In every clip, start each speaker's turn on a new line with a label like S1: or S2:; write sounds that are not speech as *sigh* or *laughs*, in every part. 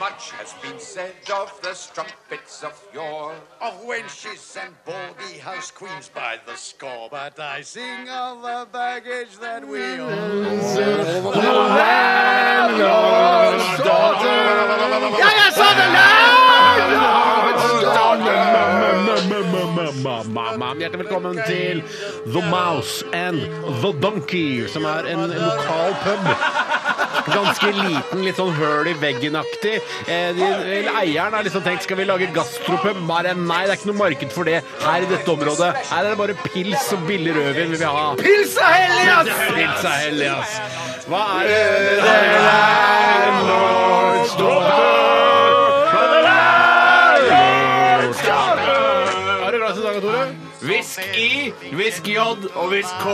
S1: Much has been said of the strumpets of yore,
S2: of wenches and baldy house queens by the score, but I sing of the baggage that we all
S3: Hjertelig velkommen til The Mouse and The Donkey, som er en lokal pub. Ganske liten, litt sånn høl i veggen-aktig. Eh, de- Eieren har liksom tenkt skal vi lage gastropub? Bare nei, det er ikke noe marked for det her i dette området. Her er det bare pils og billig rødvin vi vil ha. Pils er hellig, ass! Pils er hellig, ass. Hva er det Landlords Er du glad i dag, Tore? Whisk I, Whisk J og Whisk K.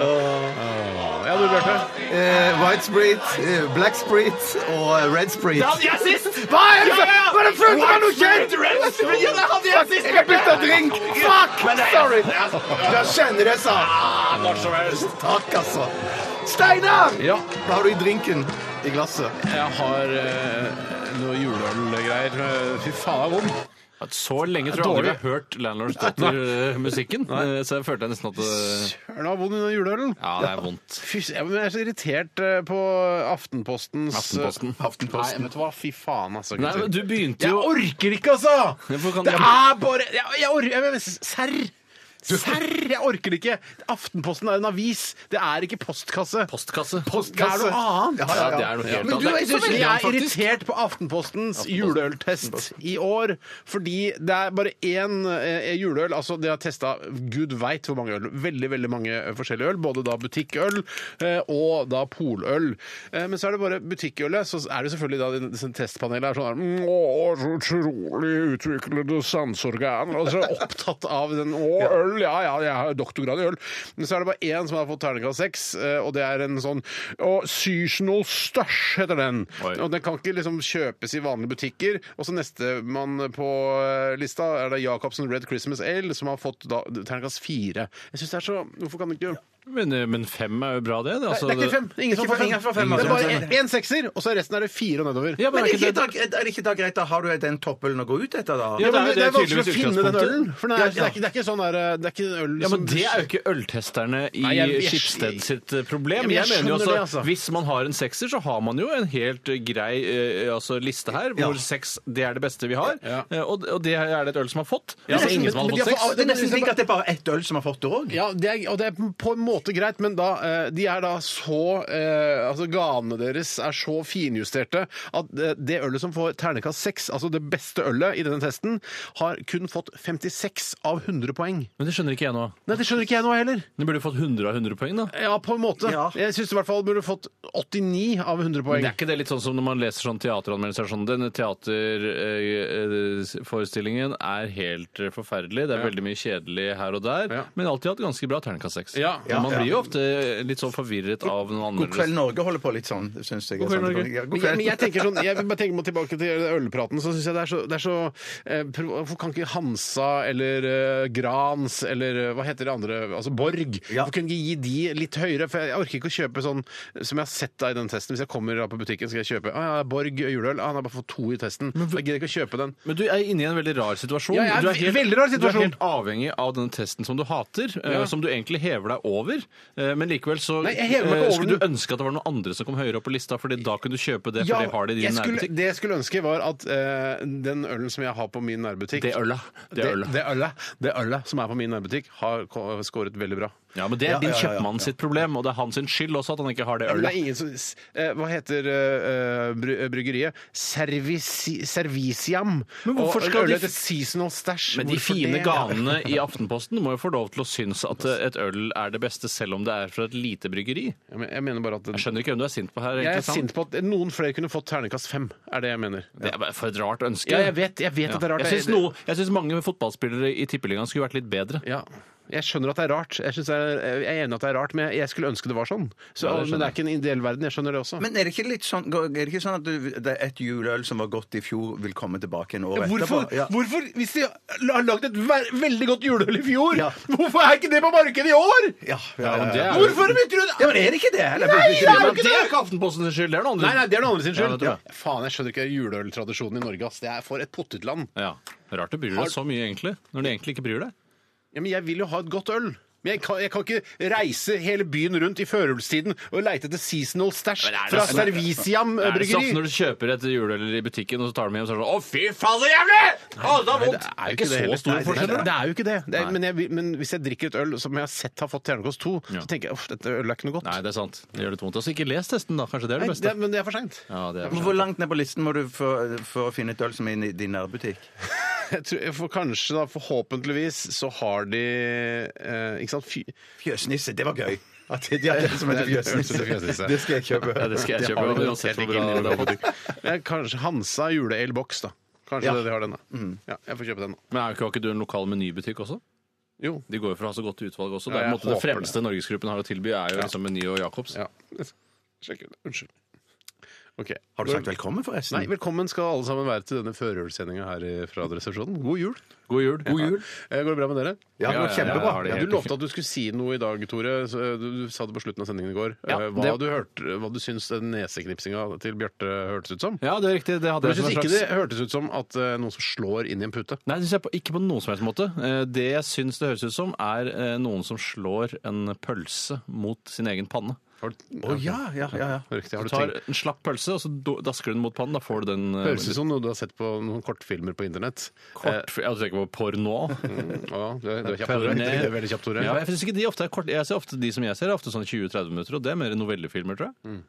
S3: Ja, du, Bjarte.
S4: White Sprit, Black Sprit og eh, Red Sprit.
S3: hadde jeg sist! Hva er det som Hva er det første gang noe skjedd? Ja, det hadde jeg sist!
S4: Jeg bytta drink! Fuck!
S3: Men det er-
S4: Sorry! Du er sjenerøs, ass.
S3: Når som helst.
S4: Takk, altså. Steinar!
S3: Ja,
S4: Hva har du i drinken i glasset?
S3: jeg har eh, noe juleølgreier. Eh, Fy faen, det er vondt.
S5: At så lenge
S3: Det er
S5: tror jeg aldri vi
S3: dårlig.
S5: har hørt Landlords Daughter-musikken. Eh, Så jeg følte jeg nesten at det-
S3: Søren, det er vondt i den juleølen.
S5: Ja, det er vondt.
S3: Fy, jeg men jeg er så irritert eh, på Aftenpostens eh,
S5: Aftenposten.
S3: Nei, vet du hva? Fy faen, altså.
S5: Nei, men
S3: gutter.
S5: du begynte
S3: Jeg
S5: jo
S3: orker ikke, altså!
S5: Hvorfor kan
S3: Det
S5: du-
S3: er bare Jeg, jeg orker jeg, jeg, Serr! Serr! Jeg orker det ikke! Aftenposten er en avis. Det er ikke postkasse.
S5: Postkasse.
S3: Det er noe annet.
S5: Ja, det er noe helt
S3: Men du,
S5: annet.
S3: jeg,
S5: Det er ikke så
S3: synes
S5: veldig
S3: jeg
S5: annet,
S3: er
S5: faktisk.
S3: irritert på Aftenpostens juleøltest i år, fordi det er bare én eh, juleøl. Altså, de har testa gud veit hvor mange øl. Veldig, veldig mange eh, forskjellige øl. Både da butikkøl eh, og da poløl. Eh, Men så er det bare butikkølet. Så er det selvfølgelig da den- disse testpanelene er sånn der, «Mm, Å, så utrolig utviklede sanseorgan. Og så er det opptatt av den Å, øl! Ja, ja, jeg har doktorgrad i øl. Men så er det bare én som har fått terningkast seks, eh, og det er en sånn Og Seasonal Stash heter den.
S5: Oi.
S3: Og den kan ikke liksom kjøpes i vanlige butikker. Og så nestemann på eh, lista er det Jacobsen Red Christmas Ale, som har fått da terningkast fire. Jeg synes det er så Hvorfor kan det ikke
S5: Men, eh, men fem er jo bra, det.
S3: Nei,
S5: altså,
S3: det er ikke fem! Ingen som får fem.
S5: Ingen får fem,
S3: det er
S5: altså.
S3: bare en- en sekser, og så resten er det fire og nedover.
S5: Ja,
S4: Men er
S5: men er ikke det-
S4: det ikke da- er det ikke da greit? Da har du den toppølen å gå ut etter, da?
S5: Ja,
S3: Ja, men det,
S5: det er
S3: er vanskelig å
S5: tydeligvis
S3: finne den
S5: utgangspunktet.
S3: ølen. For det er,
S4: Ja, ja.
S3: Det, er ikke, det er ikke sånn der, det er ikke en øl
S5: Ja, men
S3: som
S5: Det er jo ikke øltesterne i
S3: Nei, jeg- jeg-
S5: Skipsted sitt eh,
S3: Ja,
S5: problem.
S3: men jeg
S5: jeg, mener jo
S3: skjønner
S5: altså,
S3: det, altså.
S5: Hvis man har en sekser, så har man jo en helt eh, grei eh, altså, liste her, hvor seks det er det beste vi har.
S3: Ja.
S5: Eh, og, og det er det et øl som har fått.
S3: Ja,
S5: Så
S3: men-
S4: Altså,
S5: ingen som
S3: men- men
S5: har fått
S3: de har
S5: seks.
S3: fått-
S4: Det er nesten slik at det er bare ett øl som har fått det òg.
S3: Ja, det er, og det er på en måte greit, men da, eh, de er da så eh, altså Gavene deres er så finjusterte at eh, det ølet som får ternekast 6, altså det beste ølet i denne testen, har kun fått 56 av 100 poeng.
S5: Men det skjønner ikke jeg nå.
S3: Nei, det skjønner ikke jeg nå heller.
S5: De burde fått 100 av 100 poeng, da.
S3: Ja, på en måte.
S4: Ja.
S3: Jeg syns i hvert fall burde fått 89 av 100
S5: Men
S3: poeng.
S5: det er ikke det litt sånn som når man leser sånn teateranmeldelser sånn, Denne teaterforestillingen er helt eh, forferdelig. Det er veldig mye kjedelig her og der.
S3: Ja.
S5: Men alltid hatt ganske bra terningkast seks.
S3: Ja,
S5: Men man blir jo ofte litt sånn forvirret av noen andre.
S4: God kveld, Norge holder på litt sånn, syns jeg.
S5: God kveld, Norge.
S4: Ja,
S3: Men
S4: god
S3: jeg,
S4: kveld.
S3: men jeg tenker sånn, jeg vil bare tenke meg tilbake til ølpraten, så syns jeg det er så, det er så eh, pro- Hvorfor kan ikke Hansa eller eh, Grans eller eh, hva heter det andre, altså Borg
S4: Ja.
S3: Hvorfor kunne ikke gi de litt høyere? For jeg, jeg orker ikke å kjøpe sånn som jeg har sett da i den testen. Hvis jeg kommer da på butikken, skal jeg kjøpe ah, ja, Borg juleøl. Ah, han har bare fått to i testen. Jeg gidder ikke å kjøpe den.
S5: Men du er inne i en veldig rar situasjon.
S3: Ja, jeg er
S5: du
S3: ve- veldig rar
S5: Du er
S3: situasjon.
S5: helt avhengig av den testen som du hater, eh,
S3: Ja.
S5: som du egentlig hever deg over. eh, men likevel så
S3: Nei, jeg hever meg ikke
S5: eh,
S3: over
S5: skulle
S3: den.
S5: du ønske at det var noen andre som kom høyere opp på lista, Fordi da kunne du kjøpe det, for
S3: Ja,
S5: det har det i
S3: jeg
S5: din
S3: skulle,
S5: nærbutikk.
S3: det jeg skulle ønske, var at eh, den ølen som jeg har på min nærbutikk
S5: Det øla. Det
S3: det,
S5: øla.
S3: det ølet, det ølet som er på min nærbutikk, har ko- skåret veldig bra.
S5: Ja, men det er din kjøpmann sitt problem, og det er hans sin skyld også at han ikke har det
S3: Ja, men det
S5: ølet.
S3: er ingen som s- eh, Hva heter eh, eh, bry- eh, bryggeriet? Servici, serviciam.
S5: Men hvorfor
S3: Og
S5: skal
S3: ølet
S5: de-
S3: heter Seasonal Stash.
S5: Men de
S3: Hvorfor
S5: fine
S3: det?
S5: ganene i Aftenposten må jo få lov til å synes at eh, et øl er det beste, selv om det er fra et lite bryggeri.
S3: Ja, men Jeg mener bare at den-
S5: Jeg skjønner ikke hvem du er sint på her.
S3: jeg er
S5: egentlig, sant?
S3: sint på at noen flere kunne fått ternekast fem, er det jeg mener.
S5: Det er bare for et rart ønske.
S3: Ja, jeg vet, jeg vet at det er rart.
S5: Jeg syns, noe, jeg syns mange fotballspillere i tippeligaen skulle vært litt bedre.
S3: Ja. Jeg skjønner at det er rart. Jeg, synes det er, jeg er enig at det er rart, men jeg- jeg skulle ønske det var sånn. Så,
S5: Ja, det skjønner
S3: men det er ikke en ideell verden. Jeg skjønner det også.
S4: Men er det ikke litt sånn, er det ikke sånn at du, det er et juleøl som var godt i fjor, vil komme tilbake en år
S3: Hvorfor,
S4: etterpå? Ja.
S3: hvorfor, hvis de har lagd et ver- veldig godt juleøl i fjor,
S4: Ja.
S3: hvorfor er ikke det på markedet i år?!
S4: Ja, ja, ja,
S5: og det
S4: ja.
S5: er-
S3: Hvorfor bytter du det?
S4: ja, men er det ikke det? Eller, burde ikke
S3: det er jo
S4: det-
S5: Men det er ikke Aftenposten sin skyld, det er noen
S3: Nei, nei, det er noen andre sin
S5: Ja,
S3: skyld.
S5: det tror jeg.
S3: Faen, jeg skjønner ikke juleøltradisjonen i Norge. Ass. Det er for et pottetland.
S5: Ja. Rart du bryr deg så mye, egentlig. Når du egentlig ikke bryr deg.
S3: Ja, men jeg vil jo ha et godt øl. Men jeg kan, jeg kan ikke reise hele byen rundt i førjulstiden og leite etter seasonal stæsj
S5: Men er det
S3: fra
S5: sånn-
S3: Serviciam
S5: Er det sånn
S3: Eh, bryggeri.
S5: når du kjøper et juleøl i butikken, og så tar du med hjem og så er det sånn Å, fy faen, så jævlig! Å, det er vondt! Det er ikke så stor forskjell.
S3: Det er jo ikke det. det er,
S5: Nei.
S3: men, jeg, vil- men hvis jeg drikker et øl som jeg har sett har fått terningkast to,
S5: Ja.
S3: så tenker jeg uff, dette ølet er ikke noe godt.
S5: Nei, det er sant. Det gjør litt vondt. Altså, ikke les testen, da. Kanskje det er
S3: Nei,
S5: det
S3: det,
S5: beste.
S3: men det er for seint.
S5: Ja, det er
S4: Men Hvor langt ned på listen må du for, for å finne et øl som er i din nærbutikk?
S3: Jeg tror- jeg får Kanskje, da, forhåpentligvis, så har de eh, Ikke sant? Fy,
S4: Fjøsnisse, det var gøy. At de har en som heter
S3: Det er en som
S4: Fjøsnisse.
S3: heter Fjøsnisse.
S4: Det skal jeg kjøpe.
S5: Ja, det skal jeg
S3: Det
S5: kjøpe.
S3: har vi
S5: Uansett hvor
S3: garantert
S5: bra
S3: ikke i
S5: det er.
S3: Ja, kanskje Hansa juleale boks, da. Kanskje
S4: Ja.
S3: det de har den, da.
S5: Mm.
S3: Ja, jeg får kjøpe den, da.
S5: Men er ikke- har ikke du en lokal menybutikk også?
S3: Jo.
S5: De går jo for å ha så godt utvalg også.
S3: Ja,
S5: Det, er, på en
S3: jeg
S5: måte, det
S3: håper det.
S5: fremste norgesgruppen har å tilby, er jo liksom Meny og Jacobs.
S3: Ja. Sjekk ut. Unnskyld. Ok.
S4: Har du sagt velkommen, forresten?
S3: Nei, velkommen skal alle sammen være til denne førjulssendinga her i- fra resepsjonen. God jul.
S5: God jul. God jul.
S3: Eh, Går det bra med dere?
S4: Ja, det
S5: Ja,
S4: var
S5: ja, ja,
S4: kjempebra.
S5: ja, det er
S3: Du
S5: helt
S3: lovte at du skulle si noe i dag, Tore. så, eh, Du, du sa det på slutten av sendingen i går.
S5: Ja,
S3: Eh, hva,
S5: det-
S3: du hørte, hva du syns den neseknipsinga til Bjarte hørtes ut som?
S5: Ja, det er riktig. Det hadde
S3: Du
S5: jeg som
S3: syns
S5: en
S3: ikke
S5: slags-
S3: det hørtes ut som at eh, noen som slår inn i en pute?
S5: Nei, det synes jeg på, ikke på noen som helst måte. Eh, Det jeg syns det høres ut som, er eh, noen som slår en pølse mot sin egen panne.
S3: Har du,
S4: Å ja, ja, ja, ja.
S3: Riktig, har du
S5: Du tar
S3: tenkt
S5: en slapp pølse, og så do- dasker du den mot pannen. Da får du den eh,
S3: Høres ut som noe du har sett på noen kortfilmer på internett. Eh,
S5: kort Ja, du tenker på porno?
S3: ja, du er, du er kjapp, Tore. Du er veldig kjapp, Tore.
S5: Ja, jeg synes ikke de ofte er kort. Jeg ser ofte de som jeg ser, er ofte sånn 20-30 minutter, og det er mer novellefilmer, tror jeg.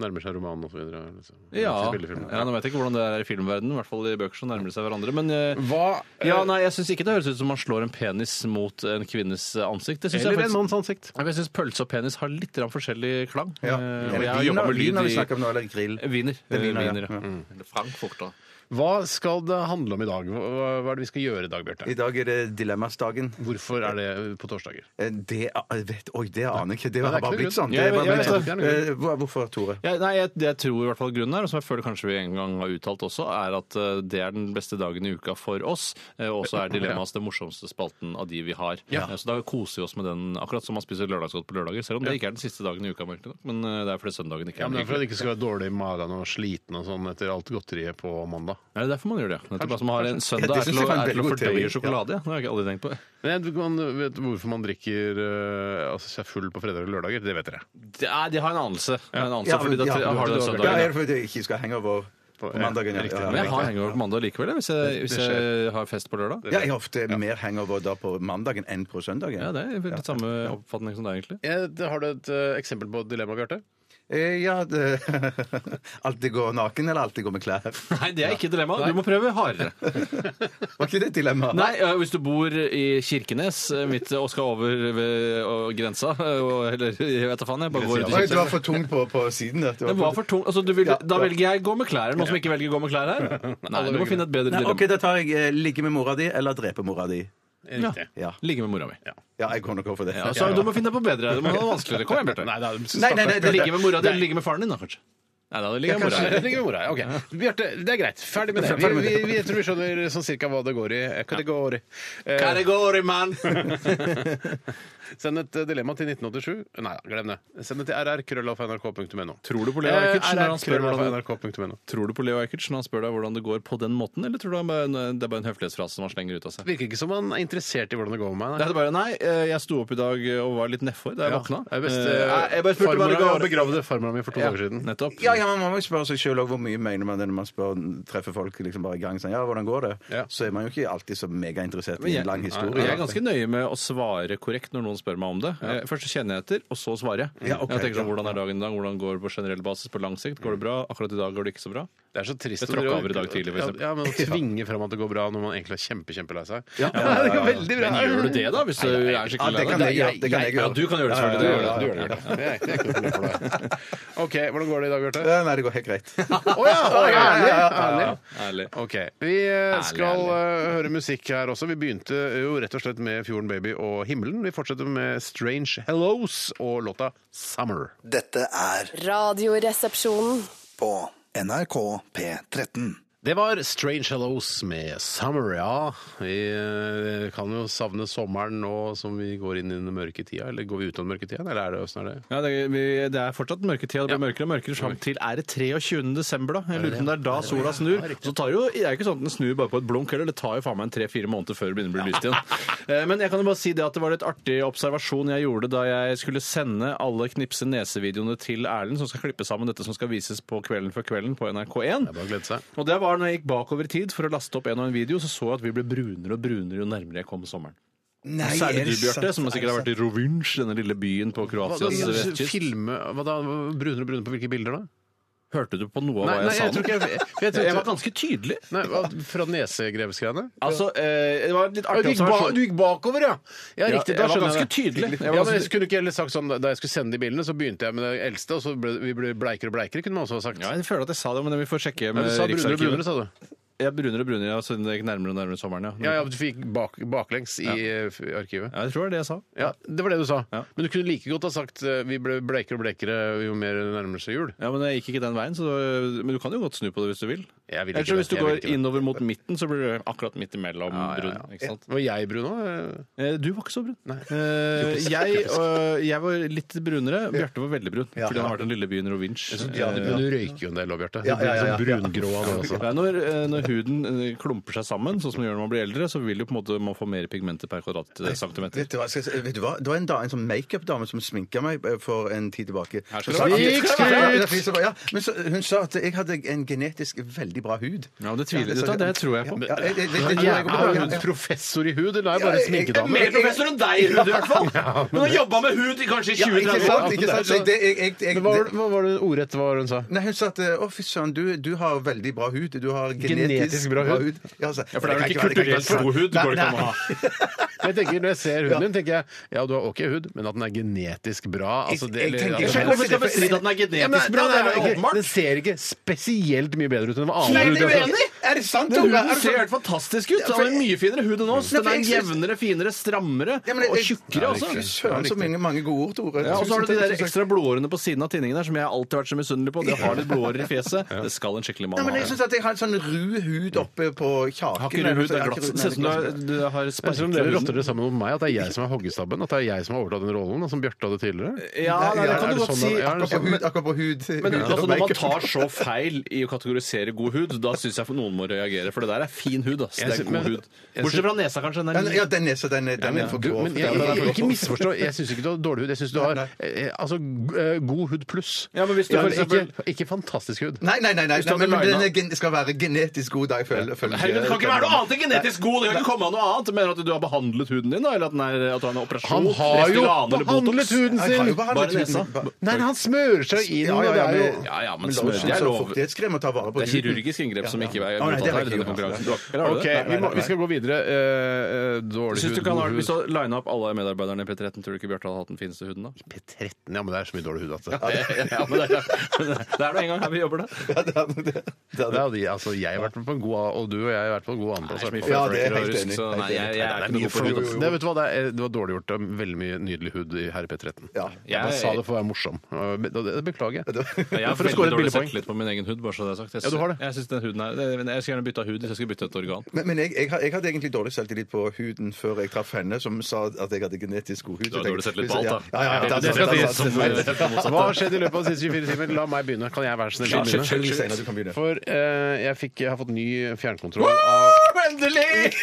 S3: Nærmer seg romanen og så videre. Liksom.
S5: Ja.
S3: Spillefilmer.
S5: ja, Nå vet jeg ikke hvordan det er i filmverdenen, i hvert fall i bøker som nærmer de seg hverandre. Men eh,
S4: Mm.
S3: Hva eh,
S5: ja, nei, jeg syns ikke det høres ut som man slår en penis mot en kvinnes ansikt. Det synes jeg
S3: Eller en
S5: faktisk...
S3: manns ansikt.
S5: Jeg syns pølse og penis har litt grann forskjellig klang.
S4: ja. Er
S5: Eh, og
S4: det
S5: jeg har
S4: vin,
S5: jobbet
S4: eller-
S5: med
S4: vin
S5: lyd
S4: har vi
S5: i
S4: snakket om nå, eller grill?
S5: Wiener.
S4: Det Mm. er viner,
S5: Eh,
S4: ja.
S5: Wiener, Eller Frankfurt, da.
S3: Hva skal det handle om i dag? Hva, hva- hva er det vi skal gjøre i dag,
S4: I
S3: Bjarte?
S4: dag er det dilemmasdagen.
S3: Hvorvet er det på torsdager?
S4: Eh, Det jeg vet, Oi, det aner jeg ikke. Det
S3: Nei, det
S4: har
S3: er ikke noe
S4: bare blitt sånn.
S3: grunn.
S4: Det
S5: Jeg
S4: har bare
S5: vet-
S4: blitt
S5: jeg
S3: vet
S4: sånn.
S3: det.
S4: Eh, hva- Hvorfor, Tore?
S5: Ja, nei, jeg, det jeg tror i hvert fall grunnen er, og som jeg føler kanskje vi en gang har uttalt også, er at eh, det er den beste dagen i uka for oss. eh, Og så er Dilemmas den morsomste spalten av de vi har. Eh, Så da koser vi oss med den, akkurat som man spiser lørdagsgodt på lørdager. Selv om det ikke er den siste dagen i uka, merkelig nok. Men eh, det er fordi søndagen ikke
S3: Ja,
S5: er
S3: men det er
S5: den
S3: for at
S5: hyggelig.
S3: det ikke skal være dårlig i magen og sliten og sånn etter alt godteriet på mandag.
S5: Nei, Det er derfor man gjør det. ja. Nettopp at man har en søndag
S4: det
S5: er til
S4: synes
S5: å,
S4: jeg var en
S5: er til å
S4: veldig god teori, ja.
S5: fordøye sjokolade. Ja. Det har jeg ikke aldri tenkt på.
S3: Men jeg- man vet hvorfor man drikker eh, altså, seg full på fredager og lørdager, det vet dere.
S5: Det, er, de har en anelse. De har en anelse
S4: Ja,
S5: fordi da
S4: ja,
S5: tre- har du den søndagen.
S4: Ja,
S5: ja.
S4: er det fordi jeg ikke skal henge over på mandagen? Ja,
S3: riktig.
S4: ja,
S5: Men jeg
S4: ja.
S5: har hangover på mandag likevel, jeg, hvis jeg, hvis
S3: det
S5: jeg har fest på lørdag.
S4: Ja, jeg har ofte mer hangover da på mandagen enn på søndagen.
S5: Ja, det er litt samme oppfatning som deg, egentlig.
S3: Eh, Har du et eh, eksempel på et dilemma, Bjarte?
S4: Eh, ja, det *laughs* Alltid gå naken eller alltid gå med klær?
S5: Nei, det er ikke dilemma. Du må prøve hardere.
S4: Var ikke det et dilemma?
S5: *laughs* Nei, ø, Hvis du bor i Kirkenes ø, midt og skal over ved ø, grensa ø, og- Eller jeg vet da faen. jeg bare går ut i
S4: Oi, du
S5: Kirkenes.
S4: var for tung på, på siden. der. Du
S5: Det var for tung. Altså, du vil, da velger jeg gå med klær. Er det Noen som ikke velger å gå med klær her? Nei, du må finne et bedre
S4: Nei,
S5: dilemma.
S4: OK, da tar jeg eh, ligge med mora di eller drepe mora di.
S3: Riktig.
S4: Ja,
S5: Ligge med mora mi.
S4: ja jeg går nok over for det.
S5: Ja, så du må finne på bedre. Du må ha det vanskeligere. Kom igjen, Bjarte.
S3: Nei, da, stakkars
S4: Nei, nei, nei, det-
S5: Ligge med mora di eller ligge med faren din, da, kanskje? Nei, da ligger jeg med mora
S3: Kanskje
S5: mi.
S3: det ligger med mora, ja, ok. Bjarte, det er greit. Ferdig med det. Vi, vi, vi, jeg tror vi skjønner sånn cirka hva det går i. Kategori. Eh,
S5: Kategori, *laughs* mann!
S3: send et eh, dilemma til 1987. Nei da, glem det. Send det til rrkrøllalfa.nrk.no.
S5: Tror du på Leo
S3: Eh,
S5: Ajkic når han spør hvordan Eh, det-
S3: rrkrøllalfa.nrk.no.
S5: Tror du på Leo Ajkic når han spør deg hvordan det går på den måten, eller tror du han bare- det er bare en høflighetsfrase som han slenger ut av seg?
S3: Det virker ikke som han er interessert i hvordan det går med meg.
S5: Det er bare, nei, eh, jeg sto opp i dag og var litt nedfor da jeg våkna.
S3: det er best,
S5: Eh,
S3: eh,
S5: jeg bare spurte
S3: farmora-
S5: bare
S3: Jeg begravde farmora mi for to dager siden.
S5: Nettopp.
S4: Ja, ja, Man må jo spørre seg sjøl hvor mye mener man det når man spør, treffer folk liksom bare i gang. Sånn, ja, hvordan går det?
S3: Ja.
S4: Så er man jo ikke alltid så megainteressert i
S5: Jeg,
S4: en lang historie.
S5: jeg er ganske nøye med å svare korrekt når noen spør meg om det. Eh, Først så kjenner jeg etter, og så svarer jeg.
S4: Ja, ok,
S5: jeg tenker sånn,
S4: ja.
S5: Hvordan er dagen i dag? Hvordan går det på generell basis på lang sikt? Går det bra? Akkurat i dag går det ikke så bra.
S3: Det er så trist
S5: Jeg
S3: å drive-
S5: tråkka over i dag tidlig, for
S3: Ja,
S5: eksempel.
S3: Ja, men å tvinge fram at det går bra når man egentlig er kjempe, kjempelei seg.
S4: Ja.
S3: det går veldig bra.
S5: Men gjør du det, da? Hvis du er
S4: Ja,
S5: skikkelig
S4: det
S5: lei
S4: kan
S5: deg?
S4: jeg gjøre. Det kan jeg
S5: Ja,
S4: gjøre.
S5: du kan gjøre det, selvfølgelig.
S4: Ja,
S5: Du
S4: ja, ja, ja.
S5: gjør det.
S3: Du gjør det. Det er ikke noe problem for deg. *laughs* OK, hvordan går det i dag, Bjarte?
S4: Ja, nei, det går helt
S5: *laughs*
S4: greit.
S3: Å ja! å, ærlig, ærlig.
S5: Ærlig.
S3: Ok, Vi eh, skal eh, høre musikk her også. Vi begynte jo rett og slett med Fjorden Baby og Himmelen. Vi fortsetter med Strange Hellos og låta Summer.
S6: Dette er
S7: Radioresepsjonen.
S6: på NRK P13.
S3: Det var Strange Hellos med Summer, ja. Vi eh, kan jo savne sommeren nå som vi går inn i den mørke tida. Eller går vi ut av den mørke tida, eller er det åssen er det?
S5: Ja, det, vi, det er fortsatt mørketid. og Det blir mørkere og mørkere fram til Er det 23. desember, da? Jeg lurer på om det er da sola snur. Så tar jo, det er jo ikke sånn at den snur bare på et blunk heller. Det tar jo faen meg en tre-fire måneder før det begynner å bli lyst igjen. Eh, Men jeg kan jo bare si det at det var litt artig observasjon jeg gjorde da jeg skulle sende alle Knipse nese-videoene til Erlend, som skal klippe sammen dette som skal vises på Kvelden før kvelden på NRK1.
S3: Det er bare å glede seg.
S5: Og det var når jeg gikk bakover i tid for å laste opp en og en video, så så jeg at vi ble brunere og brunere jo nærmere jeg kom sommeren.
S4: Nei,
S5: Særlig du, Bjarte, som
S4: Er det
S5: sikkert har vært i Rovinj, denne lille byen på
S3: Hva
S5: Kroatias
S3: da,
S5: vestkyst.
S3: filme, hva da, brunere og brunere på hvilke bilder da?
S5: Hørte du på noe av
S3: Nei,
S5: hva jeg
S3: nei,
S5: sa?
S3: jeg tror
S5: nå?
S3: ikke jeg- jeg- jeg tror-
S5: var ganske tydelig.
S3: Nei, hva- Fra nesegrevsgreiene?
S5: Altså, eh, det var litt
S3: Ja, Du
S5: artig
S3: gikk, ba,
S5: observasjon.
S3: du gikk bakover, ja! Ja,
S5: Ja,
S3: riktig.
S5: jeg
S3: Da
S5: var
S3: skjønner jeg
S5: ganske
S3: det.
S5: tydelig. Jeg var
S3: ja, men
S5: ganske-
S3: jeg skulle ikke heller sagt sånn, Da jeg skulle sende de bildene, så begynte jeg med det eldste, og så ble vi ble bleikere og bleikere, kunne man også ha sagt.
S5: Ja, jeg føler at jeg sa det, men vi får
S3: Men
S5: sjekke med
S3: du sa brunere og brunere,
S5: Riksarkivet.
S3: sa du.
S5: Ja, brunere og brunere, ja, siden det gikk nærmere og nærmere sommeren, ja.
S3: Ja, ja, du fikk bak, baklengs i eh, f- arkivet.
S5: Ja, jeg tror det er det jeg sa.
S3: Ja, Det var det du sa.
S5: Ja.
S3: Men du kunne like godt ha sagt eh, vi ble bleikere og bleikere jo mer det nærmer seg jul.
S5: Ja, Men jeg gikk ikke den veien, så men du kan jo godt snu på det hvis du vil.
S3: Jeg vil ikke
S5: Eller så
S3: det.
S5: hvis du
S3: Jeg vil
S5: går
S3: ikke det.
S5: innover mot midten, så blir du akkurat midt imellom brun. ikke sant?
S3: Var jeg brun òg?
S5: Eh, Du var ikke så brun. Eh, jeg, øh, jeg var litt brunere. Bjarte var veldig brun, fordi han har vært i den lille byen Rovinj. Eh,
S3: Men du røyker jo en del òg, Bjarte. Du
S4: Ja, ja,
S3: blir
S4: ja,
S3: sånn brungrå av det også.
S5: Nei, når, eh, når huden eh, klumper seg sammen, sånn som den gjør når man blir eldre, så vil jo på en måte man få mer pigmenter per kvadratcentimeter.
S4: Vet du hva? Skal jeg si- vet du hva? Det var en, da, en sånn makeup-dame som sminka meg eh, for en tid tilbake.
S5: Her
S4: Så
S5: skal
S4: sa-
S5: det være.
S4: Ja,
S3: Fikk
S4: det er
S3: skryt!
S4: fint som- ja. Men så, hun sa at jeg hadde en genetisk veldig bra hud.
S5: Ja, men det tviler du på. Det tror jeg på.
S4: Ja, jeg- jeg- jeg- jeg-
S3: Men
S4: jeg-
S3: jeg er jo
S4: jeg-
S3: en
S4: jeg-
S3: professor i hud, eller er jeg bare
S4: Ja,
S3: en
S4: jeg- jeg-
S3: sminkedame?
S4: Mer professor
S5: enn deg, Rudi, i hvert fall! Hun har jobba med hud i kanskje
S4: Ja, Ikke sant? Ikke sant? Så jeg- det- jeg- jeg-
S3: Men Hva var,
S4: det-
S3: hva var det ordrett hva var det hun sa?
S4: Nei, Hun sa at eh, å, fy søren, du, du har veldig bra hud. Du har
S3: Genetisk
S4: genetisk,
S3: bra hud?
S4: Ja, så-
S5: Ja, for det er
S4: kan
S5: jo ikke
S4: være- det kan
S5: kulturelt
S4: være-
S5: god hud.
S4: Nei,
S5: går det ikke an
S4: nei.
S5: å ha.
S3: Jeg tenker, Når jeg ser huden din, tenker jeg ja, du har OK hud, men at den er genetisk bra altså, det,
S4: Jeg- jeg tenker-
S3: altså,
S4: Jeg skjønner hvorfor du skal bestride
S5: at den er
S3: Ja, men, nei,
S5: genetisk
S3: nei, nei, ikke- Den ser ikke spesielt mye bedre ut enn hva andre
S5: altså.
S3: hud jeg har sett.
S4: Er det sant, Tore? Er
S5: Huden
S4: det
S5: ser
S4: sant?
S5: helt fantastisk ut! Den har mye finere hud enn oss. Den er jevnere, finere, strammere
S4: Ja, men jeg-
S5: og tjukkere,
S4: Fy
S5: altså.
S4: Søren, så mange, mange gode ord, Tore.
S5: Ja, og så har
S4: Tusen takk,
S5: du de der
S4: tusen takk.
S5: ekstra blodårene på siden av tinningen der som jeg alltid har vært så misunnelig på. Det har litt blodårer i fjeset. Det skal en skikkelig
S4: Nei,
S5: mann
S4: men jeg
S5: ha.
S4: synes at jeg har en sånn ru hud oppe på kjaken.
S5: Har ikke du
S4: eller noe
S5: hud?
S4: sånt.
S5: Det er
S4: Jeg har
S5: glatt.
S4: ikke-
S5: Ser ut som du
S4: Nei,
S5: har- du har
S3: Det er som
S5: sparket
S3: dere
S5: huden.
S3: rotter det sammen mot meg, at det er jeg som er hoggestabben. At det er jeg som har overtatt den rollen, da, som Bjarte hadde tidligere.
S5: Ja, nei, det
S3: Er
S5: kan
S3: det
S5: du godt
S3: sånn
S5: si.
S3: det er?
S5: Akkurat-
S4: Akkurat på hud. Akkurat på hud.
S5: Men
S4: hud og
S5: altså, når man
S4: makeup.
S5: tar så feil i å kategorisere god hud, da syns jeg noen må reagere. For det der er fin hud. ass. Det
S3: Jeg
S5: er
S3: sy-
S5: god
S3: men-
S5: hud. Bortsett fra nesa, kanskje. Den
S4: Ja,
S5: er
S4: Ja, den er så den er, den er for
S3: Du,
S4: grov.
S3: men jeg,
S4: Den er for
S3: jeg,
S4: grov.
S3: ikke misforstå. Jeg syns ikke du har dårlig hud. Jeg syns du har
S4: Nei,
S3: eh, altså, g- eh, god hud pluss.
S5: Ja, men hvis du for eksempel-
S3: ikke, ikke fantastisk hud.
S4: Nei, nei, nei, nei,
S5: Hvis du
S4: nei,
S5: hadde
S4: men den
S5: lina-
S4: er gen- skal være genetisk god, da. Jeg føler, føler
S5: Herregud, det kan ikke være noe annet enn genetisk god! Det kan ikke komme av noe annet. Mener at du har behandlet huden din, da? Eller at, den er, at du har en operasjon?
S3: Han har jo
S5: Restylane eller Botox?
S3: behandlet huden
S4: Jeg har
S3: sin!
S4: jo behandlet
S5: Bare nesa.
S4: huden min.
S3: Nei, han smører seg inn,
S4: Ja, ja,
S3: og det
S4: ja,
S3: er jo
S4: men-
S5: Ja, ja, men
S4: men
S5: smør. Det er
S4: lov.
S5: lov.
S4: Fuktighetskrem å ta vare på
S5: Det er kirurgisk inngrep som ikke er
S4: Å, nei, det
S5: godtatt
S4: var
S5: her i
S4: ikke
S5: denne
S4: det.
S5: konkurransen. Du har- eller har du
S3: OK,
S5: det?
S3: vi, må, vi skal gå videre. Eh, eh, dårlig
S5: Syns
S3: hud,
S5: du ikke han har,
S3: god
S5: Hvis
S3: hud
S5: du line opp alle medarbeiderne i P13, tror du ikke Bjarte hadde hatt den fineste huden da?
S3: P13, ja, men det er så mye dårlig hud altså. at det
S5: *laughs* Ja, men det er det er nå en gang her vi jobber, det.
S3: det hadde, altså, Jeg har vært på en god og du og jeg har vært på en god andreplass. i hvert fall.
S4: Ja, det er helt enig.
S5: Så nei, jeg, jeg er ikke noe god på hud. ass.
S3: Det, vet du hva, det, er, det var dårlig gjort. Det er veldig mye nydelig hud i herre P13. Jeg bare sa det for å være morsom. Det- det Beklager.
S5: Men jeg har
S3: For å score
S5: veldig
S3: et
S5: dårlig
S3: billig poeng.
S5: selvtillit på min egen hud. bare så det er sagt. Jeg,
S3: Ja, du har det.
S5: jeg synes den huden er, det- jeg skal gjerne bytte av hud hvis jeg skal bytte et organ.
S4: Men, men jeg, jeg, har- jeg hadde egentlig dårlig selvtillit på huden før jeg traff henne, som sa at jeg hadde genetisk god hud.
S5: Du har dårlig selvtillit på
S4: Ja,
S5: alt, da.
S4: Ja, ja, ja,
S5: Det skal sies som,
S4: sant, sant, sant.
S5: eh, motsatt.
S3: Hva har skjedd i løpet av de siste 24 timer? La meg begynne. Kan jeg være så snill å begynne?
S4: Selvfølgelig, Steinar, du kan begynne.
S3: For eh, jeg, fikk, jeg har fått ny fjernkontroll av
S4: Endelig!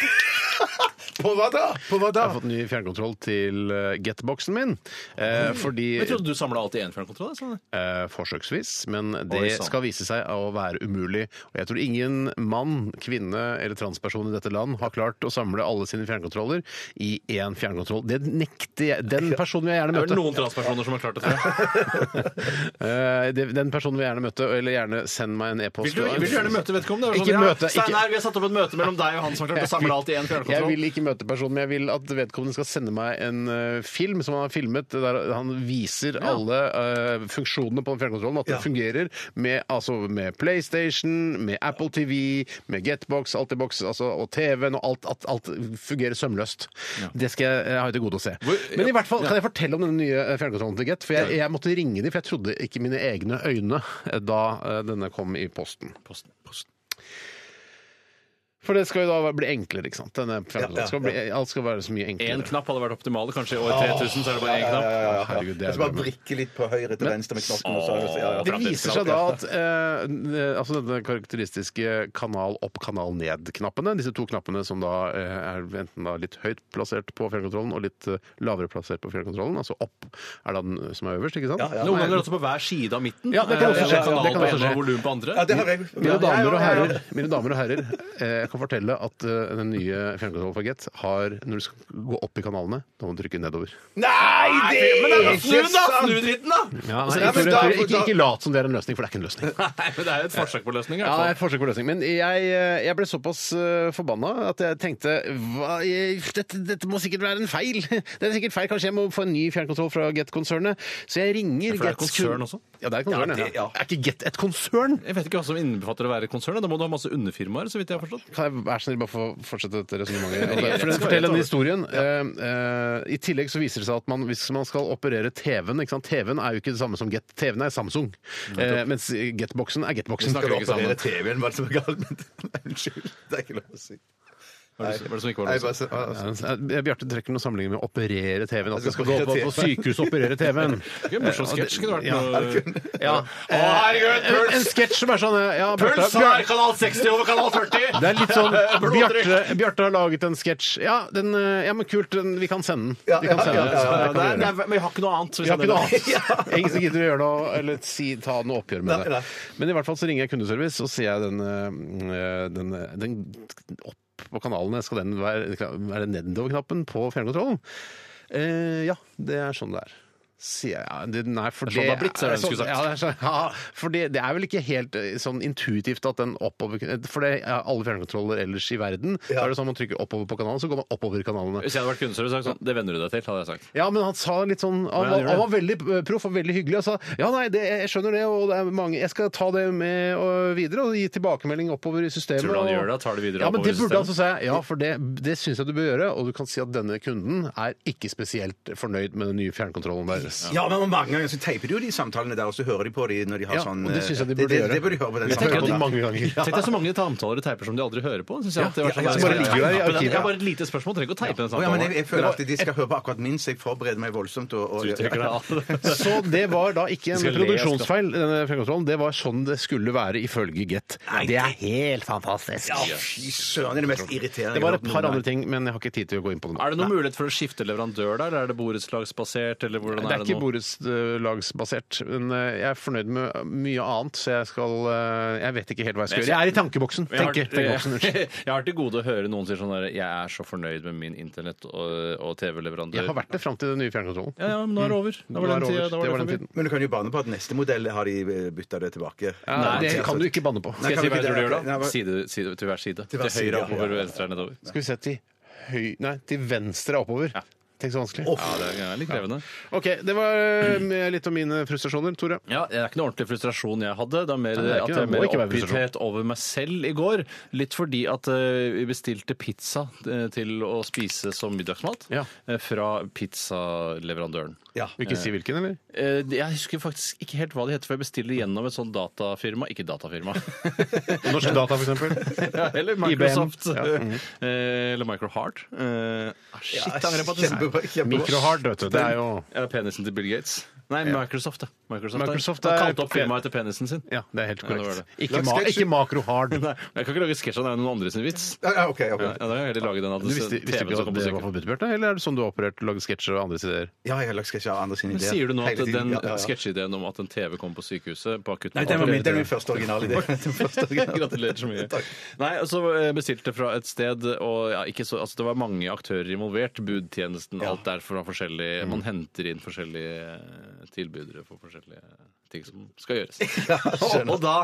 S4: På hva da? På hva da?
S3: jeg har fått ny fjernkontroll til eh, Getboxen min. Eh, fordi
S5: Jeg trodde du samla alt i én fjernkontroll. jeg, sånn.
S3: eh, Forsøksvis. Men det
S5: Oi, sånn. sann.
S3: skal vise seg å være umulig. Og jeg tror ingen mann, kvinne eller transperson i dette land har klart å samle alle sine fjernkontroller i én fjernkontroll. Det nekter jeg. Den personen vil jeg gjerne
S5: Det er
S3: møte.
S5: vel noen transpersoner som har klart det. tror jeg.
S3: Eh, det- den personen vil jeg gjerne møte, eller gjerne send meg en e-post.
S5: Vil du, vil du gjerne møte vedkommende? Det var
S3: Ikke
S5: ja,
S3: møte, ikke-
S5: Steinar, vi har satt opp et møte mellom deg og han som har klart å samle alt i én
S3: Jeg vil
S5: fjernkontroll.
S3: ikke møte personen, men jeg vil at vedkommende skal sende meg en eh, film som han har filmet, der han viser alle eh, funksjonene på den fjernkontrollen, at den fungerer med, altså, med PlayStation, med Apple TV, med Getbox, Altibox altså, og TV-en og alt, at alt fungerer sømløst. Det skal jeg, jeg har jeg til gode å se. Men i hvert fall kan jeg fortelle om denne nye eh, fjernkontrollen til Get, for jeg, jeg måtte ringe dem, for jeg trodde ikke mine egne øyne eh, da eh, denne kom i posten.
S5: Posten.
S3: For det skal jo da bli enklere, ikke sant? Denne fjernkontrollen skal bli, alt skal være så mye enklere.
S5: Én knapp hadde vært optimal. Kanskje i år 3000 så er det bare én knapp.
S4: ja, ja.
S3: Herregud, det er
S4: Jeg skal bare
S3: drømmen.
S4: vrikke litt på høyre til venstre med knotten. Og så, ja, ja.
S3: Det viser seg da at eh, eh, altså denne karakteristiske kanal opp, kanal ned-knappene, disse to knappene som da eh, er enten da litt høyt plassert på fjernkontrollen og litt eh, lavere plassert på fjernkontrollen, altså opp er da den som er øverst, ikke sant?
S4: Ja,
S5: Noen ganger også på hver side av midten.
S3: Ja, det kan også
S5: Eh,
S3: skje.
S5: Kanal
S3: Det kan
S5: på
S3: også
S5: ene
S3: skje.
S5: og volum på andre.
S4: Ja, det har jeg.
S3: Mine damer og
S4: Ja, ja, ja, ja.
S3: herrer, mine damer og herrer eh, jeg kan fortelle at eh, den nye fjernkontrollen for Get har, når du skal gå opp i kanalene, da må du trykke nedover.
S4: Nei, det er
S5: Snu
S4: ikke
S5: da!
S4: sant!
S5: Snu dritten, da!
S3: Ja, nei,
S4: nei, men
S3: ikke,
S4: da-
S3: ikke, ikke, ikke lat som det er en løsning, for det er ikke en løsning.
S5: Nei, men det er jo et forsøk på løsning. i
S3: Ja,
S5: hvert
S3: det er
S5: fall.
S3: et forsøk på løsning. Men jeg, jeg ble såpass eh, forbanna at jeg tenkte hva, jeg, dette, dette må sikkert være en feil. *laughs* Det er sikkert feil. Kanskje jeg må få en ny fjernkontroll fra Get-konsernet. Så jeg ringer
S5: Ja, for det er
S3: Gets
S5: konsern
S3: kun-
S5: også?
S3: Ja, det er konsern.
S4: Ja,
S3: Ja,
S4: det- ja.
S3: Er ikke Get et konsern?
S5: Jeg vet ikke hva som innbefatter å være konsern. Da må du ha masse underfirmaer, så vidt jeg har forstått.
S3: Kan jeg være snill bare få fortsette dette resonnementet?
S5: *laughs*
S3: For-
S5: Ja, det
S3: for-
S5: skal
S3: Fortell
S5: jeg ta
S3: denne
S5: over.
S3: historien. Eh, eh, I tillegg så viser det seg at man, hvis man skal operere TV-en ikke sant? TV-en er jo ikke det samme som Get. TV-en er Samsung. Eh, mens Get-boksen er Get-boksen. *laughs*
S5: snakker
S3: Skal
S5: ikke sammen.
S4: Det er TV-en, hva er det som er galt med den? Nei, Unnskyld, det er ikke lov å si.
S5: Hva er det som- hva er det som ikke var
S4: Nei,
S5: lov å si?
S4: bare så- altså.
S3: Ja, eh, Bjarte trekker noen sammenligning med å operere TV-en. At vi
S4: Jeg
S3: skal
S4: skal
S3: gå
S4: operere
S3: på, på
S4: TV.
S3: sykehus og operere TV-en.
S5: Det er en Morsom sketsj kunne vært
S3: Ja.
S5: noe
S3: Ja. En, en sketsj som er sånn eh, ja, Bjarte, Bjarte,
S5: kanal 60 over kanal 40!
S3: det er litt sånn Bjarte, Bjarte har laget en sketsj. Ja, den, eh, ja, men kult. Den, vi kan sende den. Vi kan sende den. Ja, det kan
S5: Ja,
S3: vi gjøre.
S5: men vi har ikke noe annet. så vi
S3: Vi har ikke
S5: sender
S3: noe
S5: det.
S3: annet.
S5: *laughs*
S3: Ingen som gidder å gjøre noe eller si, ta noe oppgjør med
S4: Nei,
S3: det.
S4: nei.
S3: Men i hvert fall så ringer jeg kundeservice, og sier jeg den, eh, den, den opp på kanalene Skal den være, være nedover-knappen på fjernkontrollen? Eh, ja, det er sånn det er. Sier jeg. Ja, det, nei, for
S5: Det er sånn det har blitt, så er det
S3: er
S5: en skulle sagt.
S3: ja, det er sånn, ja, for det, det er vel ikke helt eh, sånn intuitivt at den oppover For det er alle fjernkontroller ellers i verden. Da er det sånn man trykker oppover på kanalen, så går man oppover kanalene.
S5: Hvis jeg hadde vært kunde, så hadde jeg sagt sånn Det venner du deg til, hadde jeg sagt.
S3: Ja, men han sa litt sånn Han,
S5: Ja,
S3: var,
S5: han gjorde
S3: han var veldig eh, proff og veldig hyggelig og sa ja, nei, det, jeg skjønner det, og det er mange Jeg skal ta det med og videre og gi tilbakemelding oppover i systemet.
S5: Tror du han
S3: og-
S5: gjør det? Tar det videre
S3: ja, men det
S5: oppover i
S3: burde han så
S5: systemet?
S3: si. Ja, for det, det syns jeg du bør gjøre. Og du kan si at denne kunden er ikke spesielt fornøyd med den nye fjernkontrollen deres.
S4: Ja, men mange ganger så teiper de jo de samtalene der, og så hører de på de når de har
S3: Ja,
S4: sånn
S3: og det synes jeg de
S4: eh,
S3: burde
S4: det,
S3: gjøre.
S4: det, det burde de høre på den
S3: Jeg tenker at de
S4: samtalen.
S3: mange ganger.
S5: Tenk deg så mange samtaler og teiper som de aldri hører på. Synes jeg alltid har vært
S4: Ja, ja,
S5: sånn,
S4: som bare
S5: jeg skal
S3: ligger der i
S5: teipe den.
S3: arkivet.
S5: Jeg har bare et lite spørsmål, trenger ikke å teipe
S4: Å,
S5: den
S4: ja, men jeg,
S5: samtalen.
S4: jeg føler alltid de skal høre på akkurat min, så jeg forbereder meg voldsomt. Og, og,
S5: Du uttrykker deg alt.
S3: Så det var da ikke en
S5: skal le, jeg skal.
S3: produksjonsfeil, denne fjernkontrollen. Det var sånn det skulle være ifølge Get. Det er helt fantastisk.
S4: Fy søren, det er det mest irriterende.
S3: Det var
S4: jeg
S3: et
S4: har hørt
S3: par
S4: noen
S3: andre
S4: gang.
S3: ting, men jeg har ikke tid til å gå inn på det nå.
S5: Er det noen mulighet for å skifte leverandør der? eller Er det borettslagsbasert, eller hvordan
S3: Det
S5: er
S3: er
S5: det
S3: ikke
S5: nå?
S3: borettslagsbasert, men eh, jeg er fornøyd med mye annet, så jeg skal eh, Jeg vet ikke helt hva jeg skal gjøre. Jeg er i tankeboksen.
S5: Jeg har,
S3: Tenke, tenkeboksen, unnskyld.
S5: *laughs* jeg har til gode å høre noen si sånn der Jeg er så fornøyd med min internett- og, og
S3: *laughs*
S5: TV-leverandør.
S3: Jeg har vært det fram til den nye fjernkontrollen.
S5: Ja, ja, men nå er det over. Da
S3: Nå
S5: var
S3: er
S5: den
S3: det
S5: tida.
S3: over.
S5: Da var
S3: Det var
S5: det
S3: den
S5: forbi.
S3: tiden.
S4: Men du kan jo banne på at neste modell har de bytta det tilbake.
S3: Ja, det kan du ikke banne på.
S4: Nei,
S5: Skal jeg si hva jeg tror du gjør
S4: Nei,
S5: da?
S4: hva-
S5: Side, side, til hver side.
S4: hver
S5: Til
S4: side,
S5: høyre
S4: ja,
S5: oppover,
S4: ja, ja.
S5: venstre er nedover.
S3: Skal vi se til høy... Nei, til venstre er oppover.
S5: Ja.
S3: Tenk så vanskelig.
S5: Ja, det er litt krevende.
S3: OK, det var eh, litt om mine frustrasjoner, Tore.
S5: Ja, Det er ikke noe ordentlig frustrasjon jeg hadde. Det er mer
S3: Nei, det er ikke
S5: at
S3: det.
S5: jeg er
S3: Det må
S5: mer
S3: ikke være
S5: oppgitthet over meg selv i går. Litt fordi at eh, vi bestilte pizza eh, til å spise som middagsmat
S3: Ja.
S5: eh, fra pizzaleverandøren.
S4: Ja.
S3: Vil ikke si hvilken, *laughs* eller?
S5: Eh, Jeg husker faktisk ikke helt hva det heter, for jeg bestiller gjennom et sånt datafirma. Ikke datafirma.
S3: Norske Data, for eksempel.
S5: *laughs* Ja, Eller Microsoft.
S3: IBM. Ja.
S5: Eh, Eller Microheart. Eh, ah, Shit, jeg angrer på at jeg
S4: Kjempebra. kjempebra.
S3: Microhard, vet du. Det er jo
S5: Ja, penisen til Bill Gates. Nei, Microsoft, da. Microsoft, da.
S3: Microsoft
S5: Han
S3: er-
S5: kalte opp firmaet etter penisen sin.
S3: Ja, det er helt
S5: Ja, det var
S3: korrekt.
S5: det.
S3: Ikke, ma ikke makro-hard.
S5: *laughs* Nei, jeg kan ikke lage sketsj av det, det er noen andre sin vits.
S4: Ja, ja, ok, ok.
S5: Ja, da kan jeg heller lage den av
S3: Du visste, visste
S5: TV
S3: ikke
S5: som
S3: at
S5: kom på
S3: det var
S5: sykkelen.
S3: forbudt, Bjarte? Eller er det sånn du har operert, lagd sketsjer og andres ideer?
S4: Ja, jeg har sketsjer av andre sine
S5: Men
S4: ideer.
S5: sier du nå at
S4: hele tiden.
S5: den
S4: Ja, ja, ja.
S5: sketsjideen om at en TV kom på sykehuset på akutten
S4: Nei, den var min, den var min første originale idé. Den første
S5: *laughs*
S4: originale.
S5: Gratulerer så mye.
S4: Takk.
S5: Nei, altså eh, bestilte fra et sted, og ja, ikke så, altså, det var mange aktører involvert. Mm. Budtjenesten, alt der fra forskjellige Man henter inn forskjellige tilbydere eh, for forskjellige ting som skal *laughs* gjøres. og, og da,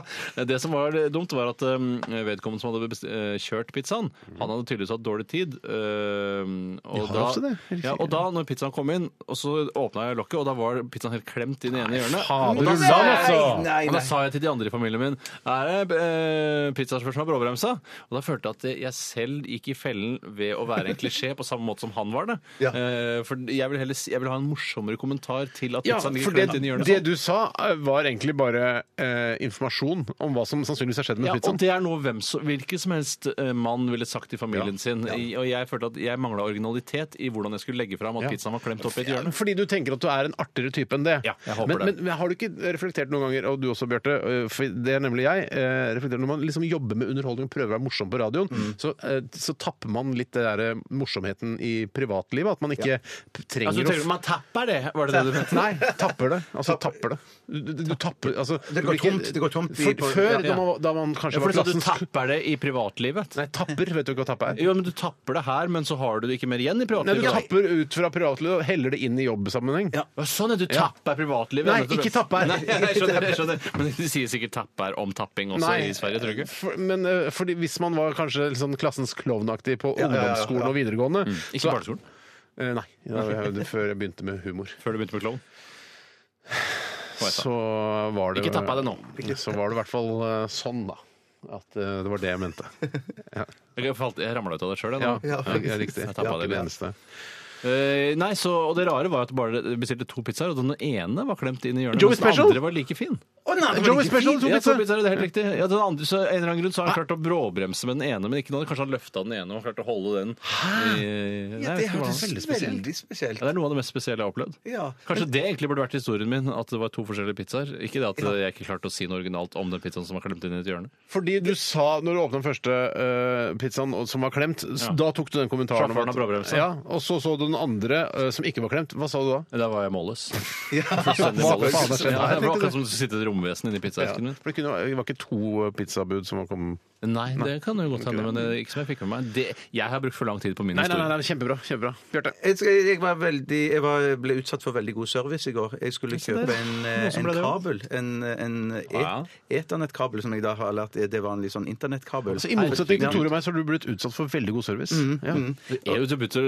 S5: Det som var dumt, var at um, vedkommende som hadde best- eh, kjørt pizzaen, han hadde tydeligvis hatt dårlig tid. um, og,
S3: De har
S5: da,
S3: ofte det, eller
S5: ja,
S3: ikke?
S5: og da når pizzaen kom inn, og så åpna jeg lokket, og da var pizzaen helt klemt i det ene hjørnet.
S3: faen,
S5: og da,
S3: rulla den, altså!
S5: Nei, Og da sa jeg til de andre i familien min Er det eh, pizzaspørsmål med bråbremsa? Og da følte jeg at jeg selv gikk i fellen ved å være en klisjé på samme måte som han var det.
S4: Ja.
S5: Eh, for jeg vil, heller, si- jeg vil ha en morsommere kommentar til at
S3: Ja,
S5: pizzaen
S3: for
S5: ligger
S3: det,
S5: klemt inn i hjørnet.
S3: det
S5: sånn.
S3: du sa, eh, var egentlig bare eh, informasjon om hva som sannsynligvis har skjedd med
S5: ja, og
S3: pizzaen.
S5: det er noe hvem som, hvilken som helst eh, mann ville sagt til familien sin. I, og jeg følte at jeg mangla originalitet i hvordan jeg skulle legge fram at
S3: Ja.
S5: pizzaen var klemt opp i et hjørne.
S3: Fordi du tenker at du er en artigere type enn det.
S5: Ja, jeg håper
S3: men,
S5: det.
S3: men har du ikke reflektert noen ganger, og du også, Bjarte, øh, for det er nemlig jeg, eh, reflektert når man liksom jobber med underholdning og prøver å være morsom på radioen,
S5: Mm.
S3: så, eh, så tapper man litt det der eh, morsomheten i privatlivet. At man ikke p-
S5: Altså,
S3: trenger
S5: du tenker,
S3: å
S5: man tapper det, var det det du mente?
S3: Nei, tapper det. Altså tapper det. Du, du, du tapper altså,
S4: Det går
S3: du blir ikke-
S4: tomt, det går tomt i-
S3: For,
S4: på-
S3: før,
S4: ja.
S3: da man, da man kanskje
S5: Ja, for
S3: var
S5: du sa du
S3: klassens
S5: tapper det i privatlivet.
S3: Nei, *laughs* tapper. Vet du ikke hva tappe er?
S5: Jo, men du tapper det her, men så har du det ikke mer igjen i
S3: Nei, du
S5: privatlivet.
S3: tapper ut fra privatlivet og heller det inn i jobbsammenheng.
S5: Ja, Sånn er du
S3: Ja.
S5: tapper privatlivet.
S3: Nei,
S5: Nettopp.
S3: ikke tapper.
S5: Nei, jeg
S3: *laughs*
S5: skjønner, jeg skjønner. Men de sier sikkert tapper om tapping også Altså, i Sverige, tror du ikke?
S3: For, men eh, fordi hvis man var kanskje litt sånn klassens klovnaktig på ungdomsskolen og videregående
S5: Mm. Ikke barneskolen?
S3: Eh, nei, da, jeg- før jeg begynte med humor.
S5: Før du begynte med klovn? Hva jeg sa.
S3: Så var det
S5: Ikke tappa det nå.
S3: Så var det i hvert fall eh, sånn, da. At eh, det var det jeg mente.
S5: Jeg, falt- jeg ramla ut av det sjøl, jeg.
S3: Ja,
S5: nå.
S3: ja, ja riktig.
S5: Jeg
S3: Jeg
S5: tappet
S3: tappa
S5: det,
S3: det, det
S5: ja.
S3: eneste.
S5: Eh, nei, så, og det rare var at bare bestilte to pizzaer, og den ene var klemt inn i hjørnet.
S3: Joey
S5: mens den
S3: Special?
S5: andre var like fin.
S3: Joey Special tok
S5: Ja, to
S3: pizza!
S5: pizzaer, det er helt riktig. Ja, den andre, så av en eller annen grunn så har han klart å bråbremse med den ene, men ikke den andre. Kanskje han løfta den ene og klarte å holde den. I, Nei, jeg vet
S4: det
S5: ikke hva
S4: hørtes
S5: han-
S4: veldig spesielt Veldig spesielt.
S5: Ja, det er noe av det mest spesielle jeg har opplevd.
S4: Ja.
S5: Kanskje det egentlig burde vært historien min, at det var to forskjellige pizzaer. Ikke det at jeg ikke klarte å si noe originalt om den pizzaen som var klemt inn i et hjørne.
S3: Fordi du sa, når du åpna den første eh, pizzaen og- som var klemt, s-
S5: Ja.
S3: da tok du den kommentaren.
S5: Sjåføren har bråbremse.
S3: ja, og så så du den andre eh, som ikke var klemt. Hva sa du da?
S5: Der var jeg målløs.
S3: Hva
S5: Fullstendig
S3: faen
S5: målløs.
S3: har skjedd
S5: Ja,
S3: her, tenkte
S5: det var
S3: du?
S5: akkurat som om det sitter et romvesen inni
S3: Ja,
S5: pizzaesken min.
S3: for det, kunne, det var ikke to eh, pizzabud som kom
S5: Nei, det kan jo godt hende, men det er ikke som jeg fikk med meg. Det, jeg har brukt for lang tid på min
S3: Nei, nei, nei,
S5: historie.
S3: nei kjempebra. kjempebra. Bjarte.
S4: Jeg, skal- jeg, var veldig, jeg var, ble utsatt for veldig god service i går. Jeg skulle kjøpe en, eh,
S5: Noen som
S4: en
S5: ble det også.
S4: kabel. En, en et,
S5: Ja.
S4: eternettkabel, som jeg da har lært er det vanlig sånn internettkabel.
S3: Altså, I motsetning til Tore og meg så har du blitt utsatt for veldig god service. Ja.
S5: Det er jo tilbudt å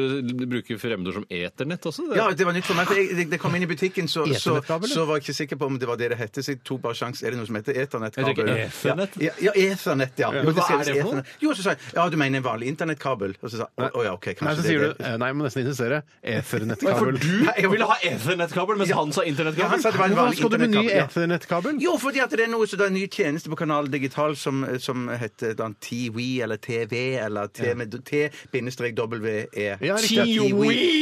S5: bruke fremmedord som eternett også. Det.
S4: Ja, det var nytt for meg. for Jeg, det, det kom inn i butikken, så, så,
S3: Eternettkabel, ja.
S4: så var jeg ikke sikker på om det var det det hette. Så jeg tok bare sjans. Er det noe som heter
S5: Jeg
S4: eternettkabel?
S5: tenker Ethernet.
S4: Ja, ja, ja, Ethernet, ja.
S5: Men hva
S4: skrev
S5: er det
S4: jeg
S5: for noe?
S4: Ethernet. Jo, så sa jeg ja, du mener en vanlig internettkabel. Og så sa jeg å, å ja, OK, kanskje
S3: Nei, så
S4: det
S3: sier du
S4: er det.
S3: eh, Nei, jeg må nesten insistere.
S5: For
S3: Eternettkabel.
S5: du ville ha eternettkabel, mens han
S4: Ja,
S5: sa
S4: han
S5: internettkabel.
S4: sa det var en
S3: Hva
S4: vanlig
S3: skal du med ny
S4: internettkabel. ja.
S3: eternettkabel?
S4: Jo, fordi at det er noe så det er en ny tjeneste på Kanal Digital som, eh, som heter da, TWE eller TV eller T E. med T-WE.
S3: Ja, riktig.
S5: E.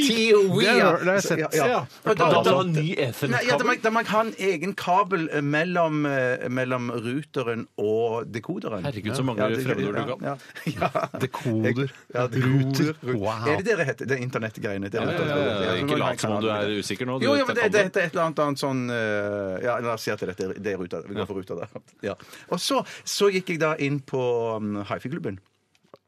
S4: TWE,
S3: Det
S4: E. ja.
S3: har- det har jeg sett.
S4: Ja. Og
S5: Da
S4: da- da-
S5: ville du ha ny
S4: Nei, ja, da, må,
S5: ethernet-kabel.
S4: jeg- da må jeg ha en egen kabel eh, mellom, eh, mellom ruteren og dekoderen.
S5: Herregud, så mange fremmedord du kan.
S4: Ja, *laughs* ja.
S3: Dekoder.
S4: Ja, dekoder.
S3: Ruter. Wow.
S4: Er det det det heter? Det er internettgreiene. Det er
S5: Ja, ja, ja, ja.
S4: internettgreiene.
S5: Ikke lat som om du er usikker nå. Du
S4: Jo, jo,
S5: vet
S4: men
S5: det
S4: det, det
S5: kommer.
S4: heter et eller annet, annet sånn eh, Ja, la oss si at det er, det er ruta. Vi går for ruta der. *laughs* Ja. Og så, så gikk jeg da inn på um, Hifi-klubben.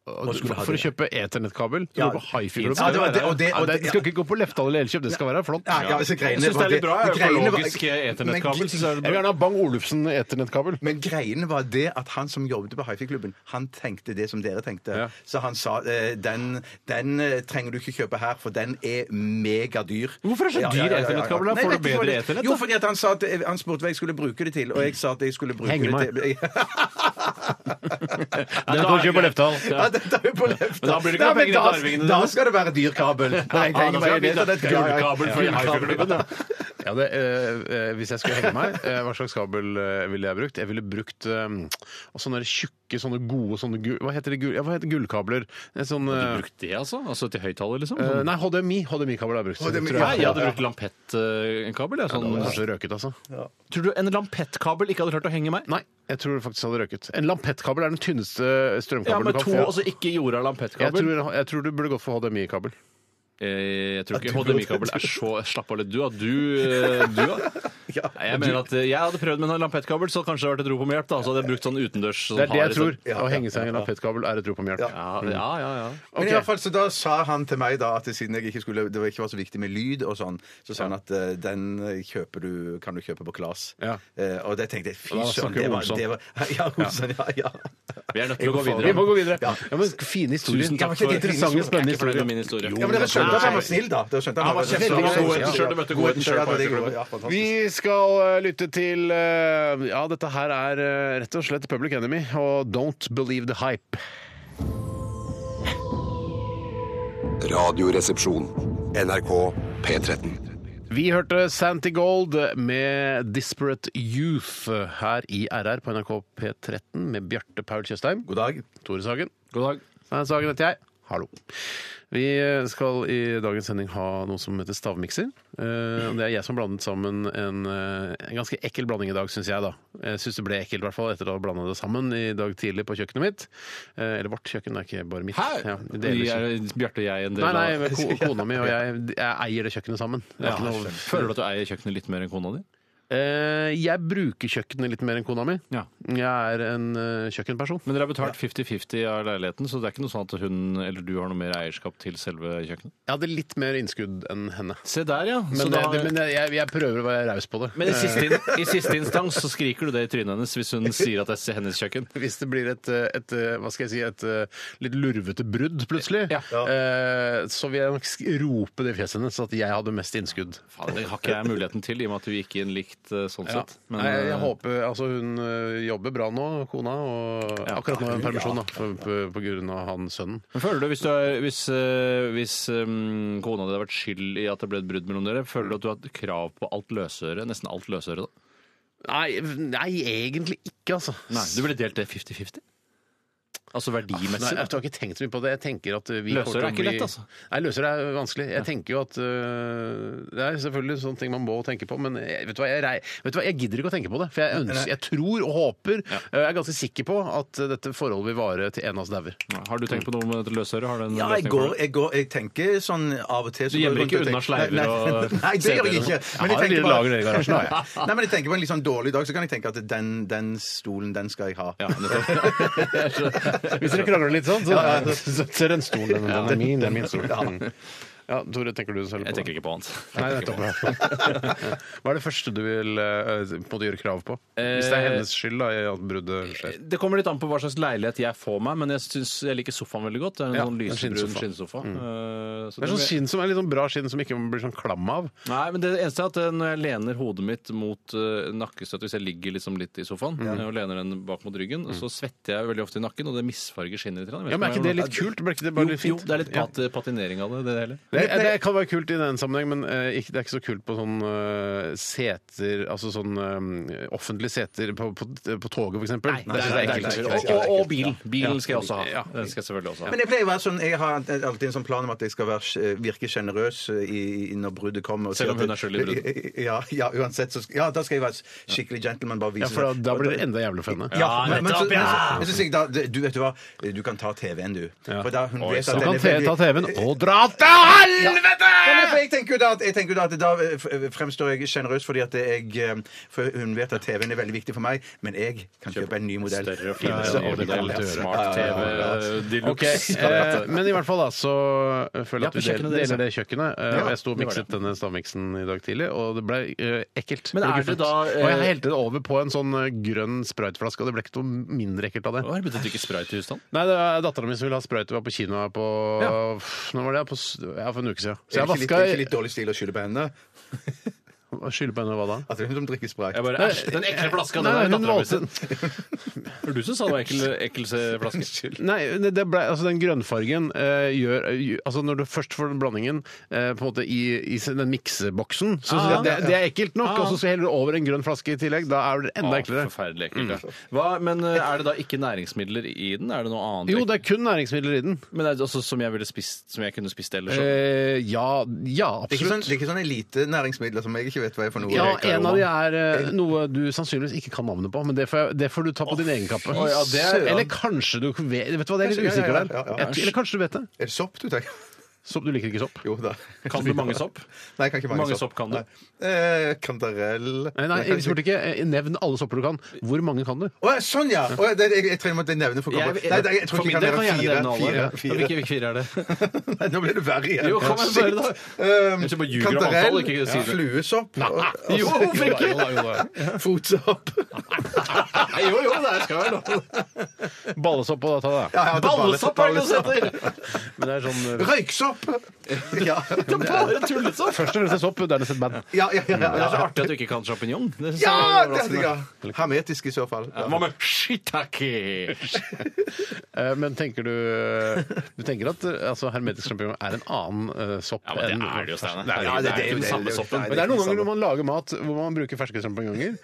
S3: Og du-
S4: skulle ha
S3: For å
S4: det.
S3: kjøpe eternettkabel? Du
S4: Ja.
S3: går på hifi-klubben?
S4: Ja, det var det- og det-
S3: Ja,
S4: og
S3: det
S4: det-
S3: skal ikke gå på Lefdal eller Elkjøp, det skal være flott.
S4: Ja, ja, så greiene
S5: Jeg syns det
S4: var
S5: er litt bra.
S4: det greiene var-
S5: Økologisk eternettkabel.
S4: Men-
S5: synes jeg er
S3: Jeg vil
S5: bra.
S3: gjerne ha Bang Olufsen eternettkabel.
S4: Men greiene var det at han som jobbet på Hifi-klubben, han tenkte det som dere tenkte. Så han sa eh, den, den eh, trenger du ikke kjøpe her, for den er megadyr.
S5: Hvorfor er det så dyr eternettkabel da?
S4: Nei,
S5: Får
S4: vet
S5: du
S4: ikke hva
S5: bedre
S4: det-
S5: eternett, da?
S4: Jo, fordi at han, sa at, eh, han spurte hva jeg skulle bruke det til, og jeg sa at jeg skulle bruke
S3: Henge meg.
S4: det til *laughs*
S5: Ja,
S3: Den
S5: da
S3: kan du
S5: er
S3: kjøpe på
S5: det greit.
S3: Lefdal.
S4: Ja, dette er jo på løfta.
S5: Men da blir det ikke penger til arvingene
S4: Da
S5: dine.
S4: skal det være dyr kabel. Nei,
S5: Ja, da
S4: henger
S5: skal
S4: meg
S5: jeg
S4: i det, så
S5: bytte
S4: det- ja, ja, ja.
S5: Gullkabel for hifi-klubben. da.
S3: Ja, det, eh, eh, hvis jeg skulle henge meg, eh, hva slags kabel eh, ville jeg brukt? Jeg ville brukt eh, og sånne der tjukke, sånne gode sånne gull... Hva heter det? Gull, ja, hva heter gullkabler? En sånn
S5: Du
S3: eh,
S5: brukte det, altså? Altså til høyttaler, liksom?
S3: eh,
S5: Sånn-
S3: Nei, HDMI. HDMI-kabel har jeg brukt.
S4: HDMI,
S3: tror
S5: Nei,
S3: jeg.
S5: jeg hadde brukt lampettkabel. Ja,
S3: Den hadde
S5: sånn.
S3: Kanskje røket, altså.
S5: Tror du en lampettkabel ikke hadde klart å henge meg?
S3: Nei, jeg tror faktisk hadde røket. En lampettkabel er den tynneste
S5: Ja,
S3: strømkabelen
S5: med
S3: du kan
S5: to,
S3: få.
S5: og så ikke jorda
S3: Jeg
S5: lampettkabel.
S3: tror, jeg tror du burde gått for HDMI-kabel.
S5: Eh, Jeg tror
S4: du
S5: ikke HDMI-kabel er så Slapp av litt, du, da. Du, eh, du *laughs* da.
S4: Ja,
S5: Nei, Jeg mener at eh, jeg hadde prøvd med en lampettkabel, så kanskje det hadde vært et rop om hjelp. da, Så hadde jeg brukt sånn utendørs sånn
S3: Det er det
S5: hard,
S3: jeg tror.
S4: Ja,
S3: Å
S4: ja,
S3: henge seg i en lapettkabel er et rop om hjelp.
S5: Sånn. Ja, ja, ja. ja.
S4: Men
S3: Mm.
S4: i
S3: Ok.
S4: hvert fall, så Da sa han til meg da at siden jeg ikke skulle, det var- ikke var så viktig med lyd, og sånn, så sa han at eh, den kjøper du, kan du kjøpe på Klas.
S3: Ja.
S4: Eh, og det tenkte jeg fy
S3: Og da
S4: søren,
S3: snakker
S4: det
S3: vi
S4: var,
S3: Olsson.
S4: det var *laughs* Ja, Olsson, ja, ja.
S5: Vi er nødt til å gå
S3: Vi må
S5: videre.
S3: gå videre. Ja, men Fine historier.
S5: Tusen
S3: Det
S5: takk
S3: var
S5: for-
S3: ikke interessante, spennende
S5: Jeg er ikke fornøyd med min
S3: historier.
S5: historie.
S4: Ja, men Dere skjønte at han var snill, da? Dere skjønte at
S5: Han var kjempegod.
S4: veldig snill.
S5: Godheten selv, du møtte godheten selv på
S4: Ja,
S5: etterklubben.
S4: ja, fantastisk.
S3: Vi skal eh, lytte til eh, Ja, dette her er eh, rett og slett Public Enemy og Don't Believe the Hype.
S8: Radioresepsjon. NRK P13.
S3: Vi hørte Santi Gold med Disparate Youth her i RR på NRK P13 med Bjarte Paul Tjøstheim.
S4: God dag.
S3: Tore Sagen.
S5: God dag.
S3: Svein Sagen Eh, heter jeg. Hallo. Vi eh, skal i dagens sending ha noe som heter stavmikser. Eh, Det er jeg som blandet sammen en, eh, en ganske ekkel blanding i dag, syns jeg. da. Jeg syns det ble ekkelt, i hvert fall, etter å ha blanda det sammen i dag tidlig på kjøkkenet mitt. Eh, Eller vårt kjøkken, det er ikke bare mitt. Ja, det deles
S5: Vi
S3: jo.
S5: er Bjarte og jeg en del
S3: Nei, nei,
S5: av
S3: men ko kona mi og jeg,
S5: *laughs*
S3: jeg eier det kjøkkenet sammen. Det er
S5: ja,
S3: ikke noe
S5: Føler du at du eier kjøkkenet litt mer enn kona di?
S3: Eh, jeg bruker kjøkkenet litt mer enn kona mi.
S5: Ja.
S3: Jeg er en eh, kjøkkenperson.
S5: Men dere har betalt 50-50 av leiligheten, så det er ikke noe sånn at hun eller du har noe mer eierskap til selve kjøkkenet?
S3: Jeg hadde litt mer innskudd enn henne.
S5: Se der, ja.
S3: Men,
S5: så da,
S3: jeg- det, men Eh. jeg, jeg, jeg prøver å være raus på det.
S5: Men i siste, in- i siste
S3: *laughs*
S5: instans så skriker du det i trynet hennes hvis hun sier at det er hennes kjøkken.
S3: Eh, Hvis det blir et, eh, et eh, hva skal jeg si, et eh, litt lurvete brudd plutselig,
S5: Ja.
S3: eh, så vil jeg nok sk- rope det i fjeset hennes at jeg hadde mest innskudd.
S5: Faen, det har ikke jeg muligheten til, i og med at vi gikk inn likt eh, sånn
S3: Ja.
S5: sett. Men,
S3: Nei, jeg, jeg
S5: eh,
S3: håper, altså Hun eh, jobber bra nå, kona. Og
S5: Ja.
S3: akkurat nå er hun permisjon da, på, på, på grunn av han sønnen.
S5: men føler du, hvis, du er, hvis, eh, hvis eh, kona di har vært skyld i at det ble et brudd mellom dere, føler du at du har hatt krav på alt løsøre? Nesten alt løsøre, da?
S3: Nei, nei, egentlig ikke, altså.
S5: Nei, du ville delt det 50-50? Altså
S3: Nei,
S5: verdimessig?
S3: jeg
S5: da.
S3: har ikke tenkt så mye på det. Jeg tenker at eh, vi
S5: Løser
S3: kommer til å
S5: er ikke
S3: bli-
S5: lett, altså.
S3: Nei, løser er vanskelig. Jeg tenker jo at øh, Det er selvfølgelig sånne ting man må tenke på, men jeg, vet, du hva, jeg, rei- vet du hva, jeg gidder ikke å tenke på det. For jeg, ønsker, jeg tror og håper, øh, jeg er ganske sikker på, at øh, dette forholdet vil vare til en av oss dauer.
S5: Har du tenkt på noe med løsøre? Har du en
S4: Ja, jeg
S5: løsning for
S4: går,
S5: det?
S4: jeg går Jeg tenker sånn av og til så
S5: Du gjemmer
S4: går jeg rundt og
S5: ikke unna
S4: tenker-
S5: sleiver
S4: Nei,
S5: og
S4: Nei, nei det gjør jeg ikke. Men jeg, tenker bare,
S3: i garasjen, har jeg.
S4: *laughs* nei, men jeg tenker på en litt sånn dårlig dag, så kan jeg tenke at den, den stolen, den skal jeg ha.
S5: Ja, nettopp. Jeg skjønner.
S3: Hvis dere krangler litt sånn, så, så, så er det en stol. Den, den er min, det er min stol. Mm. Ja, Tore, tenker du selv på
S5: Jeg tenker
S3: det?
S5: ikke på annet.
S3: Nei, nettopp. Ja. *laughs* Hva er det første du vil øh, på en måte gjøre krav på? Hvis det er
S5: Eh,
S3: hennes skyld da, i at bruddet skjer.
S5: Det kommer litt an på hva slags leilighet jeg får meg, men jeg, synes, jeg liker sofaen veldig godt. Det er en
S3: Ja,
S5: sånn
S3: en
S5: lysebrun
S3: skinnsofa.
S5: skinnsofa.
S3: Det er
S5: Eh, så den
S3: sånn
S5: vil-
S3: skinn som er litt sånn bra skinn som ikke blir sånn klam av.
S5: Nei, men det eneste er at eh, når jeg lener hodet mitt mot uh, nakkestøtt, hvis jeg ligger liksom litt i sofaen eh, og lener den bak mot ryggen, så svetter jeg veldig ofte i nakken, og det misfarger skinnet litt. grann. Jeg vet
S3: Mm. Ja, men Er ikke
S5: om jeg-
S3: det litt kult? Blir ikke det bare litt
S5: Jo,
S3: fint?
S5: jo, det er litt
S3: Ja.
S5: pat patinering av det, det hele.
S3: det, det kan være kult i den sammenheng, men eh, ikke, det er ikke så kult på sånn eh, seter Altså sånn eh, offentlige seter på, på, på toget, for eksempel.
S5: Det er- det er ekkelt.
S4: ekkelt.
S5: Og- Og, og bilen. Bilen skal jeg også ha.
S3: Ja.
S5: Den skal jeg selvfølgelig også
S4: *laughs*
S5: ha.
S4: Men jeg pleier å være sånn, jeg har alltid en sånn plan om at jeg skal være, virke sjenerøs i- i- når bruddet kommer. og si
S5: Selv om
S4: at-
S5: hun er skyld i
S4: *laughs* Ja, ja, uansett. Så, skal- ja, da skal jeg være skikkelig gentleman. Bare vise
S3: Ja, for da, da blir det enda jævligere for henne.
S4: Ja, men, men, så,
S5: nettopp,
S4: men,
S5: ja.
S4: så, men så sier jeg da Du vet du hva, du kan ta TV-en, du. For da hun vet
S3: Så
S4: at
S3: kan
S4: den er
S3: T-
S4: veldig-
S3: ta TV-en og dra til helvete!
S4: Ja,
S5: Eh!
S4: men for jeg tenker jo da at, jeg tenker jo da, at da eh, f- eh, fremstår jeg sjenerøs fordi at jeg eh, For hun vet at TV-en er veldig viktig for meg, men jeg kan kjøpe en ny modell.
S5: Større og finere
S4: Så-
S5: og
S4: og det kan-
S5: modell,
S4: ja,
S5: smart eh,
S4: ja, ja, ja, ja.
S5: TV, de
S3: Ok, eh, men i hvert fall da, så eh, føler jeg
S5: Ja,
S3: at vi
S5: på kjøkkenet
S3: del-
S5: deres,
S3: deler det kjøkkenet. eh, og jeg sto og
S5: det var
S3: mikset denne stavmiksen i dag tidlig, og det ble eh, ekkelt.
S5: Men
S3: ble
S5: er
S3: ikke
S5: det
S3: fint.
S5: da, eh,
S3: Og jeg helte det over på en sånn eh, grønn spraytflaske, og det ble ikke noe mindre ekkelt av det.
S5: Har du begynt å drikke sprayt i husstanden?
S3: Nei, det er dattera mi som ville ha sprøyte. Var på kino her på Pff, Når var det? På, s- ja, for en uke siden. Så jeg
S4: Er det ikke litt,
S3: vaska
S4: er det ikke litt dårlig stil å skylde på henne?
S3: Skylder på henne hva da?
S4: At det er hun som drikker spray?
S5: Jeg bare, Æsj, den ekle flaska, den
S3: Nei,
S5: er
S3: hun
S5: dattera mi
S3: valgte
S5: sin. Det var du som sa det var ekkel, ekkel se- flaske.
S3: Nei, det det ble, altså den grønnfargen eh, gjør gjør- Altså Når du først får den blandingen eh, på en måte i, i den mikseboksen, så synes jeg det, det er ekkelt nok. Og så skal jeg helle det over en grønn flaske i tillegg. Da er det enda
S5: Ah,
S3: eklere.
S5: Forferdelig ekkelt. ja. Hva, men eh, er det da ikke næringsmidler i den? Er det noe annet?
S3: Jo, det er kun næringsmidler i den.
S5: Men er det også som jeg, ville spist, som jeg kunne spist ellers? sånn?
S3: Eh, ja, ja,
S4: Det er ikke sånn,
S3: absolutt.
S4: det er ikke sånne elite næringsmidler som jeg ikke vet hva er for noe.
S3: Ja, En av de er eh, noe du sannsynligvis ikke kan navnet på, men det får, jeg, det får du ta på din egen kappe.
S5: Å, ja, det er-
S3: Eller kanskje du vet Vet du hva, det er litt
S4: Kanskje- ja,
S3: usikker
S4: ja,
S3: der.
S4: ja, ja, ja.
S3: Jeg- Eller kanskje du vet det.
S4: Er det sopp du tenker?
S3: Sopp, Du liker ikke sopp?
S4: *laughs* Jo da.
S5: Kan du mange sopp?
S4: Nei, jeg kan ikke mange,
S5: Mange sopp kan du?
S4: Nei. Eh, kantarell
S3: Nei, nei,
S4: kan
S3: jeg spurte ikke. Eh, Nevn alle sopper du kan. Hvor mange kan du?
S4: Å, ja, sånn, ja! Å, ja, det, jeg, jeg tror jeg måtte nevne for
S5: Jeg-
S4: Nei, det- jeg, jeg tror
S5: for
S4: ikke jeg
S5: min del
S4: kan
S5: kan
S4: være
S5: jeg gjerne
S4: fire.
S5: nevne alle.
S4: fire,
S5: Ja,
S4: fire.
S5: Hvilke hvilke fire er det?
S4: *laughs* Nei, nå blir det verre igjen.
S5: Jo, kom igjen,
S4: Shit.
S5: bare da.
S4: Um,
S5: Ellers så bare ljuger du om
S4: kantarell,
S5: antall, ikke si det.
S4: fluesopp og- og-
S5: Jo, hvorfor ikke?
S3: Jo da, jo da,
S4: Fotsopp.
S5: Jo, jo, det skal være lov.
S3: jo da. Ballesopp og data, da.
S4: Ja, ja, det er
S5: Ballesopp er det det heter!
S3: Men det er sånn eh,
S5: *laughs*
S4: Røyksopp! Ja,
S5: Det er bare tullesopp!
S3: Først og fremst en sopp, dernest et band.
S4: ja, ja. ja,
S5: Det er så
S4: ja.
S5: artig at du ikke kan sjampinjong. Det synes jeg
S4: ja
S5: er
S4: det hadde
S5: overraskende.
S4: jeg. ja. Hermetisk i så fall.
S5: Ja, Hva med shiitake?
S3: Eh, Men tenker du Du tenker at eh, altså, hermetisk sjampinjong er en annen eh, sopp
S5: Ja, men
S3: enn
S5: det er det jo, Steinar.
S3: Nei,
S5: Det
S4: Ja,
S5: er jo ikke den samme soppen.
S4: Nei,
S3: Men det er noen
S4: ikke
S3: ganger når
S4: samme.
S3: man lager mat hvor man bruker ferske sjampinjonger.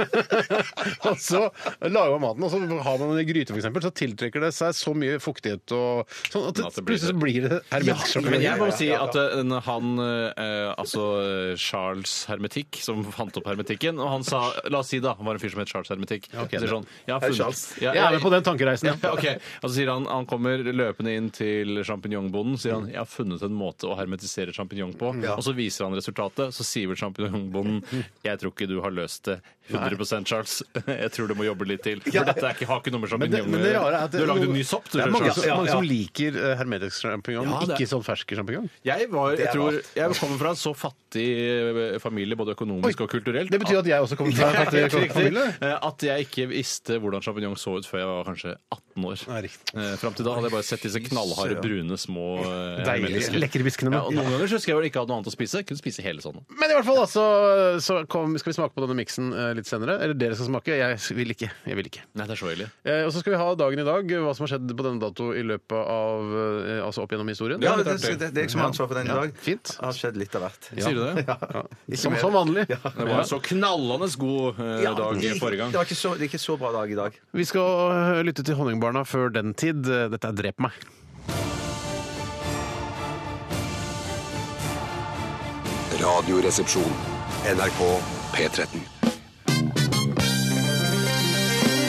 S3: *laughs* og så lager man maten, og så har man en gryte f.eks., så tiltrekker det seg så mye fuktighet og sånn at
S5: At
S3: det,
S5: det blir-
S3: plutselig så blir det hermetisk
S5: Men
S3: sjampinjong.
S5: jeg må jo si at eh, en- han eh, Altså eh, Charles Hermetikk, som fant opp hermetikken, og han sa La oss si, da, han var en fyr som het Charles Hermetikk.
S3: Ok,
S5: Han sier
S3: det-
S5: sånn Jeg har
S4: Hei,
S5: funnet
S4: Charles.
S5: Ja,
S3: Jeg er med på den tankereisen.
S5: *laughs* Ja, ok. Og så sier han han kommer løpende inn til sjampinjongbonden sier
S3: Mm.
S5: han, jeg har funnet en måte å hermetisere sjampinjong på. Og så viser han resultatet. Så sier vel sjampinjongbonden
S3: Mm.
S5: jeg tror ikke du har løst det 100 Charles. *laughs* Jeg tror du må jobbe litt til. For dette er ikke, har ikke noe med
S3: Men det,
S5: sjampinjong
S3: men det rare er at
S5: Du har lagd en ny sopp, du,
S3: det er mange,
S5: Charles.
S3: som- mange som liker eh, hermetisk sjampinjong,
S5: Ja, det er-
S3: ikke sånn fersk sjampinjong.
S5: Jeg, var, jeg,
S4: er
S5: tror,
S4: rart.
S5: jeg kommer fra en så fattig eh, familie, både økonomisk og kulturelt,
S3: Det betyr at jeg også kommer fra en
S5: *laughs* Helt
S3: fattig
S5: riktig.
S3: familie.
S5: Eh, At jeg ikke visste hvordan sjampinjong så ut før jeg var kanskje 18 år.
S3: Nei, riktig.
S5: Eh, Fram til da hadde jeg bare sett disse knallharde, brune, små eh,
S3: Deilige,
S5: mennesker.
S3: lekre biskene.
S5: Ja, og noen ganger så husker jeg vel ikke hadde noe annet å spise. Kunne spise hele sånn. sånne.
S3: Men i hvert fall da, så, så kom, skal vi smake på denne miksen eh, litt senere. Eller dere skal smake. Jeg vil ikke. Jeg vil ikke.
S5: Nei, det er så ille.
S3: Eh, og så skal vi ha dagen i dag, hva som har skjedd på denne dato i løpet av eh, Altså opp gjennom historien.
S4: Ja, det, det, det er jeg som har ansvar for den i dag.
S3: Fint.
S4: Det har skjedd litt av hvert.
S5: Sier du
S3: *laughs*
S5: det?
S4: Ja. Ikke
S3: Som,
S4: mer.
S3: som vanlig.
S5: Det var en så knallende god eh,
S4: Ja,
S5: dag
S4: det-
S5: forrige gang.
S4: Det, var ikke så, det er ikke så bra dag i dag.
S3: Vi skal eh, lytte til Honningbarna før den tid. Eh, Dette er Drep meg.
S8: Radioresepsjon. NRK P13.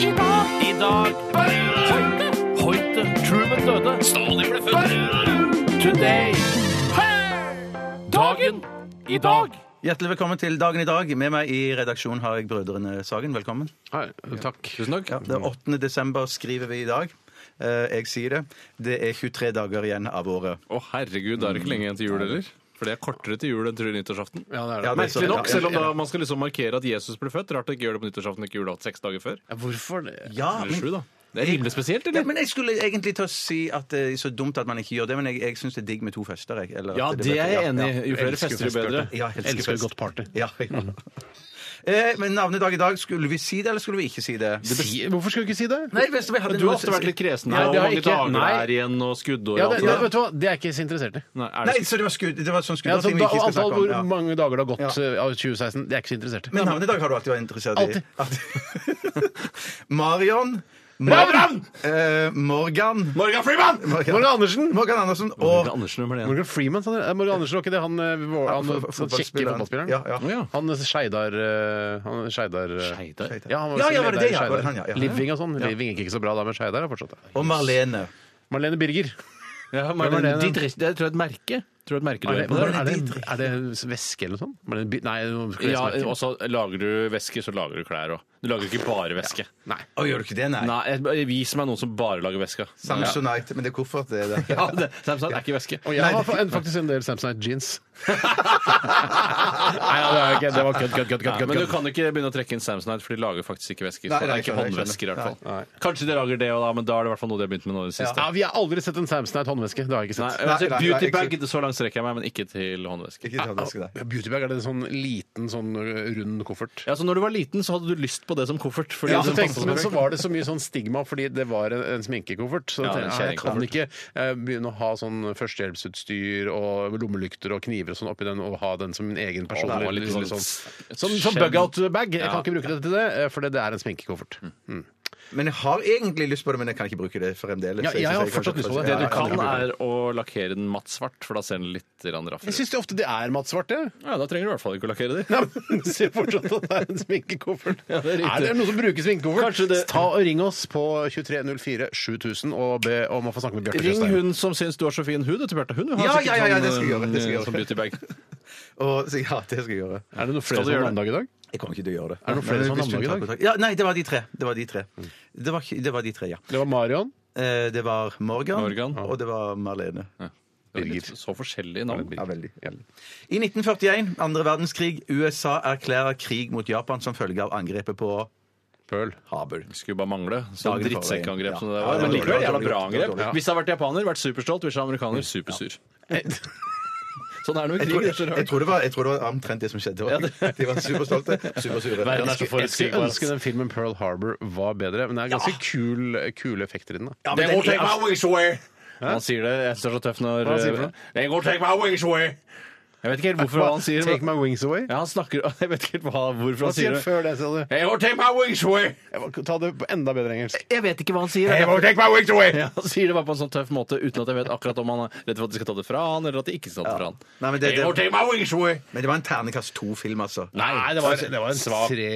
S5: I dag Hoite Truman døde. Stalin ble født. Today. Dagen i dag.
S4: Hjertelig velkommen til Dagen i dag. Med meg i redaksjonen har jeg brødrene Sagen. Velkommen.
S3: Hei, takk.
S5: Tusen takk.
S4: Ja, det er 8. desember skriver vi i dag. Eh, jeg sier det. Det er 23 dager igjen av året.
S5: Å herregud, da er det ikke lenge igjen til jul heller. For det er kortere til jul enn til nyttårsaften.
S3: Ja, det er det.
S4: Ja, det er så-
S5: Merkelig nok, selv om
S4: Ja,
S5: da
S4: ja,
S5: man skal liksom markere at Jesus ble født. Rart å ikke gjøre det på nyttårsaften og ikke julaften seks dager før.
S3: Ja, Hvorfor det?
S4: ja. Ja,
S5: Eller sju,
S4: men,
S5: da. Det er rimelig spesielt,
S4: ja,
S5: eller?
S4: men jeg skulle egentlig til å si at det er så dumt at man ikke gjør det, men jeg, jeg syns det er digg med to fester. Jeg, eller at
S5: Ja, det er jeg enig i. Jo flere
S3: Elsker
S5: fester, jo
S3: fest,
S5: bedre.
S3: Bjarte.
S4: Ja, jeg elsker
S3: Elsker
S4: fest.
S3: godt party.
S4: Ja, ja. Eh, men navnedag i dag, skulle vi si det, eller skulle vi ikke si det?
S3: Si, hvorfor skal du ikke si det?
S4: Nei, hvis vi hadde
S5: Men du har ofte vært litt kresen
S3: Nei,
S5: her, og
S3: det har
S5: mange
S3: jeg ikke.
S5: dager det
S3: Nei.
S5: er igjen, og skuddår
S3: Ja,
S5: og
S3: det,
S5: alt
S3: det,
S5: det der.
S3: vet du hva? det er jeg ikke så interessert i.
S5: Nei, er det
S4: Nei,
S5: skudd-
S4: så det var, sku, det var
S3: Ja, altså,
S4: sånn skudderting vi
S3: da,
S4: ikke skal
S3: antall
S4: snakke om.
S3: hvor
S4: Ja.
S3: mange dager det har gått
S4: Ja.
S3: eh, av 2016, det er jeg ikke så interessert i.
S4: Men navnedag har du alltid vært interessert i.
S3: Alltid.
S4: Alltid. *laughs* Marion.
S3: Ravran!
S4: Eh, Morgan.
S5: Morgan Freeman!
S3: Morgan Andersen!
S4: Morgan Andersen og
S5: Morgan Andersen nummer én.
S3: Morgan Freeman, sa dere? Eh, Morgan Andersen var ikke det han, eh, vår- han,
S4: Ja,
S3: han,
S4: fo- fo-
S3: kjekke fotballspilleren?
S4: Ja, ja.
S5: Å, ja.
S3: Han eh, Skeidar eh, Han Skeidar eh,
S5: Skeidar.
S3: Ja, han var
S4: Ja,
S3: ja,
S4: ja, var det det,
S3: i
S4: ja, var
S3: Skeidar.
S4: det han, ja, ja.
S3: Living og sånn. Living gikk ikke så bra da, men Skeidar har fortsatt det.
S4: Og Marlene.
S3: Marlene Birger.
S5: Ja,
S3: Hvem er
S5: Marlene,
S3: det,
S5: de
S3: da?
S5: dress- det er, tror jeg et merke. Tror jeg et merke du
S3: Er det,
S5: har på der.
S3: er, det, er det væske eller noe sånt? Marlene Bir- Nei, noe
S5: Ja,
S4: eh,
S3: klesmerke.
S5: og så lager du væske, så lager du klær òg. Du lager ikke bare væske.
S3: Nei.
S4: Å, gjør du ikke det, nei?
S5: Nei, jeg- vis meg noen som bare lager væske.
S4: Samsonite. Men det er koffert, det er det.
S5: Ja, det, Samsung er ikke væske.
S3: Og jeg har fa- en- faktisk en del Samsonite jeans. Nei, ja, det er ikke- det var kødd, kødd, kødd, kødd,
S5: Nei,
S3: kødd.
S5: men du kan ikke begynne å trekke inn Samsonite, for de lager faktisk ikke væsker.
S4: Nei,
S5: det
S4: nei,
S5: er
S4: jeg
S5: ikke
S4: skjønner, jeg
S5: håndvæsker i hvert
S4: skjønner.
S5: fall. Kanskje de lager det òg, men da er det i hvert fall noe de har begynt med nå i det siste.
S3: Ja, vi har aldri sett en Samsonite håndveske. Det har jeg ikke
S5: Nei,
S3: sett.
S5: altså,
S4: nei, nei,
S5: beauty
S4: ikke-
S5: bag, så langt strekker jeg meg, men ikke til håndveske.
S4: Ikke ta det, skal det.
S3: Ja, Beautybag, er det en sånn liten, sånn ø, rund koffert?
S5: Ja, så når du var liten, så hadde du lyst på det som koffert. Fordi
S3: Ja, så
S5: det passet
S3: tenkte, men så
S5: perfekt.
S3: var det så mye sånn stigma fordi det var en, en sminkekoffert. Så
S5: Ja,
S3: tenkte, jeg,
S5: en
S3: jeg kan ikke eh, begynne å ha sånn førstehjelpsutstyr og lommelykter og kniver og sånn oppi den og ha den som min egen
S5: Å, det
S3: personlige
S5: var litt
S3: liksom,
S5: sånn-
S3: sånn, Som, som bug-out-bag. Jeg
S5: Ja.
S3: kan ikke bruke det til det, eh, for det, det er en sminkekoffert. Mm.
S4: Men jeg har egentlig lyst på det, men jeg kan ikke bruke det fremdeles.
S3: Ja, jeg har fortsatt lyst på det.
S5: Det du
S3: Ja,
S5: kan,
S3: ja, ja.
S5: er å lakkere den matt svart, for da ser den litt grann
S3: Jeg
S5: raffere ut.
S3: syns ofte det er mattsvart, det.
S5: Ja, da trenger du i hvert fall ikke å lakkere
S4: *laughs*
S5: de.
S3: Nei, men Se fortsatt at det er en sminkekoffert.
S5: Ja, det er
S3: er,
S5: riktig.
S3: det noen som bruker sminkekoffert?
S5: Kanskje det-
S3: Ta og Ring oss på 2304 7000 og be om å få snakke med Bjarte
S5: Ring
S3: Tjøstheim.
S5: hun som syns du har så fin hud, etter Bjarte. Hun har
S4: Ja,
S5: sikkert
S4: ja, ja, ja,
S5: sånn,
S4: det skal jeg gjøre, det skal jeg
S5: eh,
S4: gjøre.
S5: Sånn beauty bag.
S4: Og, så, ja, det skal jeg gjøre.
S3: Er det noen
S5: Skal
S3: flere
S5: du
S3: som
S5: gjøre
S3: har navnedag i dag?
S4: Jeg kommer ikke til å gjøre det.
S3: Er det noen flere
S4: Men
S3: som har
S4: hvis du
S3: navnedag i
S4: tar
S3: dag?
S4: kontakt- Ja, nei, det var de tre. Det var de tre,
S3: Mm.
S4: det var, ikke- det var, de tre ja.
S3: Det var Marion.
S4: Eh, Det var Morgan,
S5: Morgan.
S4: og det var Marlene.
S5: Det er litt Så forskjellige navn.
S4: Ja, veldig. I 1941, andre verdenskrig, USA erklærer krig mot Japan som følge av angrepet på
S3: Pøl.
S4: Habel.
S5: Skulle bare mangle. Så
S4: Dagen
S5: drittsekkangrep
S4: forveien.
S5: som det
S4: Ja. Ja,
S5: var.
S4: det
S5: Men
S4: var
S5: likevel
S4: dårlig,
S5: jævla
S4: dårlig,
S5: bra
S4: dårlig,
S5: angrep.
S4: dårlig.
S5: Hvis jeg hadde vært japaner, vært superstolt. Hvis jeg hadde amerikaner, supersur. Sånn er det jo i
S4: Jeg
S5: krig.
S4: tror,
S5: det er så
S4: jeg,
S5: rart.
S4: tror det var, jeg tror det var omtrent det som skjedde. også. De var superstolte, supersure.
S5: Verden er så
S3: Jeg skulle
S5: forutsigbar.
S3: ønske den filmen Pearl Harbor var bedre, men det er ganske kul, kule effekter i den. da.
S5: They won't take my wings away! Han sier det. Jeg synes det er så tøft når
S3: Hva sier han?
S5: They won't take my wings away! Jeg vet ikke helt hvorfor han sier
S3: Take
S5: det.
S3: my wings away.
S5: Ja, han snakker *laughs* Jeg vet ikke helt hva, hvorfor
S3: Hva
S5: han sier
S3: sier han
S5: det.
S3: før det, sa du?
S5: They won't take my wings away!
S3: Ta det på enda bedre engelsk.
S5: Jeg vet ikke hva han sier.
S3: They won't take my wings away!
S5: Ja, han sier det bare på en sånn tøff måte uten at jeg vet akkurat om han er redd for at de skal ta det fra han, eller at de ikke skal ta det fra han.
S4: Nei, men det-
S5: They won't take my wings away!
S4: Men det var en ternekast to-film, altså.
S5: Nei, det var, det var en svak
S3: Tre,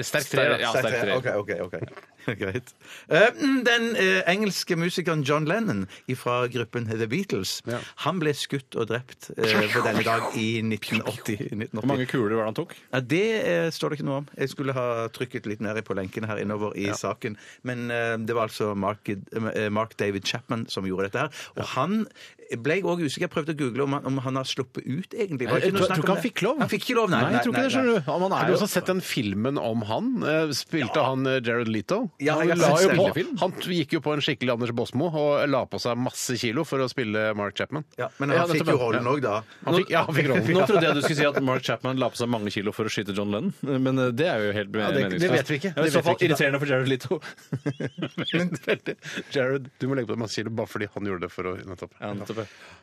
S3: sterk tre.
S5: Sterk-
S3: da.
S5: ja,
S4: Sterk
S5: sterk
S4: tre.
S5: tre.
S4: Ok, ok, ok. *laughs* Greit. Eh, mm, Den eh, engelske musikeren John Lennon fra gruppen The Beatles Han ble skutt og drept eh, på denne dag i
S5: *laughs*
S4: 1980.
S5: Hvor mange kuler var det han tok?
S4: Ja, det eh, står det ikke noe om. Jeg skulle ha trykket litt mer på lenken her innover i saken. Men eh, det var altså Mark, eh, Mark David Chapman som gjorde dette her. Og han ble jeg òg usikker. Jeg prøvde å google om han, om han har sluppet ut, egentlig. Var det
S5: Jeg
S4: ikke noe
S5: tror-
S4: snakk
S5: tror ikke
S4: om det?
S5: han fikk lov.
S4: Han fikk ikke lov, nei.
S5: Nei, jeg tror ikke det, skjønner du. Ja, men han
S3: Har
S5: er
S3: du
S5: jo-
S3: også sett den filmen om han? Eh, Spilte han eh, Jared Leto?
S4: Ja,
S3: han,
S4: jeg
S3: la
S4: har sett
S3: jo på,
S5: spillefilm.
S3: han gikk jo på en skikkelig Anders Båsmo og la på seg masse kilo for å spille Mark Chapman.
S4: Ja, men han
S5: Ja,
S4: fikk
S5: nettopp,
S4: jo rollen òg, da.
S3: Han fikk, ja, han fikk rollen.
S5: Nå trodde jeg du skulle si at Mark Chapman la på seg mange kilo for å skyte John Lennon, men eh, det er jo helt
S3: det- det
S5: meningsløst.
S3: vet vi ikke.
S5: Ja,
S3: Det
S5: I så
S3: vet vi
S5: fall
S3: ikke.
S5: irriterende for Jared Leto.
S3: Veldig. Jared, du må legge på deg masse kilo bare fordi han gjorde det for å nettopp.
S5: Ja, nettopp.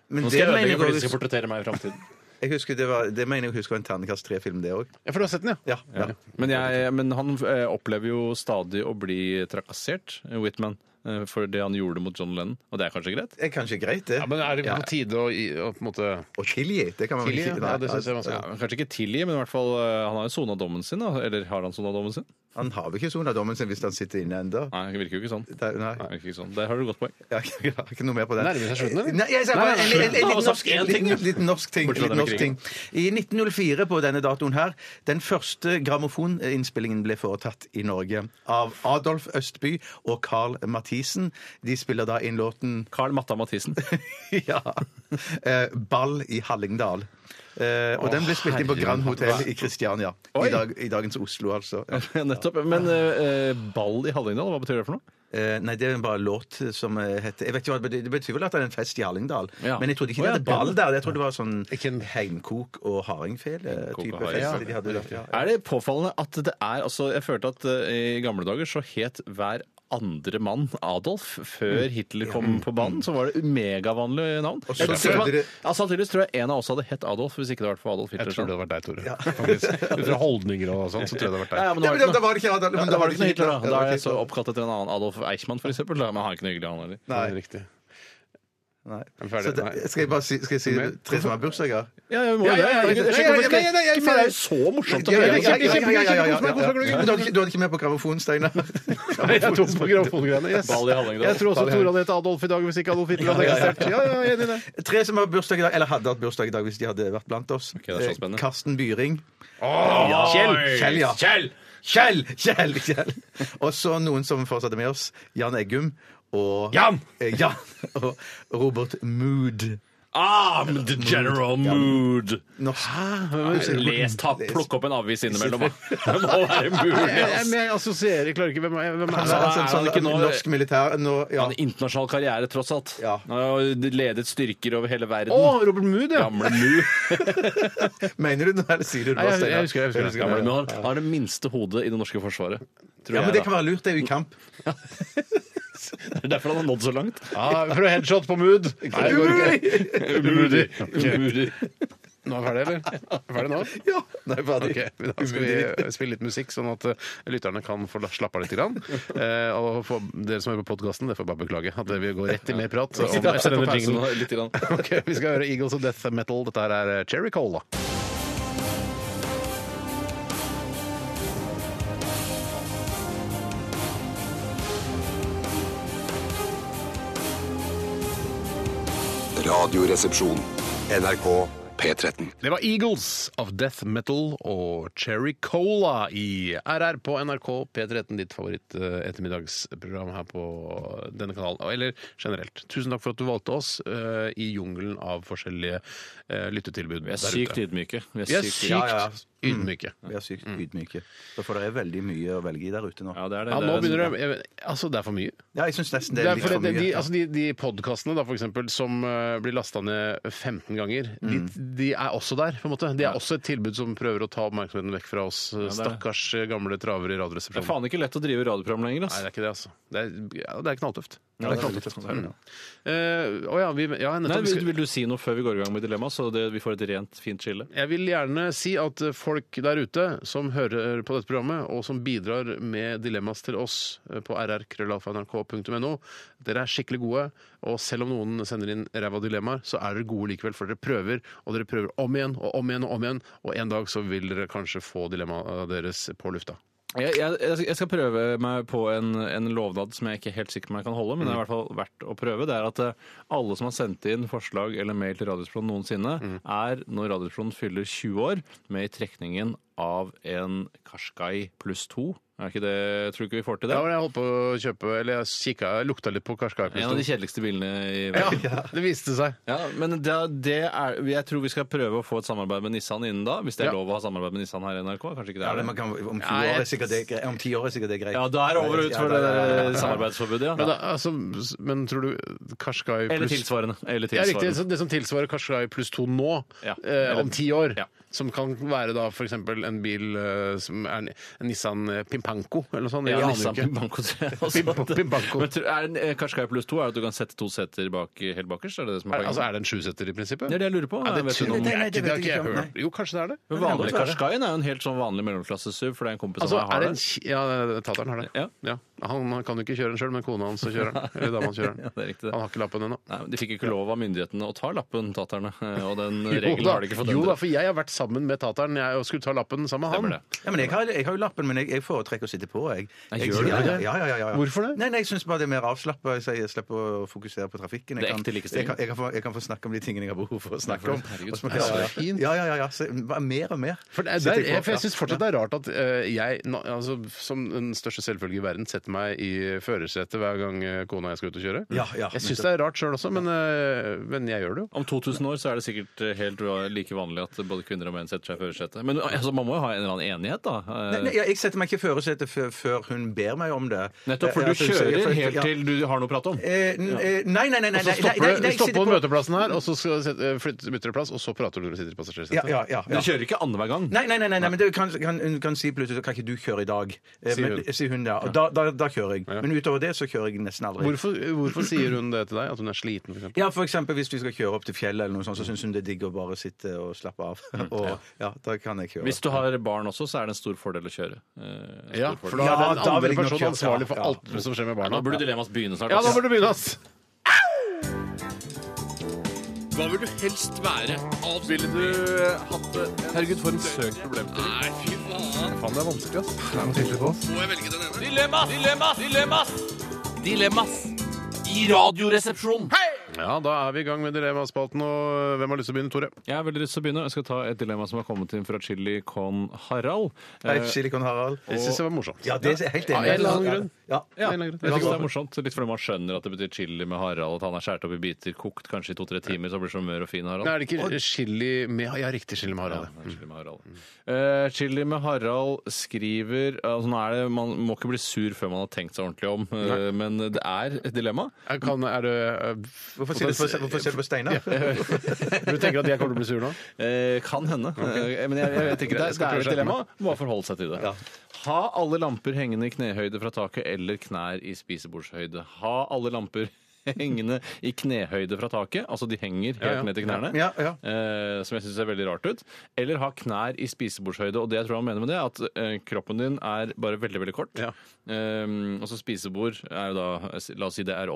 S4: Men
S5: Nå
S4: det
S5: skal jeg
S4: mener
S5: ødelegge
S4: jeg
S5: for de som skal
S4: også-
S5: portrettere meg i framtiden.
S4: Jeg husker det, var, det mener jeg å huske var en terningkast tre-film, det òg.
S3: Ja, for du har sett den, ja?
S4: Ja, ja.
S5: Men, jeg, men han eh, opplever jo stadig å bli trakassert, Whitman, eh, for det han gjorde mot John Lennon, og det er kanskje greit?
S4: Det er kanskje greit, det.
S3: Ja, men er det
S4: Ja.
S3: på tide å, i- å på en måte
S4: Å tilgi, det kan man vel
S3: tilgi?
S4: ikke altså,
S3: Ja, det synes jeg er
S5: Ja,
S3: vanskelig.
S5: men kanskje ikke tilgi, men i hvert fall eh, han har jo sona dommen sin, da. Eller har han sona dommen sin?
S4: Han har vel ikke sona dommen sin hvis han sitter inne ennå?
S5: Nei, det virker jo ikke sånn. Det
S4: Nei. Nei.
S5: virker ikke sånn. Der har du et godt poeng.
S4: Jeg har ikke- jeg har ikke noe mer på det.
S3: Nærmer seg slutten, eller?
S4: Nei, jeg sa
S5: Nei,
S4: bare
S5: nei,
S4: en,
S5: nei.
S4: en, en,
S5: Alle
S4: liten
S5: sa
S4: norsk,
S5: én
S4: en
S5: ting,
S4: liten,
S5: ja.
S4: liten norsk ting.
S5: Bortsett fra
S4: Liten
S5: den
S4: norsk ting. I 1904 på denne datoen her, den første grammofoninnspillingen ble foretatt i Norge av Adolf Østby og Carl Mathisen. De spiller da inn låten
S5: Carl Matta Mathisen.
S4: *laughs* ja, eh, Ball i Hallingdal. Eh, og den ble spilt inn på Grand Hotel i Kristiania. I, dag, I dagens Oslo, altså. Ja.
S5: Nettopp. Men eh, eh, ball i Hallingdal, hva betyr det for noe?
S4: Eh, nei, det er bare en låt som eh, heter jeg vet ikke hva, det betyr- Det betyr vel at det er en fest i Hallingdal.
S5: Ja.
S4: Men jeg trodde ikke
S5: Å, ja,
S4: det hadde ball
S5: det-
S4: der. Jeg trodde det var sånn
S3: Ikke en-
S4: heimkok og hardingfele-type
S5: og harding.
S4: fest.
S5: Ja.
S4: de hadde lagt, ja.
S5: Er det påfallende at det er altså, Jeg følte at eh, i gamle dager så het hver andre mann Adolf før Hitler kom på banen. Så var det megavanlig navn.
S4: så
S5: Jeg er sikker på at-
S4: følte
S5: Ja, Sannsynligvis tror jeg en av oss hadde hett Adolf hvis ikke det hadde vært for Adolf Hitler.
S3: Jeg tror det
S5: sånn.
S3: hadde vært deg, Tore. Faktisk. Ut fra holdninger og sånn, så tror jeg det hadde vært
S5: Ja,
S3: deg.
S5: ja, men
S4: Ja, men da-
S5: nå er det ikke
S4: da
S5: noe-
S4: var det ikke Adolf.
S5: Ja,
S4: men
S5: da var det ikke noe Hitler, da.
S4: Ja, det
S5: Da er
S4: var
S5: jeg
S4: ikke
S5: så oppkalt etter en annen Adolf Eichmann, f.eks. Men han er ikke noe hyggelig, han heller.
S3: Nei. Det er riktig.
S4: Nei.
S3: er ferdig.
S4: Så det-
S3: Nei.
S4: Skal jeg bare si, skal jeg si
S3: Men-
S4: tre som har bursdager?
S5: Ja, ja, vi må
S3: Ja, ja, ja, ja, ja, ja, ja, ja, ja, ja, ja,
S5: Det er jo så morsomt å
S4: Ja, ja, ja, ja, ja, ja,
S5: gjøre.
S4: ja,
S3: Kjempe-
S4: ja, ja,
S3: kjempe-
S4: ja. Men Du hadde ikke- du hadde ikke med på grammofonen, Steinar?
S3: Nei, jeg tok på gramofongreiene. Yes.
S5: Ball i Hallingdal.
S3: Jeg tror også Tore hadde hett Adolf i dag hvis ikke Adolf Hitler hadde eksistert. Ja, ja, jeg er enig i det.
S4: Tre som har bursdag i dag, eller hadde hatt bursdag i dag hvis de hadde vært blant oss.
S5: det er så
S4: Eh,
S5: spennende.
S4: Karsten Byring. *laughs*
S5: Kjell!
S4: Kjell, ja.
S5: Kjell!
S4: Kjell! Kjell! Kjell! Og så noen som fortsatte med oss. Jan Eggum og
S5: Jan!
S4: Eh, Jan og Robert Mood.
S5: I'm Ah, the general mood.
S4: Norsk.
S5: Les, ta, plukk opp en avis innimellom.
S3: *laughs*
S5: Det må være mulig.
S3: Jeg,
S5: ass.
S3: men jeg assosierer, jeg klarer ikke hvem, er- hvem er
S4: Han
S3: det?
S4: sa
S5: er
S4: sånn, sånn,
S5: han ikke nå-
S4: norsk militær nå, ja.
S5: Han har internasjonal karriere, tross alt.
S4: Ja.
S5: Han har jo ledet styrker over hele verden.
S3: Å, Robert Mood, ja!
S5: Gamle
S3: *laughs*
S5: Mu.
S4: Mener du det, eller sier du det?
S3: Nei, jeg-
S4: Steinar?
S3: jeg husker det, jeg husker det.
S5: Gamle
S4: ja.
S5: Mu har, har det minste hodet i det norske forsvaret. Tror
S4: Ja, men
S5: jeg,
S4: det kan være lurt. Det er jo i kamp.
S5: da. Det er derfor han har nådd så
S3: *laughs*
S5: langt.
S3: ja prøv headshot på Mood. Nei, det går ikke.
S5: Umulig! Umulig.
S3: Nå er vi ferdig, eller? Er vi ferdig nå?
S4: Ja, nå er vi ferdig.
S3: Ok, men da skal vi spille litt musikk, sånn at eh, lytterne kan få la- slappe av litt. Grann. Eh, og for dere som hører på podkasten, det får jeg bare beklage. At vi går rett i mer prat. om-
S5: sitter her
S3: etterpå
S5: på pausen
S3: pausen.
S5: og litt grann.
S3: *laughs* Ok, vi skal høre Eagles og Death Metal. Dette her er Cherry Cola.
S8: Radioresepsjon. NRK P13.
S3: Det var Eagles of Death Metal og Cherry Cola i RR på NRK P13, ditt favoritt-ettermiddagsprogram her på denne kanalen. Eller generelt. Tusen takk for at du valgte oss eh, i jungelen av forskjellige eh, lyttetilbud.
S5: Vi er
S3: der
S5: sykt
S3: ute.
S5: ydmyke. Vi er
S3: Vi er
S5: sykt
S3: sykt
S5: ydmyke.
S4: Ja, ja.
S3: ydmyke.
S4: Vi er sykt ydmyke. Da får dere veldig mye å velge i der ute nå.
S5: Ja, det er det.
S3: Ja,
S5: Det
S3: nå
S5: er-
S3: begynner det jeg vet- Altså, det er for mye.
S4: Ja, jeg syns nesten
S3: Det
S4: det
S3: er
S4: er litt
S3: fordi
S4: for
S3: det, de,
S4: mye.
S3: altså de, de podkastene da, for eksempel, som eh, blir lasta ned 15 ganger, de, de er også der. på en måte. De er også et tilbud som prøver å ta oppmerksomheten vekk fra oss eh,
S5: det er det.
S3: stakkars eh, gamle travere i
S5: Det er
S3: Radioresepsjonen.
S5: faen ikke lett å drive radioprogram
S3: Nei,
S5: lenger, ass.
S3: det er ikke det, altså. Det er, ja, det er knalltøft. Ja, det er
S5: veldig
S3: knalltøft.
S5: tøft.
S3: Mm. Eh, Å ja, vi, ja
S5: Nei,
S3: nettopp. Vi
S5: vil,
S3: skal-
S5: vil du si noe før vi går i gang med dilemmaet, så det, vi får et rent, fint skille?
S3: Jeg vil gjerne si at eh, folk der ute som hører på dette programmet, og som bidrar med dilemmas til oss eh, på rrkrøllalfa.nrk.no, dere er skikkelig gode. Og selv om noen sender inn ræva dilemmaer, så er dere gode likevel, for dere prøver, og dere prøver om igjen og om igjen og om igjen, og en dag så vil dere kanskje få dilemmaet deres på lufta.
S5: Jeg, jeg, jeg skal prøve meg på en, en lovnad som jeg ikke er helt sikker på om jeg kan holde, men det er i hvert fall verdt å prøve. Det er at eh, alle som har sendt inn forslag eller mail til Radiosplan noensinne, er når Radiosplan fyller 20 år, med i trekningen av en Qashqai pluss 2. Er ikke det, tror du ikke vi får til det?
S3: Ja, men jeg holdt på å kjøpe, eller jeg kikka, jeg lukta litt på Karskai.
S5: en av de kjedeligste bilene i verden.
S3: Ja, det viste seg.
S5: Ja, men det, det er, jeg tror vi skal prøve å få et samarbeid med Nissan innen da. Hvis det er
S3: Ja.
S5: lov å ha samarbeid med Nissan her i NRK? Kanskje ikke det
S4: Ja,
S5: er
S4: det
S5: det?
S4: man kan, om ti
S3: Nei,
S4: år
S3: jeg-
S4: er sikkert det greit. Om ti år er sikkert det greit.
S5: Ja, da er det over og ut
S4: Ja,
S5: for
S4: da-
S5: det
S4: ja, ja, ja.
S5: der samarbeidsforbudet,
S3: Men,
S5: ja.
S3: da, altså, men tror du Karskai pluss
S5: Eller tilsvarende. Eller
S3: Ja, riktig.
S5: tilsvarende.
S3: Så det som tilsvarer Karskai pluss to nå,
S5: Ja.
S3: eh, om ti år,
S5: Ja.
S3: som kan være da f.eks. en bil eh, som er en, en Nissan eh, Pimpanco eller noe sånt.
S5: Ja,
S3: Jeg aner
S5: Nissan
S3: jo ikke.
S5: Pimbanco.
S3: *laughs*
S5: tror jeg også.
S3: Pimp- Pimbanco.
S5: Men tror- er en- eh, Qashqai pluss to er at du kan sette to seter bak helt bakerst? Er det det som er
S3: Er, altså,
S5: poenget?
S3: er det en sjusetter i prinsippet?
S5: Det er det jeg lurer på.
S3: Ja, det
S5: Jeg vet
S3: tror
S5: ikke
S3: jeg
S5: noe om-
S4: Nei, nei,
S3: ikke.
S4: det
S3: Det har
S4: vet
S3: ikke
S4: jeg
S3: jeg
S4: ikke om,
S3: hørt. Jo, kanskje det er det.
S5: Men vanlig Qashqaien er jo en helt sånn vanlig mellomklasse-SUV, for det er en kompis av
S3: Altså, er
S5: meg
S3: det
S5: har
S3: en,
S5: det.
S3: ki- ja, tateren har det.
S5: Ja.
S3: Han han kan jo ikke kjøre den sjøl, men kona hans så kjører den. Eller dama hans kjører den.
S5: *laughs* Ja, det er riktig det.
S3: Han har ikke lappen ennå.
S5: Nei, men De fikk ikke lov av myndighetene å ta lappen, taterne. eh, Og
S3: *laughs*
S5: den
S3: Jo
S5: regelen
S3: da,
S5: har de ikke fått
S3: jo da,
S5: endret.
S3: for jeg har vært sammen med tateren. Jeg skulle ta lappen sammen med
S5: Stemmer
S3: han.
S5: det.
S4: Ja, men jeg har, jeg har jo lappen, men jeg, jeg foretrekker å sitte på. Jeg.
S5: Nei,
S4: Jeg-
S5: gjør du
S4: ja, ja,
S5: det?
S4: Ja, ja, ja, ja.
S3: Hvorfor det?
S4: Nei, nei, Jeg syns bare det er mer avslappa. Jeg, sier jeg slipper å fokusere på trafikken. Jeg
S5: Det er
S4: kan-
S5: ekte
S4: Jeg
S5: likestilling.
S4: kan, jeg, kan få, jeg kan få snakke om de tingene jeg har behov for å snakke
S5: for
S4: om.
S5: herregud,
S4: Og så-
S5: det er
S4: ja,
S5: så
S4: ja, ja.
S3: fint.
S4: Ja, ja, ja. ja. Så, hva- mer og mer.
S3: For, det, er-
S4: sitter
S3: der,
S4: jeg på.
S3: jeg, for jeg
S4: Ja.
S3: syns fortsatt det er rart at eh, jeg, na- altså, som den største selvfølge i verden, setter meg i førersetet hver gang eh, kona og jeg skal ut og kjøre.
S4: Ja, ja,
S3: jeg syns det er rart sjøl også, men, eh, men jeg gjør det jo.
S5: Om 2000 år så er det sikkert eh, helt like vanlig at både kvinner og menn setter seg i førersetet. Men altså, man må jo ha en eller annen enighet, da. Eh,
S4: Nei, nei, jeg setter meg ikke i førersetet før, før hun ber meg om det.
S5: Nettopp, for du
S4: Eh, altså, så-
S5: kjører
S4: for-
S5: helt
S4: ja.
S5: til du har noe å prate om.
S4: Eh, n- eh, Nei, nei, nei. nei,
S3: Og så
S4: nei, nei,
S3: stopper
S4: nei,
S3: du-
S4: nei,
S3: du
S4: jeg
S3: stopper
S4: sitter
S3: på
S4: på-
S3: møteplassen her, og så skal du sette, eh, flytte, bytter du plass, og så prater du når du sitter i
S4: Ja,
S3: passasjersetet.
S4: ja, ja,
S5: Du
S4: ja.
S5: kjører ikke annenhver gang.
S4: Nei, nei, nei, nei, nei, men det kan, kan, hun kan si plutselig Kan ikke du kjøre i dag? Eh,
S3: Sier
S4: men-
S3: hun.
S4: Sier hun, ja. Og da, da, da kjører jeg. Men utover det så kjører jeg nesten aldri.
S3: Hvorfor, hvorfor sier hun det til deg? At hun er sliten, f.eks.?
S4: Ja, for eksempel Hvis vi skal kjøre opp til fjellet, eller noe sånt, så syns hun det er digg å bare sitte og slappe av. *laughs* Og ja, da kan jeg kjøre.
S5: Hvis du har barn også, så er det en stor fordel å kjøre. Eh, en
S3: Ja,
S5: stor
S3: for
S5: fordel.
S3: da er
S4: Ja,
S3: den
S4: da vil
S3: andre
S4: jeg nok
S3: personen
S4: kjøre-
S3: ansvarlig for
S4: ja, ja.
S3: alt som skjer med barna.
S5: Nå burde dilemmaet begynne snart.
S3: Ja, da
S5: altså.
S3: burde du begynne, ass!
S5: Hva vil du helst være? Ville du eh, hatt det? Herregud, for en søk problem til. Nei, fy faen. Faen, det er vanskelig, ass. Må jeg velge den ene? Dilemmas! Dilemmas! Dilemmas! Dilemmas! I radioresepsjonen.
S3: Ja, da er vi i gang med dilemmaspalten, og hvem har lyst til å begynne, Tore?
S5: Jeg har veldig lyst til å begynne. Jeg skal ta et dilemma som har kommet inn fra Chili Con Harald. Eh,
S4: Hei, Silicon Harald.
S3: Jeg syns det var morsomt.
S4: Ja, det er helt
S3: Av
S4: enig.
S3: en eller annen grunn.
S4: Ja.
S5: Ja,
S3: Av en eller annen
S5: jeg
S3: grunn.
S5: synes det er morsomt. Litt fordi man skjønner at det betyr chili med Harald. At han er skåret opp i biter, kokt kanskje i to-tre timer, så blir det så mør og fin Harald.
S3: Nei, er det ikke chili med Ja, Mm. riktig chili med
S5: Ja,
S3: Harald.
S5: det er Chili med Harald. Eh, Chili med Harald skriver altså, nå er det, Man må ikke bli sur før man har tenkt seg ordentlig om, eh, men det er et dilemma.
S3: Jeg Kan, er det, eh,
S4: Hvorfor sier du- hvorfor- hvorfor ser du på Steinar?
S3: du tenker at jeg kommer til å bli sur nå?
S5: Eh, kan hende. Eh, men jeg, jeg vet ikke. Det,
S3: Jeg skal
S5: er- det er
S3: prøve å
S5: et
S3: skjerpe
S5: dilemma. Må forholde seg til det. Ha alle lamper *laughs* hengende i knehøyde fra taket eller knær i spisebordshøyde. Ha alle lamper hengende i knehøyde fra taket. Altså de henger helt
S3: Ja, ja.
S5: ned til knærne.
S4: Ja, ja.
S5: Eh, som jeg syns ser veldig rart ut. Eller ha knær i spisebordshøyde. Og det jeg tror han mener med det, at eh, kroppen din er bare veldig, veldig kort.
S3: Ja.
S5: Eh, og så spisebord er jo da La oss si det er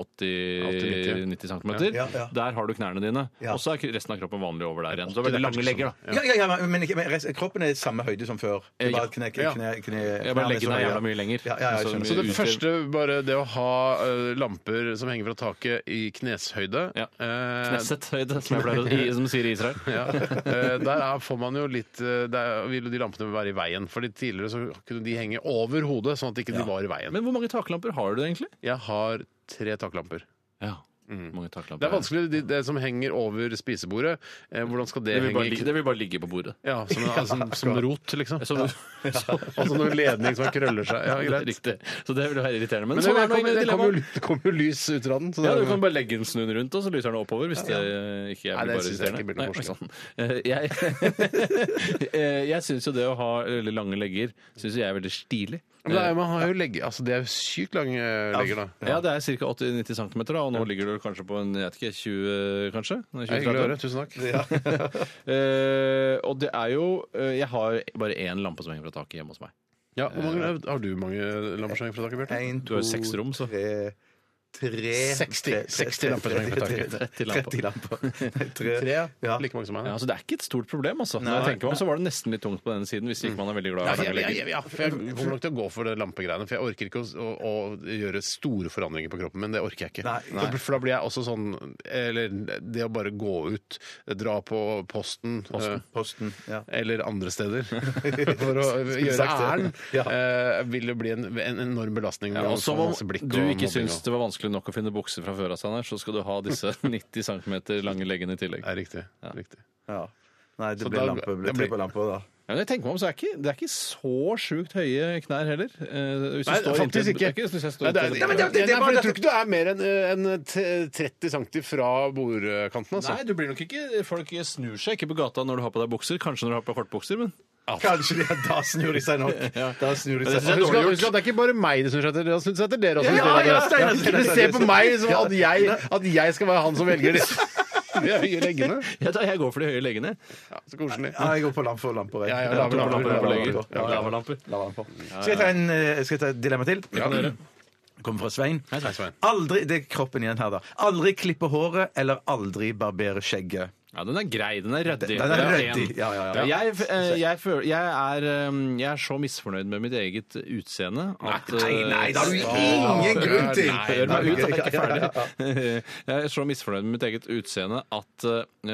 S5: 80-90 cm.
S4: Ja, ja.
S5: Der har du knærne dine.
S4: Ja.
S5: Og så er resten av kroppen vanlig over der igjen. Så det er veldig
S3: Det sånn. er
S5: lange legger, da.
S4: Ja, ja, ja, men, men, ikke- men resten- kroppen er samme høyde som før. Det er
S5: Ja.
S4: Bare kne, kne,
S3: Ja.
S4: kne, kne,
S5: Jeg
S4: knærne
S5: bare legger meg
S4: er så høye.
S5: jævla mye lenger.
S4: Ja, ja, jeg skjønner.
S3: Så det
S5: utgjør-
S3: første, bare det å ha eh, lamper som henger fra taket i kneshøyde
S5: Ja.
S3: eh,
S5: Knesset høyde, som, jeg pleier, å- i- som sier i Israel.
S3: *laughs* ja. Eh, Der er, får man jo litt eh, Der vil jo de lampene være i veien. Fordi tidligere så kunne de henge over hodet, sånn at ikke de var i veien.
S5: Men hvor mange taklamper har du egentlig? Mm.
S3: Jeg har tre taklamper.
S5: Ja, mange taklamper.
S3: Det er vanskelig, de- det som henger over spisebordet. eh, Hvordan skal det,
S5: Det vil,
S3: henge
S5: bare,
S3: i
S5: ligge-
S3: kn-
S5: det vil bare ligge på bordet.
S3: Ja, som, en- *laughs* som, som rot, liksom.
S5: Så, *laughs*
S3: *laughs* Altså noen ledning som krøller seg. Ja, greit.
S5: Riktig. Så det vil være irriterende. Men,
S3: Men
S5: sånn
S3: det
S5: er nå
S3: kom, det kom,
S5: dilemmaet.
S3: jo, det kom jo lys ut av den. Så det,
S5: Ja, Du kan bare legge den snuen rundt, og så lyser den oppover. Hvis det eh, ikke er
S3: Nei, det
S5: bare
S3: synes jeg ikke blir noe
S5: irriterende. Nei, sånn. Eh, Jeg, *laughs* eh, jeg syns jo det å ha veldig lange legger synes jeg er veldig stilig.
S3: Men det er, man har jo legge, altså, det er jo sykt lange eh, legger, da.
S5: Ja, det er ca. 80-90 cm, og nå ligger du kanskje på en, jeg vet ikke, 20, kanskje?
S3: Det er
S5: 20,
S3: Hyggelig å høre. Tusen takk.
S5: Eh, og det er jo eh, Jeg har bare én lampe som henger fra taket hjemme hos meg.
S3: Ja, hvor mange, har du mange lampersanger fra taket, Bjarte?
S4: En,
S5: Du har jo
S4: to,
S5: seks rom, så.
S4: Tre, tre
S3: 60, 60 lamper som henger på taket.
S5: 30 lamper.
S4: 30 lamper. Tre, ja.
S3: Like mange som meg.
S5: Ja,
S3: da.
S5: så det er ikke et stort problem, altså. Når jeg tenker meg om, så var det nesten litt tungt på den siden, hvis ikke man er veldig glad i
S3: Mm. Ja, altså,
S5: lange
S3: jeg, jeg,
S5: legger.
S3: jeg, ja, for jeg kommer nok til å gå for det lampegreiene. For jeg orker ikke å, å, å gjøre store forandringer på kroppen. Men det orker jeg ikke.
S4: Nei, nei.
S3: For, for da blir jeg også sånn Eller det å bare gå ut, dra på posten, eh,
S4: Posten. Ja.
S3: eller andre steder for å gjøre
S4: sagt det.
S3: ærend,
S4: Ja.
S3: eh, vil det bli en, en enorm belastning.
S5: Ja,
S3: med
S5: og som om
S3: masse blikk
S5: du
S3: og
S5: ikke
S3: mobbing
S5: syns
S3: og-
S5: det var vanskelig nok å finne bukser fra før av, Steinar, så skal du ha
S3: *laughs*
S5: disse 90 cm lange leggene i tillegg.
S3: Nei, riktig. riktig.
S4: ja. Nei, det
S3: Så
S4: ble
S3: da-
S4: lampe. Det ble
S3: det
S4: tre
S3: blir-
S4: på lamper, da.
S5: Ja, men jeg tenker meg om, så er ikke, Det er ikke så sjukt høye knær heller. Eh, hvis du
S3: Nei,
S5: står
S3: faktisk
S5: inntil-
S3: ikke.
S5: det er hvis jeg står
S3: Nei, det er-
S5: inntil-
S3: Nei, men det-
S4: det- det-
S3: Nei, for Jeg tror ikke du er mer enn eh, enn t- 30 cm fra bordkanten, altså.
S5: Nei, du blir nok ikke Folk snur seg ikke på gata når du har på deg bukser. Kanskje når du har på deg kortbukser, men
S4: Kanskje de, da snur de seg nok. Da snur de
S5: Men det
S4: seg.
S5: synes jeg er
S3: Husk
S5: dårlig
S3: at,
S5: gjort.
S3: husk at det er ikke bare meg det syns etter dere. Syns etter dere også. synes
S4: Ja,
S3: dere
S4: ja,
S3: det.
S4: Steinar,
S3: Ja,
S4: Steinar,
S3: Dere ser på meg som at jeg, at jeg skal være han som velger det. *laughs* Vi er høye leggene.
S5: ja, da, jeg går for de høye leggene.
S3: Ja, så koselig.
S4: Ja, jeg går på lamper og lamper. jeg.
S3: Ja, ja,
S4: Lamper,
S3: lamper,
S4: lamper,
S3: lamper,
S4: lamper,
S5: lamper.
S4: lamper.
S5: Ja, lamper.
S4: Lamper. Skal jeg ta en, eh, skal jeg ta et dilemma til? Kommer fra Svein.
S3: Hei, Svein.
S4: Aldri, det er kroppen igjen her da. Aldri klippe håret eller aldri barbere skjegget.
S5: Ja, Den er grei. Den er ryddig.
S4: Den er
S5: Det
S4: ryddig.
S5: en.
S4: Ja, ja, ja.
S5: Jeg, eh, jeg, føler, jeg, er, eh, jeg er så misfornøyd med mitt eget utseende at eh,
S4: har du ingen grunn til!
S5: Hør meg ut, da. Jeg er ikke
S4: Ja, ja, ja.
S5: ferdig. *laughs* Jeg er så misfornøyd med mitt eget utseende at eh,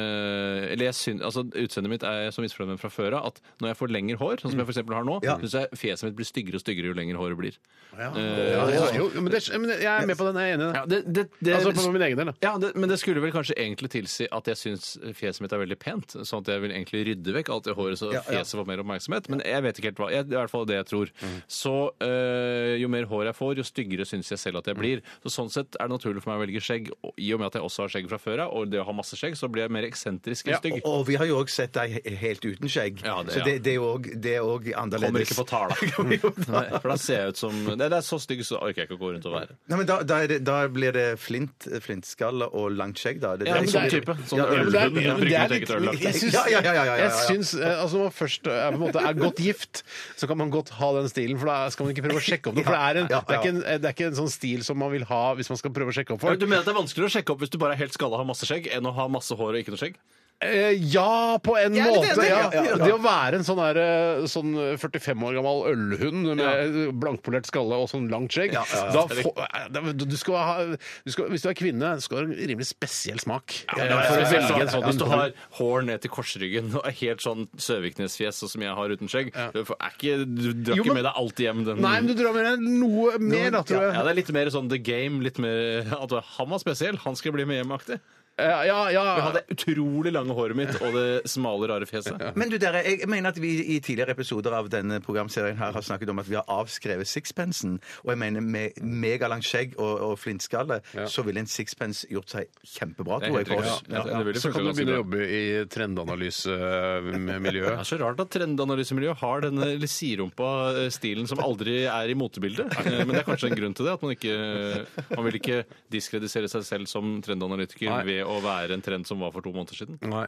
S5: Eller jeg syn- altså, utseendet mitt er jeg så misfornøyd med fra før av at når jeg får lengre hår, sånn som jeg for eksempel har nå,
S4: Ja.
S5: syns jeg fjeset mitt blir styggere og styggere jo lengre håret blir.
S3: Ja, ja, jo, jo, men det, men det- jeg er med på den. Jeg er enig i
S5: Ja,
S3: det.
S5: det, det, det,
S3: Altså på min egen del, da.
S5: ja, det, men det skulle vel kanskje egentlig tilsi at jeg syns fjeset mitt er veldig pent. Sånn at jeg vil egentlig rydde vekk alt det håret, så
S4: Ja, ja.
S5: fjeset får mer oppmerksomhet. Men jeg vet ikke helt hva. Jeg, det er i hvert fall det jeg tror. Så øh, jo mer hår jeg får, jo styggere syns jeg selv at jeg blir. Så sånn sett er det naturlig for meg å velge skjegg. Og, I og med at jeg også har skjegg fra før av, og det å ha masse skjegg, så blir jeg mer eksentrisk enn
S3: Ja,
S5: stygg.
S4: Og, og vi har jo òg sett deg he- helt uten skjegg,
S5: Ja, det,
S4: så
S5: ja.
S4: det, det er jo òg- det er òg
S5: Kommer
S4: annerledes.
S5: ikke på
S4: *laughs*
S5: tale. *laughs* Nei, For da ser jeg ut som Nei, det er så stygg, så orker jeg ikke å gå rundt og være
S4: Nei, men da, da, er det, da blir det flint, flintskalle og langt skjegg, da. Det,
S5: Ja,
S4: det er
S5: men
S4: sånn
S5: det er-
S4: type.
S5: sånn
S4: Ja,
S5: øl-
S4: men
S3: Men det er-
S5: Ølbund, jeg
S3: men det
S5: brygger
S3: er
S5: mitt eget øl, da.
S3: litt- Jeg syns
S4: Ja, ja, ja, ja, ja, ja.
S3: jeg syns, eh, altså, Når man først er, på en måte, er godt gift, så kan man godt ha den stilen. For da skal man ikke prøve å sjekke opp noe. For det er, en,
S4: Ja, ja,
S3: det, er ikke en, det er ikke en sånn stil som man vil ha hvis man skal prøve å sjekke opp folk.
S5: Du mener at det er vanskeligere å sjekke opp hvis du bare er helt skalla og har masse skjegg, enn å ha masse hår og ikke noe skjegg?
S3: Eh, ja, på en
S5: er litt
S3: måte.
S5: enig.
S3: Ja.
S4: Ja, ja, ja.
S3: Det å være en sånn, der, eh, sånn 45 år gammel ølhund med
S5: Ja.
S3: blankpolert skalle og sånn langt skjegg
S4: Ja, ja, ja.
S3: Da få, eh, da- du skal ha, du skal, Hvis du er kvinne, skal du ha en rimelig spesiell smak.
S5: Ja,
S3: Eh, for å velge en sånn
S5: Hvis du har hår ned til korsryggen og er helt sånn Søviknes-fjes sånn som jeg har uten skjegg, du får- er ikke, du drar
S3: Jo,
S5: ikke
S3: men-
S5: med deg alt hjem den
S3: Nei, men du drar med deg noe mer, da, tror jeg.
S5: ja, Det er litt mer sånn The Game. litt mer at Han var spesiell, han skal bli med hjem-aktig.
S3: Eh, Ja,
S5: Jeg
S3: ja.
S5: hadde utrolig lange håret mitt og det smale, rare fjeset.
S4: Men du dere, jeg mener at vi i tidligere episoder av denne programserien her har snakket om at vi har avskrevet sixpensen. Og jeg mener med megalangt skjegg og, og flintskalle så ville en sixpence gjort seg kjempebra, tror jeg.
S5: helt
S4: for
S5: riktig.
S4: oss.
S5: Ja, det ville
S3: Så kan du
S5: funka ganske
S3: begynne å
S5: bra.
S3: jobbe i
S5: Det
S3: trendanalysemiljøet.
S5: er så rart at trendanalysemiljøet har denne siderumpa-stilen som aldri er i motebildet. Eh, Men det er kanskje en grunn til det. At man ikke Man vil ikke diskredisere seg selv som trendanalytiker
S3: Nei.
S5: ved å være en trend som var for to måneder siden.
S3: Nei.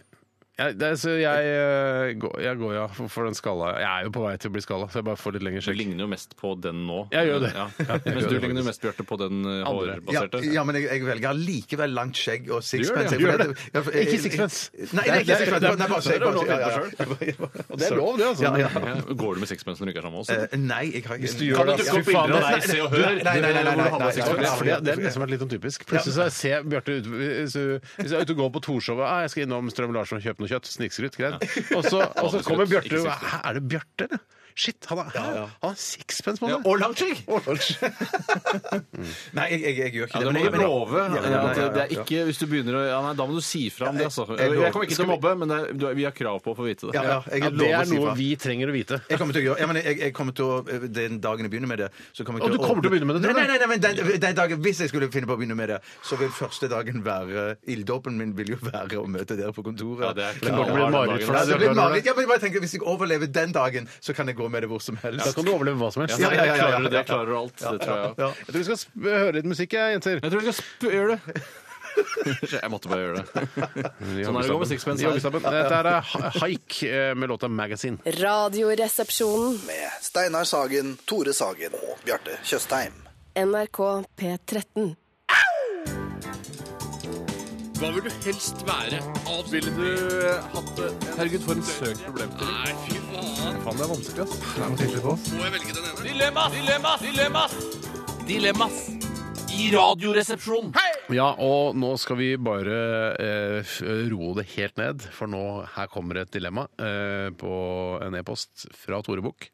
S3: Jeg, det, er- så jeg, eh, går, jeg går ja for, for den skalla. Jeg er jo på vei til å bli skalla, så jeg bare får litt lengre
S5: Du
S3: skjegg.
S5: ligner jo mest på den nå.
S3: Jeg gjør det.
S5: *laughs* Ja.
S3: Ja, jeg gjør
S5: Mens du
S3: det faktisk.
S5: ligner jo mest, Bjarte, på den eh,
S3: Andre.
S4: Ja,
S5: hårbaserte.
S4: ja, men jeg, jeg velger likevel langt skjegg og sixpence.
S3: det,
S4: Jeg-
S3: gjør det.
S4: Ja, for- jeg-
S3: Ikke sixpence.
S4: Nei, det er ikke sixpence. Det er bare
S3: Det
S4: skjegg.
S3: er lov å
S4: Ja, ja, ja.
S3: Det er lov, det, altså.
S4: Ja, ja.
S5: Ja, Går du med sixpence når du ikke er sammen med
S4: Eh,
S5: oss?
S4: Nei, jeg har ikke
S3: Hvis du gjør det,
S5: du
S3: altså,
S5: dukke
S3: fy
S5: opp bilder
S3: faen,
S5: av deg,
S3: det-
S5: se og hør?
S4: Nei, nei, nei, nei, nei, nei,
S3: Ja, men det er fordi-
S4: nei,
S3: Det er det som har vært litt sånn typisk. Plutselig så ser jeg Bjarte ut hvis du- Hvis du er ute og går på Torshov og ah, jeg skal innom Strøm Larsen og kjøpe noe kjøtt, snikskryt, greit. Og
S5: *laughs*
S3: så, og så kommer Bjarte og «Hæ, Er det Bjarte, eller? Shit, han har, han har sixpence på
S5: Ja,
S3: seg!
S5: og langt skjegg!
S4: Nei, jeg, jeg, jeg gjør ikke
S5: Ja,
S4: det.
S5: det
S4: men
S5: må
S4: jeg-
S5: du love.
S4: Ja, ja,
S5: at
S4: ja, ja, ja. Eh,
S5: Det er ikke, hvis du begynner å, ja, nei, Da må du si fra om det. Altså. Jeg,
S4: lover.
S5: kommer ikke til å mobbe, men det er, du, vi har krav på å få vite det.
S4: Ja, ja, jeg
S3: Ja,
S4: lover
S3: det er
S4: å si
S3: noe
S4: fra.
S3: vi trenger å vite.
S4: Jeg kommer til å gjøre, ja, men jeg, jeg kommer til å, Den dagen jeg begynner med det så kommer jeg
S3: Å, du kommer til å begynne med det,
S4: Nei,
S3: tror
S4: nei,
S3: du?
S4: nei, nei men den, den dagen, Hvis jeg skulle finne på å begynne med det, så vil første dagen være eh, Ilddåpen min vil jo være å møte dere på kontoret.
S5: Ja, det er
S3: Det kommer til å bli et mareritt for
S4: Ja,
S3: deg.
S4: Altså, det
S3: du er
S4: blir
S3: klar over
S4: mareritt.
S3: det.
S4: ja, men jeg bare tenker, Hvis jeg overlever den dagen, så kan jeg gå med det hvor som helst.
S3: Da kan du overleve hva som helst.
S5: Ja,
S4: Ja, ja, ja, ja, ja.
S5: Klarer du det, klarer du alt. Det tror jeg.
S3: Jeg tror vi skal sp- høre litt musikk, jeg, jenter.
S5: Jeg tror jeg skal gjøre det. *laughs* Jeg måtte bare gjøre det. Sånn er det å gå med sixpence.
S3: I
S5: her.
S3: joggestabben. Dette her er Ha- Haik eh, med låta 'Magasin'.
S7: Radioresepsjonen.
S6: Med Steinar Sagen, Tore Sagen og Bjarte Tjøstheim.
S7: NRK P13.
S5: Hva vil du helst være? Ville du eh, hatt det? Herregud, for en søk problemstilling. Nei, fy faen. Faen, det er vanskelig, ass. Må jeg velge den ene? Dilemmas! Dilemmas! Dilemmas! Dilemmas! I radioresepsjonen.
S3: Ja, og nå skal vi bare eh, f- roe det helt ned, for nå her kommer et dilemma eh, på en e-post fra Tore Bukk.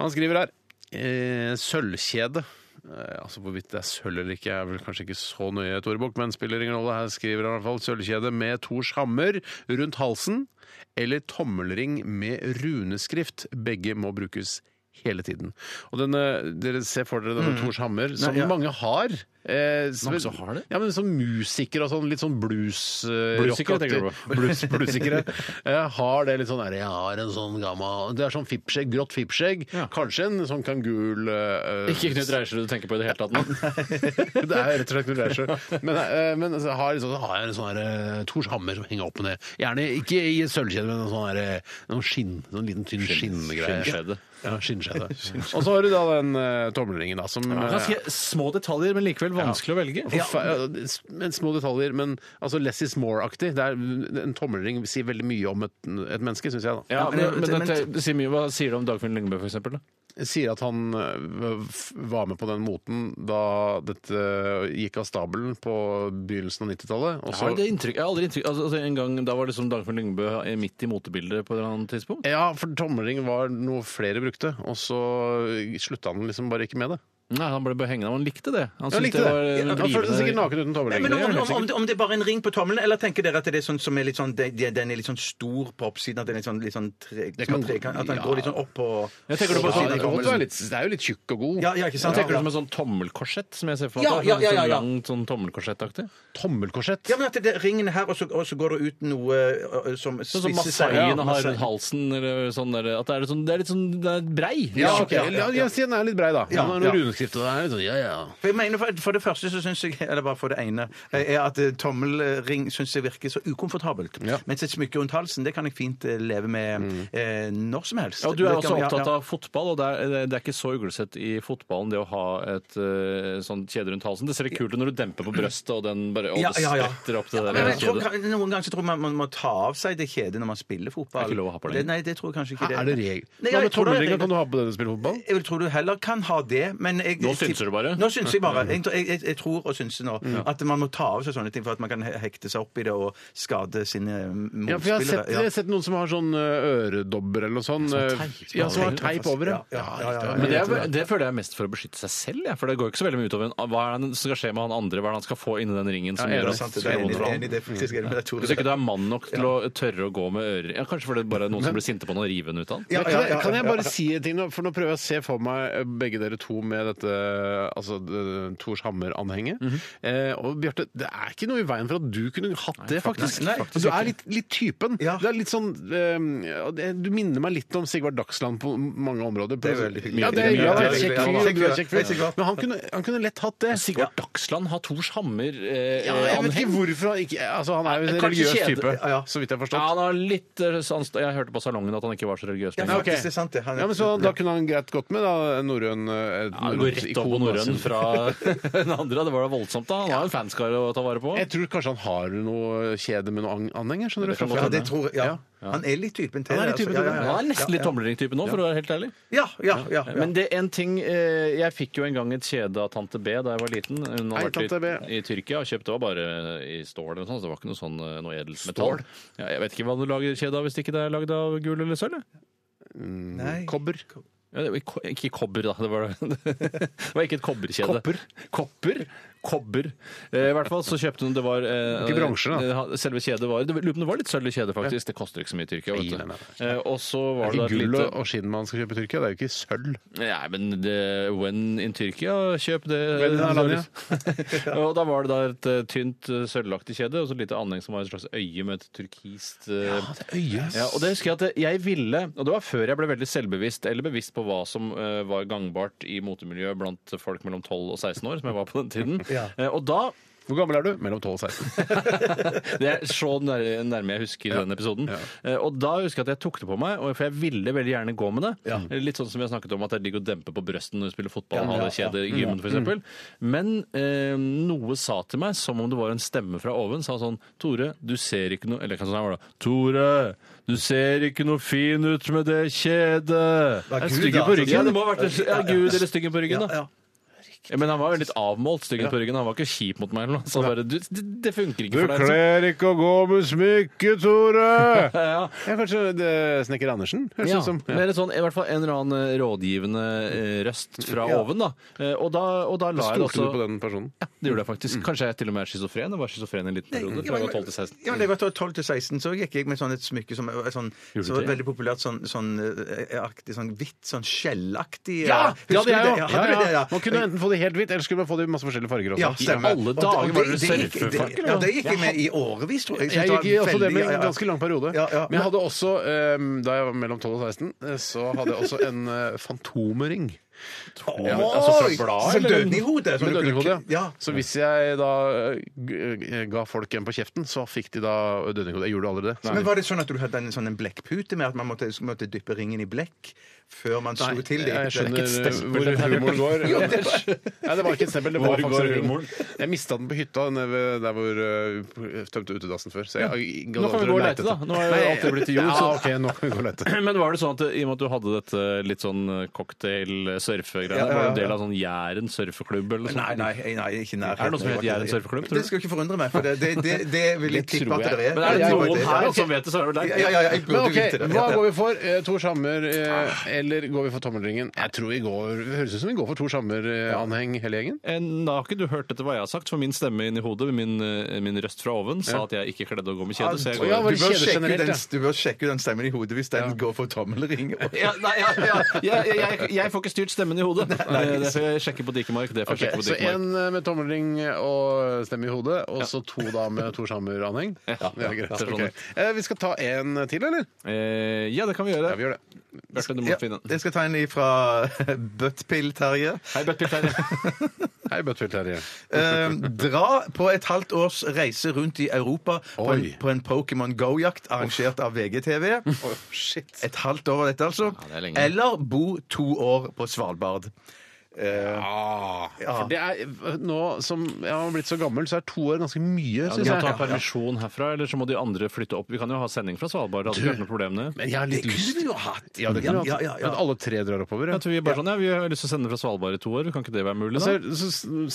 S3: Han skriver her eh, sølvkjede. Eh, altså Hvorvidt det er sølv eller ikke, er vel kanskje ikke så nøye, Tore Bukk, men spiller ingen rolle. Her skriver han i hvert fall sølvkjede med Tors hammer rundt halsen, eller tommelring med runeskrift. Begge må brukes hele tiden. Og denne, Dere ser for dere denne Tors hammer, som
S4: Nei, ja.
S3: mange har. Eh,
S5: Mm. Mange som har det?
S3: Ja, men som musikere og sånn, litt sånn blues... eh,
S5: Bluesikere,
S3: rocker-
S5: tenker du på?
S3: Blues, bluesikere. eh, har det litt sånn der, Jeg har en sånn gammal Det er sånn fippskjegg, grått fippskjegg.
S5: Ja.
S3: Kanskje en sånn kangul eh,
S5: Ikke Knut Reiersrud du tenker på i det hele *laughs* tatt nå.
S3: *laughs* det er rett og slett Knut Reiersrud. Men, eh, men altså, har, liksom, har jeg en sånn her, eh, Tors hammer som henger opp med det. Gjerne ikke i sølvkjede, men en sånn her, eh, noen skinn. Noen liten tynn skinngreie.
S5: skinnskjede.
S3: Ja, skinnskjede. Og så har du da den eh, tommelringen, da, som eh,
S5: Ganske små detaljer, men likevel vanskelig å velge.
S3: Forfe- ja, men små detaljer, men altså less is more-aktig. Det er- En tommelring sier veldig mye om et, et menneske, syns jeg. da.
S5: Ja, men,
S4: men-
S5: men,
S4: men-
S5: dette- det sier mye, Hva sier du om Dagfinn Lyngbø, for eksempel? da?
S3: Sier at han øh, f- var med på den moten da dette gikk av stabelen på begynnelsen av 90-tallet. og
S5: Jeg
S3: så-
S5: har det inntrykk, jeg har aldri inntrykk altså, altså, En gang da var det som Dagfinn Lyngbø eh, midt i motebildet på et eller annet tidspunkt.
S3: Ja, for tommelring var noe flere brukte, og så slutta han liksom bare ikke med det.
S5: Nei, han ble bare hengende. Han likte det.
S3: Han
S5: Han syntes
S3: likte
S5: det
S3: det.
S5: var eh,
S3: Han følte seg sikkert
S5: drivende.
S3: naken uten
S4: Nei,
S3: tommelring.
S4: men om,
S3: Det
S4: om, om,
S3: gjør han
S4: om, det, om det bare er en ring på tommelen, eller tenker dere at det er sånn som er litt sånn de- de- Den er litt sånn stor på oppsiden, at den er litt sånn, litt sånn tre,
S3: kan-
S4: sånn trekant, At den
S3: ja.
S4: går litt sånn opp på
S5: Jeg tenker det
S3: sikkert.
S5: på
S3: Ja,
S5: sånn
S3: det kan godt være litt- det er jo litt tjukk og god.
S4: Ja, ja, ikke
S5: Jeg
S4: sant?
S5: tenker det som
S4: Ja,
S5: en sånn tommelkorsett, som jeg ser for meg.
S4: Ja,
S5: at det er
S4: ja, ja,
S5: Sånn
S4: ja, ja.
S5: langt sånn tommelkorsettaktig.
S3: Tommelkorsett.
S4: men at det er ringen her, og så, og så går det ut noe ø, ø, som
S5: Sånn som
S4: spisser seg.
S5: massaien har
S4: masse-
S5: rundt halsen, eller sånn der. At det er, litt sånn, det er litt sånn det er brei.
S3: Ja, ok.
S5: Skikkelig.
S3: ja, ja, ja. Si den er litt brei, da.
S4: Ja,
S3: Den har
S4: ja.
S3: noen runeskrift og det er litt sånn, ja, ja.
S4: For, jeg mener, for, for det første så syns jeg Eller bare for det ene er at eh, tommelring syns jeg virker så ukomfortabelt.
S3: Ja.
S4: Mens et smykke rundt halsen det kan jeg fint eh, leve med eh, når som helst.
S5: Mm. Ja, og Du er
S4: Det kan-
S5: også
S4: ja,
S5: opptatt
S4: ja.
S5: av fotball, og det er, det- det er ikke så uglesett i fotballen det å ha et eh, sånn kjede rundt halsen. Det ser litt kult ut når du demper på brøstet, og den bare å,
S4: Ja,
S5: det
S4: ja, ja.
S5: spretter opp det der
S4: Men jeg tror,
S5: kjedet.
S4: kan- noen ganger så tror jeg man, man må ta av seg det kjedet når man spiller fotball.
S5: Det er ikke lov å ha på lenger.
S4: Det- Nei, det tror jeg kanskje ikke
S3: Er det regel?
S4: Nei,
S3: Hva med
S4: jeg tror det er
S3: tommelringer?
S4: regel.
S3: Kan du ha på det når du spiller fotball?
S4: Jeg vil tro du heller kan ha det, men jeg,
S5: Nå synser du bare.
S4: Nå synser jeg bare. Jeg, jeg, jeg, jeg tror og synser nå at man må ta av seg sånne ting for at man kan he- hekte seg opp i det og skade sine motspillere.
S3: Ja, for jeg har sett,
S4: Ja.
S3: jeg har sett noen som har sånn ø, øredobber eller noe sånt. ø, Ja, som har teip over dem.
S4: Ja, ja, ja, ja.
S5: Men det, er, det føler jeg er mest for å beskytte seg selv, jeg, for det går ikke så veldig mye utover en, hva er det som skal skje med han andre, hva er det han skal få inni den ringen som
S3: Ja,
S5: gjør
S3: er
S4: Det
S5: at
S4: er sant,
S5: det
S4: det er
S5: skal
S4: enig,
S5: vondt for
S4: enig,
S5: han?
S4: enig, det er faktisk enig, men jeg tror
S5: Hvis ikke du er mann nok til å tørre å gå med ører Ja, Kanskje fordi det bare er noen som blir sinte på han og river den ut av han?
S3: Men
S4: Ja, ja,
S3: kan,
S4: ja,
S3: jeg, kan jeg
S4: ja,
S3: bare
S4: ja.
S3: si en ting nå? For nå prøver jeg å se for meg ø, begge dere to med dette altså, d- Tors Hammer-anhenget.
S4: Mhm.
S3: eh, og Bjarte, det er ikke noe i veien for at du kunne hatt det, faktisk.
S4: nei, faktisk
S3: du er litt, litt typen.
S4: Ja.
S3: Du er litt sånn ø, ja, det- Du minner meg litt om Sigvard Dagsland på mange områder.
S4: Det er veldig hyggelig.
S3: Ja, det er, hyggelig.
S4: Ja,
S3: Han er en
S4: det
S3: kjekk fyr,
S4: er hyggelig.
S3: og du er en
S4: Kjekk
S3: kjekk
S4: fyr. Helt
S3: fyr.
S4: sikkert.
S3: Men han kunne, han kunne lett hatt det.
S5: Sigvard Dagsland har Tors Hammer eh,
S3: Ja, jeg vet
S5: anheng.
S3: ikke hvorfor han ikke Altså, han er jo en
S5: Kanskje
S3: religiøs
S5: kjede-
S3: type,
S4: Ja, ja.
S3: så vidt jeg har
S5: Ja,
S3: forstått.
S5: han har litt eh, sånn- Jeg hørte på salongen at han ikke var så religiøs
S4: Ja,
S5: lenger.
S4: faktisk, det er sant, det. Han er-
S3: Ja, men så Da kunne han greit gått med da, norrøn eh,
S5: Ja, Han går rett opp på
S3: ikon, altså.
S5: norrøn fra *laughs* den andre. Det var da voldsomt, da. Han har jo en fanskare å ta vare på.
S3: Jeg tror kanskje han har noe kjede med noe an- anhenger. skjønner du?
S5: Det kan
S3: fra
S5: godt
S4: Ja,
S3: før.
S4: det tror jeg. Ja. Han er litt typen til
S3: Han er litt
S4: altså.
S3: typen
S4: Ja,
S3: til det.
S4: ja, ja.
S5: Han er nesten litt tomlering-type nå, for å være helt ærlig.
S4: Ja, ja, ja. ja.
S5: Men det er en ting eh, Jeg fikk jo en gang et kjede av tante B da jeg var liten. Hun
S3: Hei,
S5: har vært
S3: tante B.
S5: i, i Tyrkia og kjøpt det var bare i stål eller noe sånt. så Det var ikke noe sånn eh, noe edelt metall. Ja, jeg vet ikke hva du lager kjede av hvis det ikke er lagd av gull eller sølv. jeg.
S4: Nei.
S3: Kobber.
S5: Ja, det var ikke- ikke kobber, da. Det *laughs* var, det var ikke et kobberkjede.
S3: Kopper.
S5: Kopper? Kobber. Eh, I hvert fall så kjøpte hun det var eh,
S3: Ikke bransje, da.
S5: eh, Selve kjedet var det, var- lurer på om det var litt sølv i kjedet, faktisk. Det koster ikke så mye i Tyrkia. Vet
S3: Nei, nei,
S5: du. Eh, og så var
S3: Ikke
S5: det et
S3: gull
S5: lite
S3: og og skinn man skal kjøpe i Tyrkia. Det er jo ikke sølv.
S5: Nei, men det, when in Tyrkia, kjøp det.
S3: When in Alanya.
S5: *laughs* og da var det da et eh, tynt eh, sølvaktig kjede, og så et lite anheng som var et slags øye med et turkist eh, ja, og det husker jeg at jeg ville, og det var før jeg ble veldig selvbevisst eller bevisst på hva som eh, var gangbart i motemiljøet blant folk mellom 12 og 16 år, som jeg var på den tiden. Eh, og da
S3: Hvor gammel er du? Mellom 12 og
S5: *laughs*
S3: 16.
S5: det er så nær, nærme jeg husker den episoden. Eh, Og da husker jeg at jeg tok det på meg, og- for jeg ville veldig gjerne gå med det. Litt sånn som vi har snakket om at det er digg å dempe på brøsten når du spiller fotball og ha det kjedet i gymmen, for eksempel. Men eh, noe sa til meg, som om det var en stemme fra oven, sa sånn Tore, du ser ikke noe Eller hva sånn var det? Tore, du ser ikke noe fin ut med det kjedet!
S4: Det er
S5: Er
S4: Gud,
S5: styggen på
S4: da, altså.
S5: ryggen? Ja, det må ha vært ja, Gud eller styggen på ryggen, da.
S4: Ja, ja.
S5: Ja, Men han var jo litt avmålt, styggen på ryggen. Han var ikke kjip mot meg eller noe. Så han bare, du, det, det funker ikke for deg. liksom.
S3: ikke å gå med smykke, Tore!
S5: *laughs* Ja,
S3: Ja, kanskje det- Snekker Andersen? Høres
S5: *laughs* Ja,
S3: ut som. Ja.
S5: Mer sånn, i hvert fall en eller annen eh, rådgivende eh, røst fra oven, da. Eh, Og da, og da la jeg det
S3: Stolte du på
S5: også
S3: den personen?
S5: ja, det gjorde jeg faktisk. Kanskje jeg til og med er schizofren. Jeg var schizofren i en liten periode.
S4: Ja,
S5: fra jeg var 12 til 16.
S4: men da jeg var 12 til 16, så gikk jeg med sånn et smykke som var sånn, som var
S5: Juletre?
S4: veldig populært, sånn, sånn, eh, aktig, sånn hvitt, sånn skjellaktig. eh,
S3: Ja!
S4: husker
S3: Det hadde
S4: du
S3: jeg jo!
S4: Ja,
S3: Ja,
S4: hadde du det,
S3: ja.
S4: ja.
S3: Man kunne enten få det i helt hvitt, eller skulle man få det i masse forskjellige farger også.
S4: Ja, stemmer.
S5: alle
S4: Og
S5: dager
S4: det-
S5: var det
S4: det gikk-
S5: surfefakkel,
S4: det-
S5: eller?
S4: Ja, det gikk jeg med i årevis, tror jeg.
S3: Jeg gikk i også det med
S4: en
S3: en ganske lang periode.
S4: Ja, ja.
S3: Men jeg hadde også, eh, da jeg var mellom 12 og 16, eh, så hadde jeg også en eh, fantomring. Ja, men altså fra bladet,
S4: Som
S3: eller?
S4: døden i hodet. som
S3: Med
S4: du kunne-
S3: dødninghode, ja.
S4: ja.
S3: Så hvis jeg da eh, g- eh, ga folk en på kjeften, så fikk de da dødninghode. Jeg gjorde aldri det.
S4: Men var det sånn at du hadde en sånn en blekkpute med at man måtte, måtte dyppe ringen i blekk før man slo til det?
S3: jeg
S4: Det er ikke et
S3: skjønner
S4: stempel,
S3: hvor
S4: dette her.
S3: humoren går.
S4: Jo, det er-
S3: *laughs* Nei, det var ikke et stempel. Det var
S5: Hvor
S3: faktisk
S5: går
S3: en ring.
S5: humoren?
S3: Jeg mista den på hytta nede ved- der hvor eh, vi tømte utedassen før. Så jeg, jeg,
S5: Nå kan vi gå og lete, da. Nå har jo alltid blitt til jord,
S3: Ja,
S5: så-
S3: ok, nå kan vi gå og lete.
S5: *clears throat* Men var det sånn at eh, i og med at du hadde dette litt sånn eh, cocktail-surfegreiene, var du en del av sånn Jæren surfeklubb eller noe
S4: Nei,
S5: sånt?
S4: nei, nei, nei, ikke nær.
S5: Er det noe som heter Jæren surfeklubb, tror du?
S4: Det skulle ikke forundre meg, for det, det, det, det vil jeg
S3: Det
S4: tippe
S3: tror
S4: at det
S3: jeg.
S4: er.
S5: Men er det
S4: Jeg-
S5: noen
S4: jeg-
S5: her
S4: jeg-
S5: som vet det, så er det
S4: Ja,
S5: vel
S4: ja,
S5: deg.
S4: ja, jeg burde
S3: *laughs* Men ok,
S4: vite det.
S3: Hva går vi for? Eh, Tor Sammer eh, eller går vi for tommelringen? Jeg tror vi går, Det høres ut som vi går for Tor Sammer-anheng hele gjengen.
S5: Eh, Da har ikke du hørt etter hva jeg har sagt, for min stemme inni hodet, min, eh, min røst fra oven, sa at jeg ikke kledde å gå med kjede. Så jeg
S3: Å,
S5: går
S3: ja,
S4: Du
S3: var
S4: bør,
S3: det kjeder
S4: sjekke
S3: generelt,
S4: den,
S3: ja?
S4: du bør sjekke den stemmen i hodet hvis den går for tommelring.
S5: *laughs* Ja, nei, ja, ja, ja, jeg, jeg, jeg får ikke styrt stemmen i hodet. Eh, Det får jeg sjekke på Dikemark. Det får
S3: Ok,
S5: jeg sjekke på
S3: så
S5: Dikemark.
S3: én med tommelring og stemme i hodet, og så to da med Tor Sammer-anheng. *laughs* Ja, det er greit.
S5: det er sånn.
S3: Ok. Eh, Vi skal ta en til, eller?
S5: Eh, ja, det kan vi gjøre.
S3: Ja, vi gjør det.
S5: Bjarte, du må
S4: Ja,
S5: finne den.
S4: jeg skal ta en fra *laughs* Buttpill-Terje.
S5: Hei, Bjarte Pilter.
S3: Hei, Bøttfjell Terje.
S4: Eh, dra på et halvt års reise rundt i Europa på en,
S3: Oi.
S4: på en Pokémon Go-jakt arrangert av
S5: *laughs*
S4: VGTV.
S5: Oh,
S4: Et halvt år var dette, altså.
S5: det er lenge.
S4: Eller bo to år på Svalbard. Eh,
S3: Ah, for det er, nå som jeg har blitt så gammel, så er to år ganske mye,
S5: Vi
S3: syns
S5: kan ta
S3: jeg.
S5: permisjon herfra, eller så må de andre flytte opp. Vi kan jo ha sending fra Svalbard. Det hadde ikke vært noe problem det.
S3: Men jeg har litt
S4: det
S3: lyst
S4: kunne vi jo hatt!
S3: Ja, det kunne
S4: ja,
S3: jeg
S4: ja,
S3: hatt.
S4: ja.
S3: At alle tre drar oppover. Ja.
S5: At vi bare sånn, ja, Altså, vi har lyst til å sende fra Svalbard i to år, kan ikke det være mulig?
S3: Så,
S5: da?
S3: så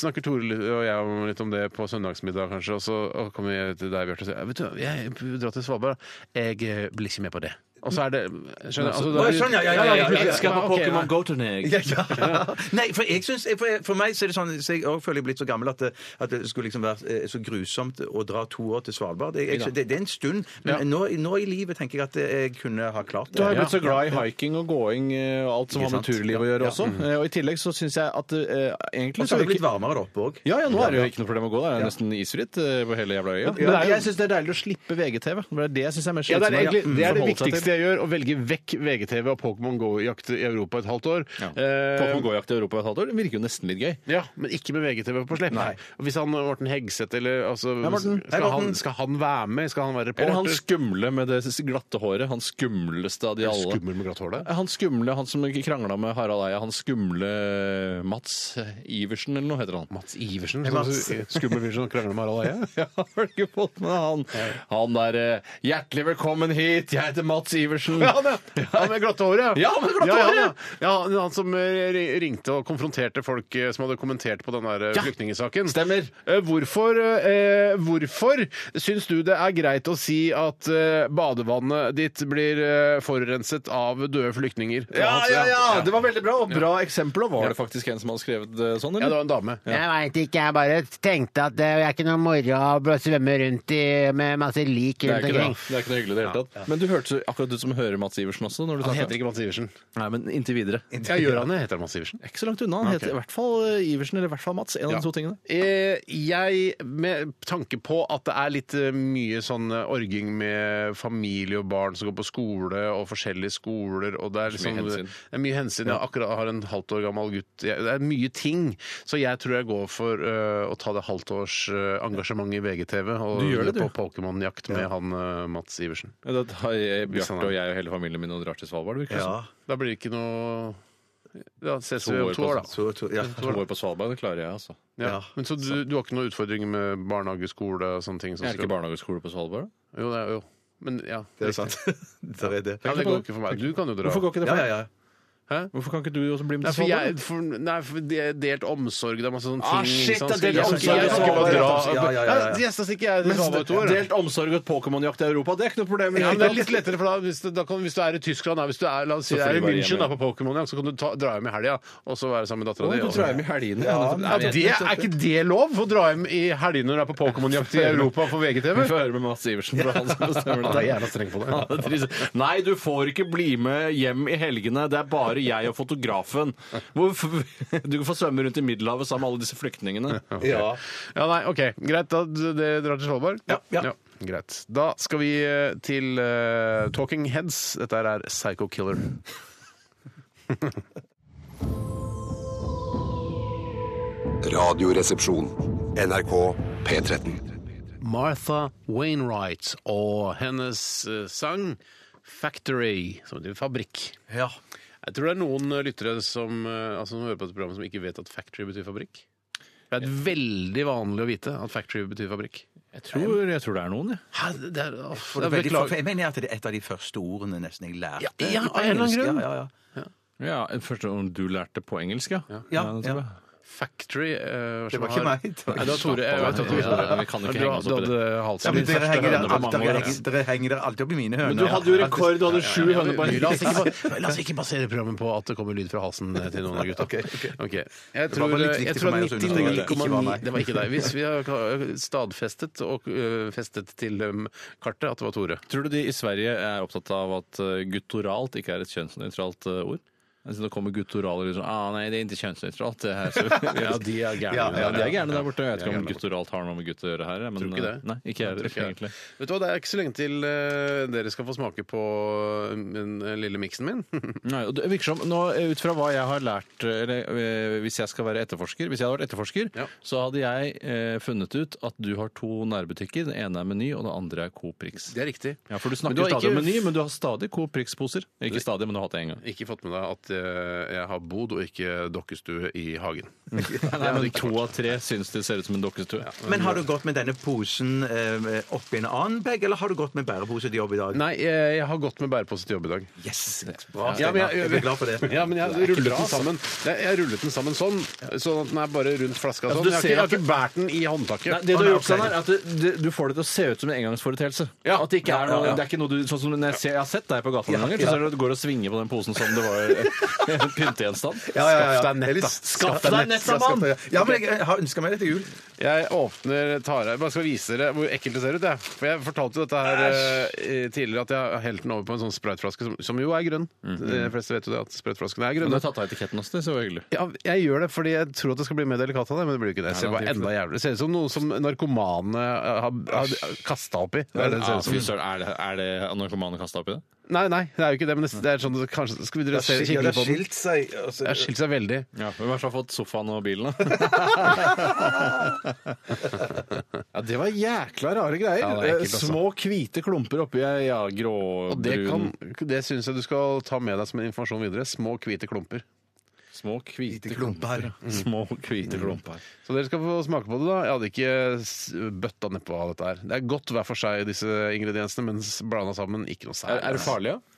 S3: snakker Tore litt- og jeg om- litt om det på søndagsmiddag, kanskje. Og så og kommer jeg til deg, Bjarte, og sier «Ja, vet du, jeg drar til Svalbard. Jeg eh, blir ikke med på det. Og så er det Skjønner altså, da-
S4: Å, sånn, ja, ja, ja, ja, ja, ja.
S5: Jeg skal på
S3: Ok, nei.
S5: Pokémon Go-turné.
S4: *laughs* Ja, ja. Nei, for, jeg synes, for, for meg så er det sånn så Jeg også føler jeg er blitt så gammel at det, at det skulle liksom være eh, så grusomt å dra to år til Svalbard. Det, jeg, det, det er en stund, men
S3: Ja.
S4: nå, nå i livet tenker jeg at jeg kunne ha klart det.
S5: Du har jo blitt så glad i hiking og gåing eh, og alt som
S4: Ikke
S5: har med
S4: sant?
S5: turliv å gjøre også.
S3: Mm.
S5: Eh, Og i tillegg så syns jeg at eh, egentlig
S4: Og så har
S5: er
S4: det
S5: det
S4: blitt
S5: ikke
S4: varmere der oppe òg.
S5: ja, ja, nå er det jo ikke noe problem å gå der. Det er nesten isfritt eh, på hele jævla øya. Men det er jo- jeg syns det er deilig å slippe VGTV. Det er det jeg syns er mer
S3: Ja, det er,
S5: slitsomt. Mm.
S3: egentlig, det er det
S5: Forholde seg til.
S3: viktigste jeg gjør, å velge vekk VGTV og Pokémon Go-jakt i Europa et halvt år.
S5: Ja.
S3: Eh,
S5: Pokémon Go-jakt i Europa et halvt år det virker jo nesten litt gøy.
S3: Ja, men ikke med VGTV på slepp.
S5: Nei.
S3: Og Hvis han Morten Hegseth eller altså,
S5: Morten.
S3: Skal,
S4: Hei, Morten.
S3: han, skal han være med? Skal han være reporter?
S5: Eller han skumle med det glatte håret. Han skumleste av de alle.
S3: Skummel med glatt hår der?
S5: Er Han skumle, han som krangla med Harald Eia, han skumle Mats Iversen, eller noe heter han?
S3: Mats Iversen?
S4: Mats.
S3: Sånn, skummel fyr som krangler med Harald Eie?
S5: Ja, har du ikke fått med deg han? Han der eh, Hjertelig velkommen hit, jeg heter Mats Iversen.
S3: Ja, han, ja. han med glatte håret,
S5: Ja, han med glatte
S3: ja, ja.
S5: håret.
S3: ja, han- han som eh, ri- ringte og konfronterte folk eh, som hadde kommentert på den der eh,
S5: Ja.
S3: flyktningesaken.
S5: *laughs* Stemmer.
S3: Eh, Hvorfor, eh, hvorfor syns du det er greit å si at eh, badevannet ditt blir eh, forurenset av døde flyktninger?
S5: Ja, ja, ja!
S3: Ja,
S5: Det var veldig bra, og bra eksempel. Og var det faktisk en som hadde skrevet det sånn,
S3: det
S5: eller?
S3: var en dame.
S9: Jeg veit ikke, jeg bare tenkte at eh, det er ikke noe moro å svømme rundt i, med masse lik
S5: det er
S9: rundt
S5: ikke
S9: omkring.
S5: det. Det er ikke noe hyggelig i det hele tatt. Men du hørtes akkurat ut som hører Mats Iversen også. når du
S3: Han
S5: snakket.
S3: heter ikke Mats Iversen.
S5: Nei, men inntil videre.
S3: Ja, gjør han det? Heter han Mats Iversen?
S5: Ikke så langt unna. Han heter i hvert fall eh, Iversen eller i hvert fall Mats. En av de to tingene.
S3: Eh, jeg, med tanke på at det er litt eh, mye sånn eh, orging med familie og barn som går på skole, og forskjellige skoler, og det er
S5: Så mye
S3: liksom
S5: hensyn.
S3: Det er mye hensyn. Jeg akkurat har en halvt år gammel gutt. Jeg, det er mye ting. Så jeg tror jeg går for eh, å ta det halvtårs eh, engasjement i VGTV og
S5: Du gjør det,
S3: dra
S5: du.
S3: på Pokémon-jakt med han eh, Mats Iversen.
S5: Ja, Da tar jeg-
S3: Hvis han er-
S5: Bjarte og jeg og hele familien min og drar til Svalbard. virker det
S4: Ja.
S5: som.
S3: Da blir det ikke noe Da ses
S5: To
S3: vi om
S5: år
S3: to
S5: på
S3: år, da.
S4: Så, så, ja.
S5: To år på Svalbard, det klarer jeg, altså.
S3: Ja.
S4: Ja.
S3: Men så du, du har ikke noen utfordringer med barnehage, skole og sånne ting? som
S5: Er det
S3: skal-
S5: ikke barnehageskole på Svalbard?
S3: Jo, det er jo Men ja.
S4: Det er sant. Der er *laughs* det.
S3: Ja, det går ikke for meg. Du kan jo dra.
S5: Hvorfor går ikke det
S4: Ja,
S5: for
S4: ja,
S5: deg?
S4: ja.
S5: Hvorfor kan ikke du også bli med
S3: Nei,
S5: til
S3: for,
S5: Svalbard?
S3: jeg,
S5: *laughs*
S3: for, nei, for det er delt omsorg, det er masse sånne ting.
S5: Ah, shit,
S3: ikke sant?
S5: det er
S3: Skal
S5: delt
S3: jeg-
S5: omsorg,
S3: Jeg skal ikke bare dra.
S4: ja, ja, ja, ja, ja.
S3: Nei, Gjesta stikker jeg til Svalbard to år. da.
S5: Delt omsorg og et Pokémon-jakt i Europa, det er ikke noe problem.
S3: Ja, men det er litt lettere, for da, hvis, du- da kan, hvis du er i Tyskland, da, hvis du er, la oss si,
S5: Så
S3: du er
S5: får
S3: i
S5: du bare
S3: München
S5: hjemme.
S3: da, på Pokémon, ja, så kan du ta, dra hjem i helga og så være sammen med dattera di.
S5: Du drar hjem i helgene.
S3: Ja, det er ikke det lov? Å dra hjem i helgene når du er på Pokémon-jakt i Europa for
S5: Vi får
S3: VGTV?
S5: høre med Mads Iversen, for han som bestemmer
S3: *laughs* Ja,
S5: det.
S3: det er jævla streng på det.
S5: Ja, det er trist. Nei, du får ikke bli med hjem i helgene. Det er bare jeg og fotografen. Hvorfor? *laughs* Du får svømme rundt i Middelhavet sammen med alle disse flyktningene.
S4: Ja.
S3: Ja, nei, OK. Greit, da d- det drar til Svalbard?
S4: Ja, ja.
S3: Greit. Da skal vi eh, til eh, Talking Heads. Dette her er Psycho Killer.
S8: Radioresepsjon. NRK P13.
S3: Martha Wainwright og hennes eh, sang Factory, som betyr fabrikk.
S4: ja.
S3: Jeg tror det er noen eh, lyttere som, eh, altså, som hører på dette programmet som ikke vet at factory betyr fabrikk. Det er veldig vanlig å vite at factory betyr fabrikk.
S5: Jeg tror, jeg tror det er noen, jeg.
S3: Hæ, det er, åh, det
S4: For det er
S3: er
S4: veldig, for,
S3: beklager.
S4: jeg mener at det er et av de første ordene nesten jeg lærte.
S3: Ja, ja,
S4: på
S3: av en eller annen
S4: engelsk.
S3: grunn.
S4: Ja, ja, ja.
S5: Ja, Først om du lærte på engelsk, ja?
S4: Ja,
S5: det tror
S4: ja.
S5: jeg.
S3: Factory eh, som
S4: var ikke
S3: har-
S4: meg. Det var
S3: Nei, det var Tore. Jeg vet at
S5: Ja, ja, ja, vi kan
S3: Tore
S5: ikke henge oss opp i det.
S3: Du hadde
S4: Ja,
S3: halsen
S4: men
S3: din
S4: dere
S3: først,
S4: henger der
S3: da.
S4: alt-
S5: mange år,
S4: dere
S5: ass.
S4: henger- Dere henger der alltid opp i mine høner.
S5: Men du hadde jo rekord, du hadde sju høner på
S3: La oss, ikke, bare- *laughs* la oss ikke basere programmet på at det kommer lyd fra halsen eh, til noen av gutta.
S4: Ok, ok.
S3: Ok. Jeg
S4: var
S3: tror, eh,
S4: bare litt
S3: jeg
S4: viktig for
S3: tror
S4: meg å understreke at det ikke var
S3: 99,9
S4: meg.
S3: Det var ikke deg. Hvis vi har kla- stadfestet og ø, festet til ø, kartet at det var Tore.
S5: Tror du de i Sverige er opptatt av at eh, guttoralt ikke er et kjønnsnøytralt eh, ord? Altså, det kommer guttorale og liksom ah, Nei, det er ikke kjønnsnøytralt. Det
S3: *laughs*
S5: her, så, ja, de er gærne. Ja, de er gærne der borte. Jeg vet ikke om guttoralt har noe med gutt å gjøre her. Men,
S3: Tror ikke det.
S5: eh, Nei, ikke jeg heller,
S3: Tror ikke det.
S5: egentlig.
S3: Vet du hva, Det er ikke så lenge til ø, dere skal få smake på ø, den lille miksen min. *laughs*
S5: Nei, og det virker som, nå, eh, Ut fra hva jeg har lært eller, eh, Hvis jeg skal være etterforsker Hvis jeg hadde vært etterforsker,
S3: Ja.
S5: så hadde jeg eh, funnet ut at du har to nærbutikker. Den ene er Meny, og den andre er Coop Rix.
S3: Det er riktig.
S5: Ja, for du
S3: Men
S5: snakker
S3: du har
S5: stadig om
S3: ikke-
S5: Meny, men du har stadig Coop Rix-poser. Ikke stadig, men du har hatt det en gang.
S3: Ikke fått med deg at ø, eh, jeg har bod og ikke dokkestue i hagen.
S5: Nei, men to av tre syns det ser ut som en dokkestue.
S4: Men har du gått med denne posen eh, oppi en annen bag, eller har du gått med bærepose til jobb i dag?
S3: Nei, eh, jeg har gått med bærepose til jobb i dag.
S4: Yes! Bra,
S3: Ja,
S4: Steinar.
S3: men jeg,
S4: jeg blir glad for det.
S3: Ja, men jeg har rullet den sammen Jeg, jeg har rullet den sammen sånn, sånn at den er bare rundt flaska.
S5: Altså,
S3: Sånn.
S5: du
S3: Jeg, har
S5: ser
S3: ikke, jeg har
S5: at-
S3: ikke bært den i håndtaket.
S5: Nei, det du har gjort sånn her, er at du, du, du får det til å se ut som en engangsforeteelse.
S3: Ja.
S5: At det ikke er noe,
S3: Ja, ja, ja.
S5: det er ikke noe du, sånn som når jeg, ser, jeg har sett deg på gata noen ganger,
S4: ja.
S5: så ser du at du går og svinger på den posen som det var en *laughs* pyntegjenstand.
S4: Ja, ja, ja.
S3: Skaff deg nett,
S4: Eller
S3: da.
S5: Skaff deg nett, da, mann!
S4: Ja, skaff deg- Ja, men jeg har ønska meg det til jul.
S3: Jeg åpner Tara Jeg bare skal vise dere hvor ekkelt det ser ut. Jeg. For jeg fortalte jo dette her eh, tidligere, at jeg har helt den over på en sånn spraytflaske som, som jo er grønn. De fleste vet jo det, at spraytflaskene er
S5: Men du
S3: grønne.
S5: har tatt av etiketten også, det så hyggelig.
S3: Ja, jeg gjør det fordi jeg tror at det skal bli mer delikat av det, men det blir jo ikke det. Det ser bare enda jævlig. Det ser ut som noe som narkomane har, har kasta oppi. Det er det det ser
S5: Ja,
S3: ut som.
S5: fy søren, er det, er det narkomane kasta oppi det?
S3: Nei, nei, det er jo ikke det, men det, det er sånn kanskje, Skal vi dere se, kikke litt på den?
S4: seg altså.
S3: Det har skilt seg veldig.
S5: Ja, Hvem har fått sofaen og *laughs* bilen, da?
S10: Ja, Det var jækla rare greier.
S5: Ja, det er ekkelt, altså.
S10: Små hvite klumper oppi ei ja, grå
S3: Og det, kan, det syns jeg du skal ta med deg som en informasjon videre. Små, hvite klumper.
S5: Små hvite klumper. *laughs* Små hvite klumper.
S3: Så dere skal få smake på det, da. Jeg hadde ikke s- bøtta nedpå av dette her. Det er godt hver for seg, disse ingrediensene, men blanda sammen ikke noe
S5: *laughs* Er,
S3: særlig.
S5: er det farlig, da?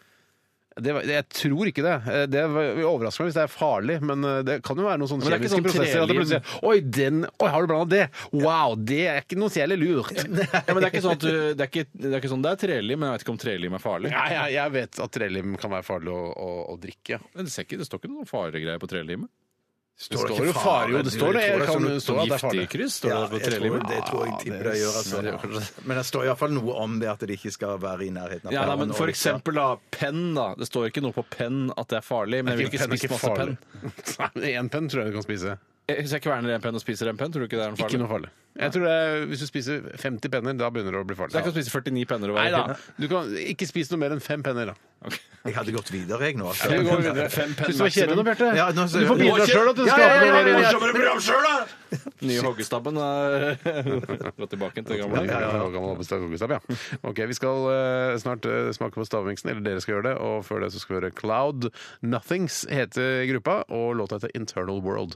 S3: Det var, det, jeg tror ikke det. Eh, Det var- det overrasker meg hvis det er farlig, men eh, det kan jo være noen sånne
S5: Men det er
S3: kjemiske
S5: ikke sånn
S3: prosesser. At det
S5: trelim.
S3: plutselig Oi, den Oi, har du blanda det? Wow, det er ikke noe særlig
S5: *laughs*
S3: lurt.
S5: Ja, men det er ikke sånn at du, det, er ikke, det er ikke sånn, det er trelim, men jeg vet ikke om trelim er farlig.
S3: Nei, jeg, jeg vet at trelim kan være farlig å, å, å drikke.
S5: Men det, ser ikke, det står ikke noen faregreier på trelimet.
S3: Det står jo fare, jo. Det står det. Jeg kan jo stå at det er farlig.
S5: Giftigkryss står det på trelimet.
S4: Det tror jeg tipper det gjør. Altså. Men det står iallfall noe om det at det ikke skal være i nærheten av
S5: Ja, nei, men
S4: perlen,
S5: For
S4: og-
S5: eksempel da, penn. da Det står ikke noe på penn at det er farlig, men jeg vil ikke
S3: Penn er
S5: spise masse penn.
S3: farlig. *laughs* Nei, Én penn tror jeg du kan spise.
S5: Eh, Hvis jeg kverner en penn og spiser en penn, tror du ikke det er noe
S3: Ikke
S5: farlig?
S3: noe farlig. Jeg tror det, er- Hvis du spiser 50 penner, da begynner det å bli farlig.
S5: Så jeg kan spise 49 penner og
S3: Nei
S5: være
S3: da, du kan ikke spise noe mer enn fem penner, da.
S4: Jeg hadde gått videre, jeg nå. altså.
S3: Vi går videre.
S5: Fem penn
S3: Syns du det var kjedelig nå,
S5: maksimum.
S3: Bjarte?
S4: Ja, nå-
S3: Du får bidra sjøl at du skal ha
S4: ja, ja, ja, ja.
S3: noe
S5: *laughs*
S4: Morsommere program selv, da!
S5: Nye hoggestabben er *laughs* gått tilbake til
S3: Ja,
S5: gamle
S3: ja, ja. Gammel hobbystab, hobbystab, ja. Ok, Vi skal eh, snart eh, smake på stavmiksen, eller dere skal gjøre det. Og før det så skal vi høre Cloud Nothings heter gruppa, og låta heter Internal World.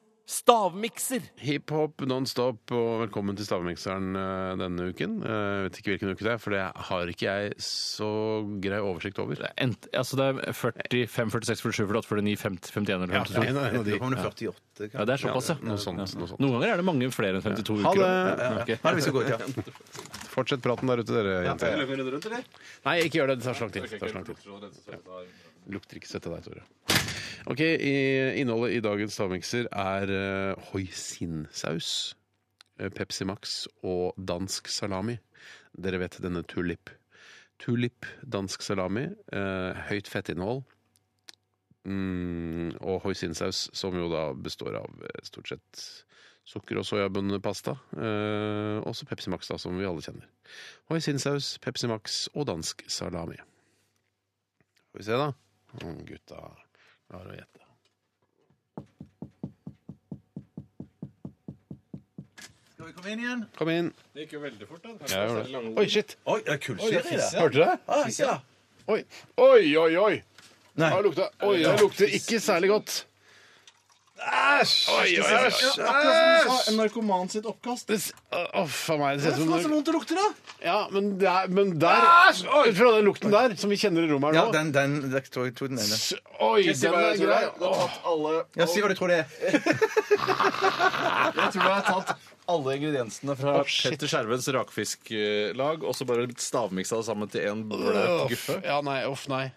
S11: stavmikser.
S3: Hiphop nonstop, og velkommen til Stavmikseren eh, denne uken. Jeg vet ikke hvilken uke det er, for det har ikke jeg så grei oversikt over.
S5: Ent, altså det er 40, 5, 46, 47, 48, 49, 50, 51 eller 52.
S3: en av de.
S4: Nå kommer det 48,
S5: Ja,
S4: kanskje.
S5: det er såpass, ja.
S3: Noe sånt, noe sånt.
S5: Noen ganger er det mange flere enn 52
S3: Ha
S5: uker.
S3: det.
S5: da. Ok.
S4: Nei, vi skal gå ut, ja.
S3: Fortsett praten der ute, dere jenter. Nei, ikke gjør det. Det tar så lang tid. Det tar så lang tid. Lukter ikke svette deg, Tore. Ok, i- Innholdet i dagens stavmikser er eh, hoisinsaus, eh, Pepsi Max og dansk salami. Dere vet denne tulip. Tulip, dansk salami, eh, høyt fettinnhold. Mm, og hoisinsaus, som jo da består av eh, stort sett sukker- og soyabønnepasta. Eh, også Pepsi Max, da, som vi alle kjenner. Hoisinsaus, Pepsi Max og dansk salami. Skal vi se, da. Om gutta klarer å gjette.
S4: Skal vi komme inn igjen?
S3: Kom inn.
S5: Det gikk jo veldig fort, da.
S3: Ja, gjør det. Oi, shit!
S4: Oi, det er kullsyre i det.
S3: Hørte du det?
S4: Ah, ja.
S3: Oi, oi, oi! oi.
S4: Nei.
S3: Det lukta, oi, det lukter ikke særlig godt. Æsj! Oi, oi, æsj!
S10: En narkoman sitt oppkast.
S3: Det s- Å, faen meg. Det ser ut som
S10: vondt det lukter, da!
S3: Ja, men der, men der Ut fra den lukten der, som vi kjenner i rommet
S4: Ja,
S3: her nå
S4: den, den, jeg tror jeg tror den ene.
S3: S- Oi, den er grei. Åh,
S4: Ja, si hva du tror det er.
S10: Jeg tror jeg har tatt alle ingrediensene fra
S5: Petter Skjervens rakfisklag, og så bare stavmiksa det sammen til en bløt guffe.
S3: Ja, nei, uff, nei.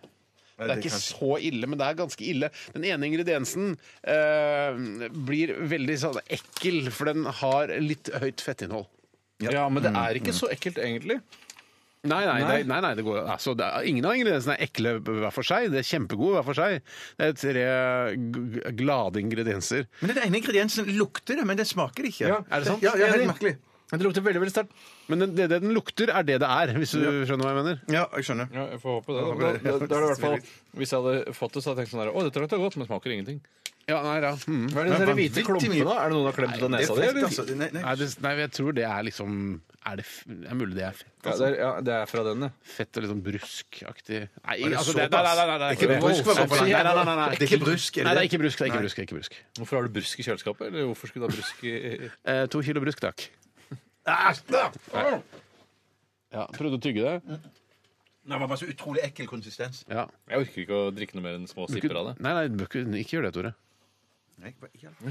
S3: Det er ikke så ille, men det er ganske ille. Den ene ingrediensen eh, blir veldig sånn ekkel, for den har litt høyt fettinnhold.
S5: Mm. Ja, men det er ikke så ekkelt, egentlig.
S3: Nei, nei, Det, nei, nei det går, altså, det er, ingen av ingrediensene er ekle hver for seg. Det er kjempegode hver for seg. Det er tre g- g- glade ingredienser.
S4: Men den ene ingrediensen lukter det, men den smaker ikke.
S3: Ja, er det sant?
S4: Ja, ja,
S3: Enig.
S4: helt merkelig.
S5: Men det lukter veldig veldig sterkt.
S3: Men det, det den lukter, er det det er, hvis du skjønner hva jeg mener.
S4: Ja, jeg skjønner.
S5: Ja, jeg får håpe det.
S4: Jeg
S5: Da,
S4: håper det.
S5: da, da, da er det i hvert fall, hvis jeg hadde fått det, så hadde jeg tenkt sånn der, Å, dette lukter godt, men smaker ingenting.
S3: Ja, nei, ja. Mm.
S5: Hva er det dere hvite
S4: vanvittig
S5: klumpene?
S4: mye.
S5: da? Er det noen som har klemt ut
S4: Det
S5: av
S4: er
S5: nesa di?
S4: frekt,
S5: eller?
S4: altså. Nei, nei.
S3: Nei, det, nei, jeg tror det er liksom er det, f- det er mulig det er fett. altså.
S5: Ja, det er, ja, det er fra den, ja.
S3: Fett og litt sånn bruskaktig Nei,
S4: det
S3: altså, det,
S4: såpass?
S3: nei, nei, nei, nei, det er ikke
S4: Det er brusk, hva var det for noe?
S3: Nei, nei, nei, nei, nei.
S4: Det er ikke brusk, er det
S3: Nei, det er
S4: det?
S3: ikke brusk. Det er ikke brusk, det er ikke brusk.
S5: Hvorfor har du brusk i kjøleskapet? Eller hvorfor skulle du ha brusk i
S3: Eh, to kilo brusk, takk. Nei. Ja, prøvde å tygge det.
S4: Det var bare så utrolig ekkel konsistens.
S3: Ja.
S5: Jeg orker ikke å drikke noe mer enn små sipper av det.
S3: Nei, nei, bør ikke- ikke gjør det, Tore.
S4: Nei, bare- ikke alt.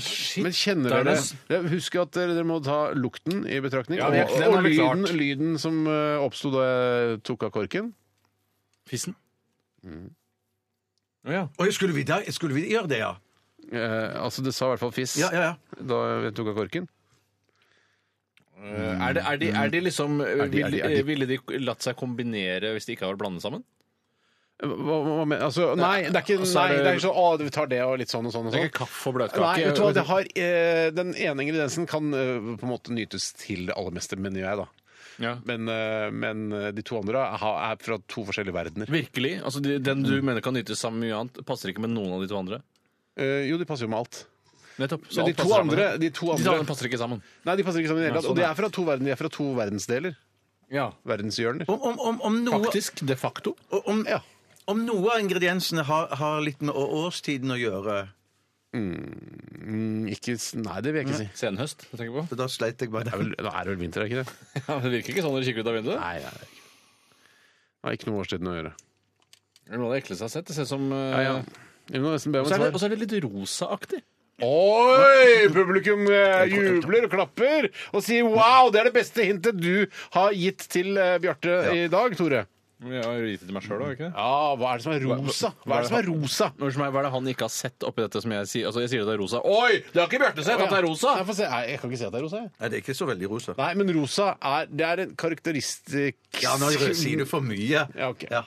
S3: Men kjenner
S5: Det er
S3: dere
S5: nesten-
S3: Jeg Husker at dere, dere må ta lukten i betraktning.
S5: Ja,
S3: og
S5: det- den
S3: og
S5: er vel
S3: lyden,
S5: klart.
S3: lyden som eh, oppsto da jeg tok av korken.
S5: Fissen? Mm. Å ja.
S4: Oi, skulle vi, da, skulle vi gjøre det, ja?
S3: Eh, altså, det sa i hvert fall fiss
S4: Ja, ja, ja.
S3: da jeg tok av korken.
S5: Eh, Er, det, er, de, er de liksom
S3: Er de- er de- er de-
S5: ville- Ville de latt seg kombinere hvis de ikke har vært blandet sammen?
S3: Eh, Hva, hva, hva mener Altså, nei, det er ikke,
S5: Og så
S3: nei,
S5: er
S3: det
S5: det-
S3: er ikke sånn å, du tar det og litt sånn og sånn og
S5: Det er
S3: sånn.
S5: ikke kaffe og
S3: Nei, vet du hva, det
S5: bløtkake.
S3: har, eh, den ene ingrediensen kan eh, på en måte nytes til det aller meste, mener jeg, da.
S5: Ja.
S3: Men, eh, men de to andre ha- er fra to forskjellige verdener.
S5: Virkelig? Altså, de- Den du mener kan nytes sammen med mye annet, passer ikke med noen av de to andre?
S3: Eh, jo, de passer jo med alt.
S5: Nettopp.
S3: Men de
S5: alt
S3: to
S5: passer
S3: andre,
S5: sammen.
S3: de to
S5: De to andre
S3: andre
S5: passer ikke sammen.
S3: Nei, de passer ikke sammen i det hele
S5: Nei,
S3: tatt. Og
S5: sånn,
S3: de
S5: ja.
S3: er fra to, verden, de er fra to verdensdeler.
S5: Ja.
S3: Verdenshjørner.
S4: Om, om, om, om noe
S5: Faktisk. De facto.
S4: Om,
S3: Ja.
S4: om noe av ingrediensene har, har litt med å- årstiden å gjøre
S3: Mm, Ikke, s- nei, det vil jeg ikke si.
S5: Senhøst, jeg tenker på.
S4: for Da sleit jeg bare
S3: Det er vel, nå er det vel vinter, er det ikke det?
S5: *laughs* Ja, *laughs* det virker ikke sånn når du kikker ut av vinduet.
S3: Nei, det er det ikke. Det har ikke noe med årstiden å gjøre.
S5: Det er noe av det ekleste jeg har sett. Det ser ut som eh,
S3: Ja, ja. Vi må nesten be om
S5: Og
S3: et
S5: så er det- og
S3: svar.
S5: så er det litt rosaaktig.
S3: Oi! Publikum eh, jubler og klapper og sier wow! Det er det beste hintet du har gitt til eh, Bjarte i dag, Tore.
S5: Jeg har jo gitt det til meg sjøl òg, ikke det?
S3: Ja, hva er det som er rosa? Hva er det som er rosa?
S5: Hva er det han ikke har sett oppi dette som jeg sier? Altså, jeg sier at det er rosa. Oi! Det har ikke Bjarte sett! At det er rosa!
S3: Nei, få se. Nei, jeg kan ikke si at det er rosa. jeg.
S4: Nei, det er ikke så veldig rosa.
S3: Nei, men rosa er, det er en karakteristikk
S4: Ja, nå sier du for mye.
S3: Ja, ok.
S4: Ja.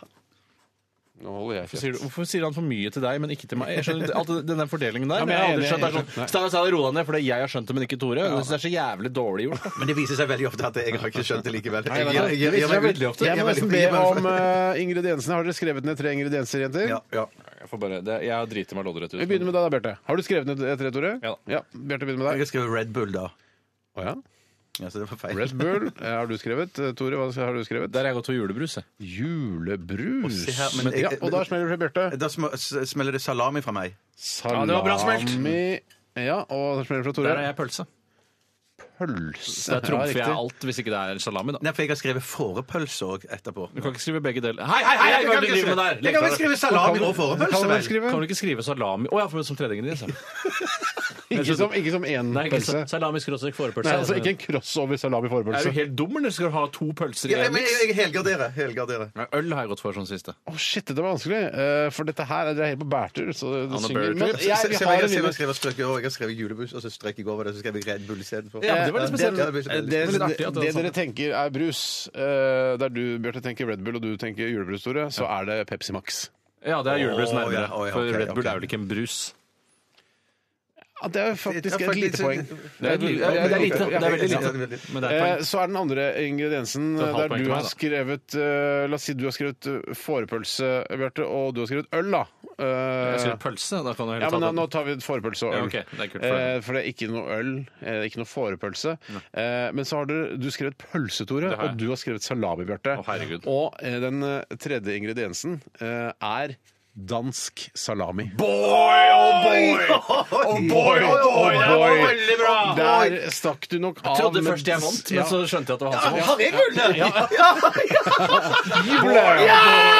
S3: Nå holder jeg
S5: Hvorfor
S3: kjeft.
S5: sier, du, hvorfor sier han for mye til deg, men ikke til meg? Jeg skjønner ikke- alt det- Den der fordelingen der.
S3: Ja, men jeg er
S5: jeg har aldri
S3: enig,
S5: skjønt. Det
S3: jeg
S5: er
S3: skjønner.
S5: sånn, Steinar Steinar, ro deg ned, fordi jeg har skjønt det, men ikke Tore. Det synes jeg er så jævlig dårlig gjort.
S4: Men det viser seg veldig ofte at jeg har ikke skjønt det likevel.
S5: nei, nei.
S4: Jeg- jeg- jeg-
S5: Det viser seg
S4: jeg-
S5: veldig ofte.
S4: jeg-
S3: Jeg må
S4: jeg-
S3: nesten be
S4: jeg- jeg-
S3: om eh, ingrediensene. Har dere skrevet ned tre ingredienser, jenter?
S4: Ja, ja.
S5: Jeg, får bare, det, jeg driter meg loddrett ut.
S3: Vi begynner med deg, da, Bjarte. Har du skrevet ned eh, tre, Tore?
S5: Ja.
S3: Bjarte begynner med deg.
S4: Jeg har skrevet Red Bull, da.
S3: Å, ja.
S4: Ja, så det var feil.
S3: Red Bull eh, har du skrevet. Eh, Tore, hva har du skrevet?
S5: Der har jeg gått for julebrus. jeg.
S3: Julebrus.
S4: se her, men-
S3: ja, og da smeller det fra Bjarte.
S4: Da sm- s- smeller det salami fra meg.
S3: Salami
S5: det var bra smelt.
S3: Ja, og da smeller det fra
S5: Der
S3: Tore.
S5: er jeg pølse.
S3: Pølse.
S5: Der trumfer jeg
S3: Ja, riktig.
S5: alt, hvis ikke det er salami, da.
S4: Nei, for jeg har skrevet fårepølse òg etterpå.
S5: Du kan ikke skrive begge deler. Hei, hei, hei! hei, hva er det du driver med der?
S4: Jeg kan vel
S5: Legg fra deg.
S4: skrive salami og
S3: Kan
S4: fårepølse,
S3: du
S4: vel?
S3: skrive?
S5: Kan du ikke skrive salami Å ja, for som tredje ingrediens. ja.
S3: Ikke som, ikke som én
S5: sånn- Nei, ikke sånn- sa-
S3: pølse.
S5: salami skråstrek
S3: Nei, altså
S5: fårepølse.
S3: Ikke en crossover
S5: Er du
S3: salami-forpølse.
S5: helt dum, eller skal du ha to pølser i
S4: Ja,
S5: en
S4: men
S5: miks?
S4: jeg, jeg helgarderer. helgarderer.
S5: Nei, Øl har jeg gått for som siste.
S3: Å, shit, dette var vanskelig. Eh, for dette her dere er helt på bærtur. Så det, det
S5: Han er
S3: synger.
S5: bærtur.
S3: Men
S4: Se-
S3: jeg, vi
S4: se hva
S3: har
S4: jeg
S3: en
S4: skrev, jeg
S3: vinner.
S4: skrev strøk i år, jeg har skrevet julebrus, og så strøk jeg over det, så skrev jeg Red Bull istedenfor.
S5: Ja, det var litt spesielt.
S4: Ja, det ble-
S3: Det,
S5: Men litt
S3: det,
S5: artig at det var
S3: det dere
S5: sant.
S3: tenker er brus, eh, der du Bjarte tenker Red Bull og du tenker julebrus, Tore, så er det Pepsi Max.
S5: Ja, det er julebrus
S4: Å, ja,
S5: nærmere.
S4: å, ja,
S5: for
S4: ok,
S5: Red Bull
S4: ok.
S5: er vel ikke en brus?
S3: Ja, det er jo faktisk
S4: Ja,
S3: et
S4: faktisk-
S3: lite poeng.
S5: Det er, li- det er lite. Det er veldig lite. Men det er
S3: Eh,
S5: poeng.
S3: Så er den andre ingrediensen
S5: Så et halvt
S3: der
S5: poeng
S3: du
S5: til meg,
S3: har
S5: da.
S3: skrevet eh, La oss si du har skrevet eh, fårepølse, Bjarte, og du har skrevet øl, da. Eh,
S5: Jeg sier pølse. Da kan du
S3: ja,
S5: heller
S3: men
S5: ta
S3: nå, nå
S5: den.
S3: tar vi fårepølse og øl.
S5: Ja, ok, det er kult for
S3: eh,
S5: deg.
S3: for det er ikke noe øl, eh, ikke noe fårepølse. Eh, men så har du, du skrevet pølse, Tore,
S5: Det har jeg.
S3: og du har skrevet salami, Bjarte.
S5: Å, herregud.
S3: og eh, den eh, tredje ingrediensen eh, er dansk salami.
S4: Veldig bra!
S3: Der stakk du nok av.
S5: Jeg trodde
S3: med-
S5: først jeg vant,
S3: Ja.
S5: men så skjønte jeg at det var han som vant.
S4: Har jeg gullet?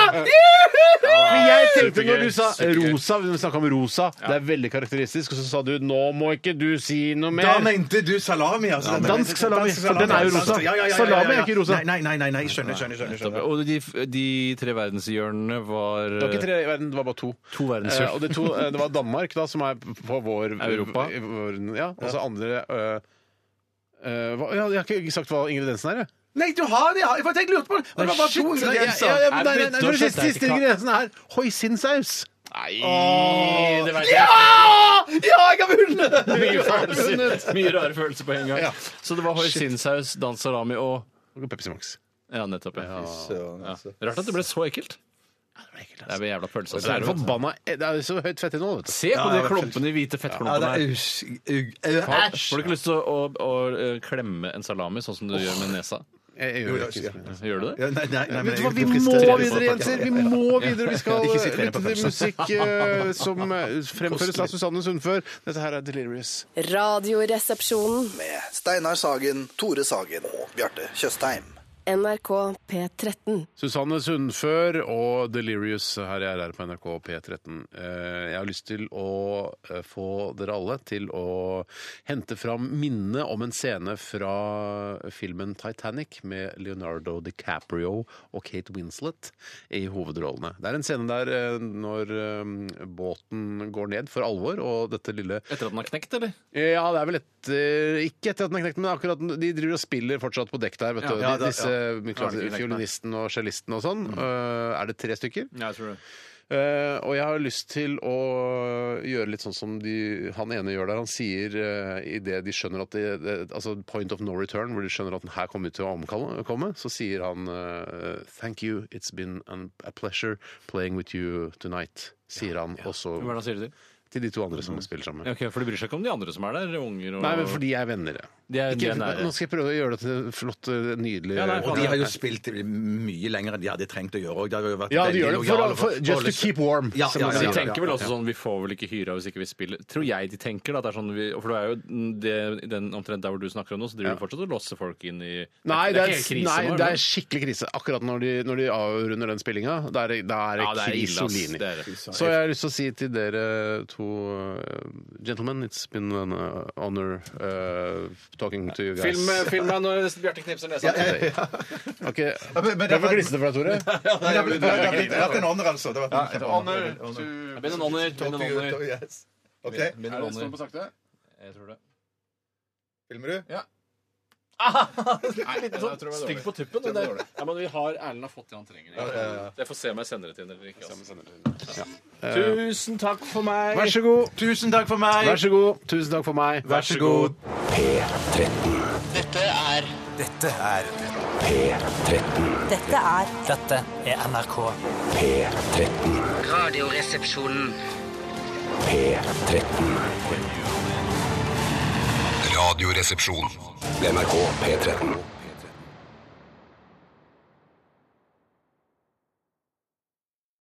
S3: For jeg tenkte
S5: Supergøy,
S3: når du sa
S5: supergøy.
S3: rosa, vi snakket om rosa, det er veldig karakteristisk, og så sa du 'nå må ikke du si noe
S4: Da
S3: mer'.
S4: mente du salami, altså. Da mente-
S3: dansk salami, for den er jo rosa.
S4: Ja, ja, ja, ja, ja.
S3: Salami er ikke rosa.
S4: Nei, Nei, nei, nei, nei. skjønner, skjønner, skjønner. skjønner.
S5: Og de, de tre verdenshjørnene var
S3: Det var ikke tre i verden, det var bare to.
S5: To verdenshjørner.
S3: Eh, og det, to, eh, det var Danmark, da, som er på vår
S5: Europa.
S3: i Vår, ja, og så andre eh, eh, hva, ja, Jeg har ikke sagt hva ingrediensen er, jeg.
S4: Nei, du har det! ja. For jeg lurte på det! Og Det var bare to
S3: Shit, nei,
S4: ingredienser.
S3: ja, ja, men nei,
S4: Er
S3: nei,
S4: det
S3: nei,
S4: rett og
S3: den
S4: slett
S3: siste, siste
S4: ikke-
S3: ingrediensen er hoisinsaus.
S5: Nei,
S3: Åh.
S5: det vet jeg.
S4: Ja! Ja, jeg har vunnet!
S5: Mye følelser. Mye rare følelser på en gang. Så det var hoisinsaus, dansalami og
S3: Og Pepsi Max.
S5: Ja, nettopp. Ja. Ja.
S4: altså.
S5: Rart at det ble så ekkelt. Det er vel jævla pølse. altså.
S3: Det er forbanna eh, Det er jo så høyt fettinnhold, vet du.
S5: Se på de klumpene, de
S4: Ja,
S5: hvite
S4: det
S5: fettklumpene
S4: er
S5: her.
S4: us- u- u- Æsj!
S5: Får du ikke lyst til å, å, å klemme en salami sånn som du gjør med nesa?
S3: Jeg, jeg gjør det ikke.
S5: Gjør du det?
S4: Ja, nei, nei, nei, men
S3: Vet du hva,
S4: jeg-
S3: Vi
S4: jeg-
S3: må
S4: jeg-
S3: videre, jenter! Vi må videre! Vi skal
S4: *laughs* Ikke
S3: eh,
S4: sitere på
S3: lytte til
S4: pølsa.
S3: musikk eh, som eh, fremføres av Susanne Sundfør. Dette her er Delirious.
S7: Radioresepsjonen.
S6: Med Steinar Sagen, Tore Sagen og Bjarte Tjøstheim.
S7: NRK P13.
S3: Susanne Sundfør og Delirious her jeg er her på NRK P13. Eh, Jeg har lyst til å eh, få dere alle til å hente fram minnet om en scene fra filmen Titanic med Leonardo DiCaprio og Kate Winslet i hovedrollene. Det er en scene der eh, når eh, båten går ned for alvor, og dette lille
S5: Etter at den har knekt, eller?
S3: ja, det er vel etter Ikke etter at den er knekt, men akkurat den- de driver og spiller fortsatt på dekk der. vet du.
S4: ja, da-
S3: Disse
S4: ja.
S3: klassiske fiolinisten og cellisten og sånn.
S4: Mm.
S3: Øh, er det tre stykker?
S5: Ja, jeg tror det.
S3: Eh, og jeg har lyst til å gjøre litt sånn som de, han ene gjør der. Han sier uh, idet de skjønner at de, det- Altså point of no return, hvor de skjønner at den her kommer til å omkomme, så sier han eh, Thank you, it's been an, a pleasure playing with you tonight. Sier han
S5: Hva er det
S3: også
S5: han sier til?
S3: til de to andre
S4: Mm.
S3: som spiller sammen.
S5: Ja, ok, for de bryr seg ikke om de andre som er der? Unger og
S3: Nei, men fordi jeg er venner. ja.
S5: De er- de
S3: Ikke,
S5: er nære.
S3: nå skal jeg prøve å gjøre det til flott, eh, nydelig
S5: Ja, nei,
S4: Og de har jo spilt det mye lenger enn de hadde trengt å gjøre. og de har jo vært
S3: Ja, de
S4: veldig
S3: gjør det for,
S4: lojale
S3: for, just to
S4: *laughs*
S3: keep warm.
S4: Ja,
S3: som
S4: ja,
S3: man
S5: Men
S3: sier.
S5: de tenker vel også
S4: ja.
S5: sånn Vi får vel ikke hyra hvis ikke vi spiller Tror jeg de tenker da, at det er sånn vi, For det er jo det, den, omtrent der hvor du snakker om nå Så driver du fortsatt og låser folk inn i
S3: Nei, det er,
S5: ikke helt krise
S3: nei,
S5: nå,
S3: det
S5: eller?
S3: er skikkelig krise akkurat når de, når de avrunder den spillinga. Da er det, da er det
S5: Ja, det er ille, ass.
S3: krisolini.
S5: Det er det.
S3: Så jeg har lyst til å si til dere to uh, Gentlemen, it's been an uh, honor uh, talking to you guys.
S5: Film, eh, film meg når *laughs* Bjarte knipser nesa
S3: Ok,
S4: men- men-
S3: Ble for glisete for deg,
S4: *laughs*
S3: Tore?
S4: Men det har- det har blitt- det har vært en honor, altså. Det har vært en kjempehonour.
S5: Bind en ånder, bind en ånder
S4: Yes. Ok,
S5: Bind en ånder.
S12: sakte?
S5: Jeg tror det
S4: filmer du?
S5: Nei, det var dårlig. Stygg på tuppen det der. Ja, men vi har Erlend har fått det han trenger Jeg får se om jeg sender det til henne eller ikke altså. ass. Ja. Tusen takk for meg
S3: Vær så god.
S4: Tusen takk for meg.
S3: Vær så god. Tusen takk for meg.
S4: Vær så god.
S13: Dette er
S14: Dette er
S13: Dette er NRK.
S14: Radioresepsjonen.
S8: Radioresepsjon. NRK P13.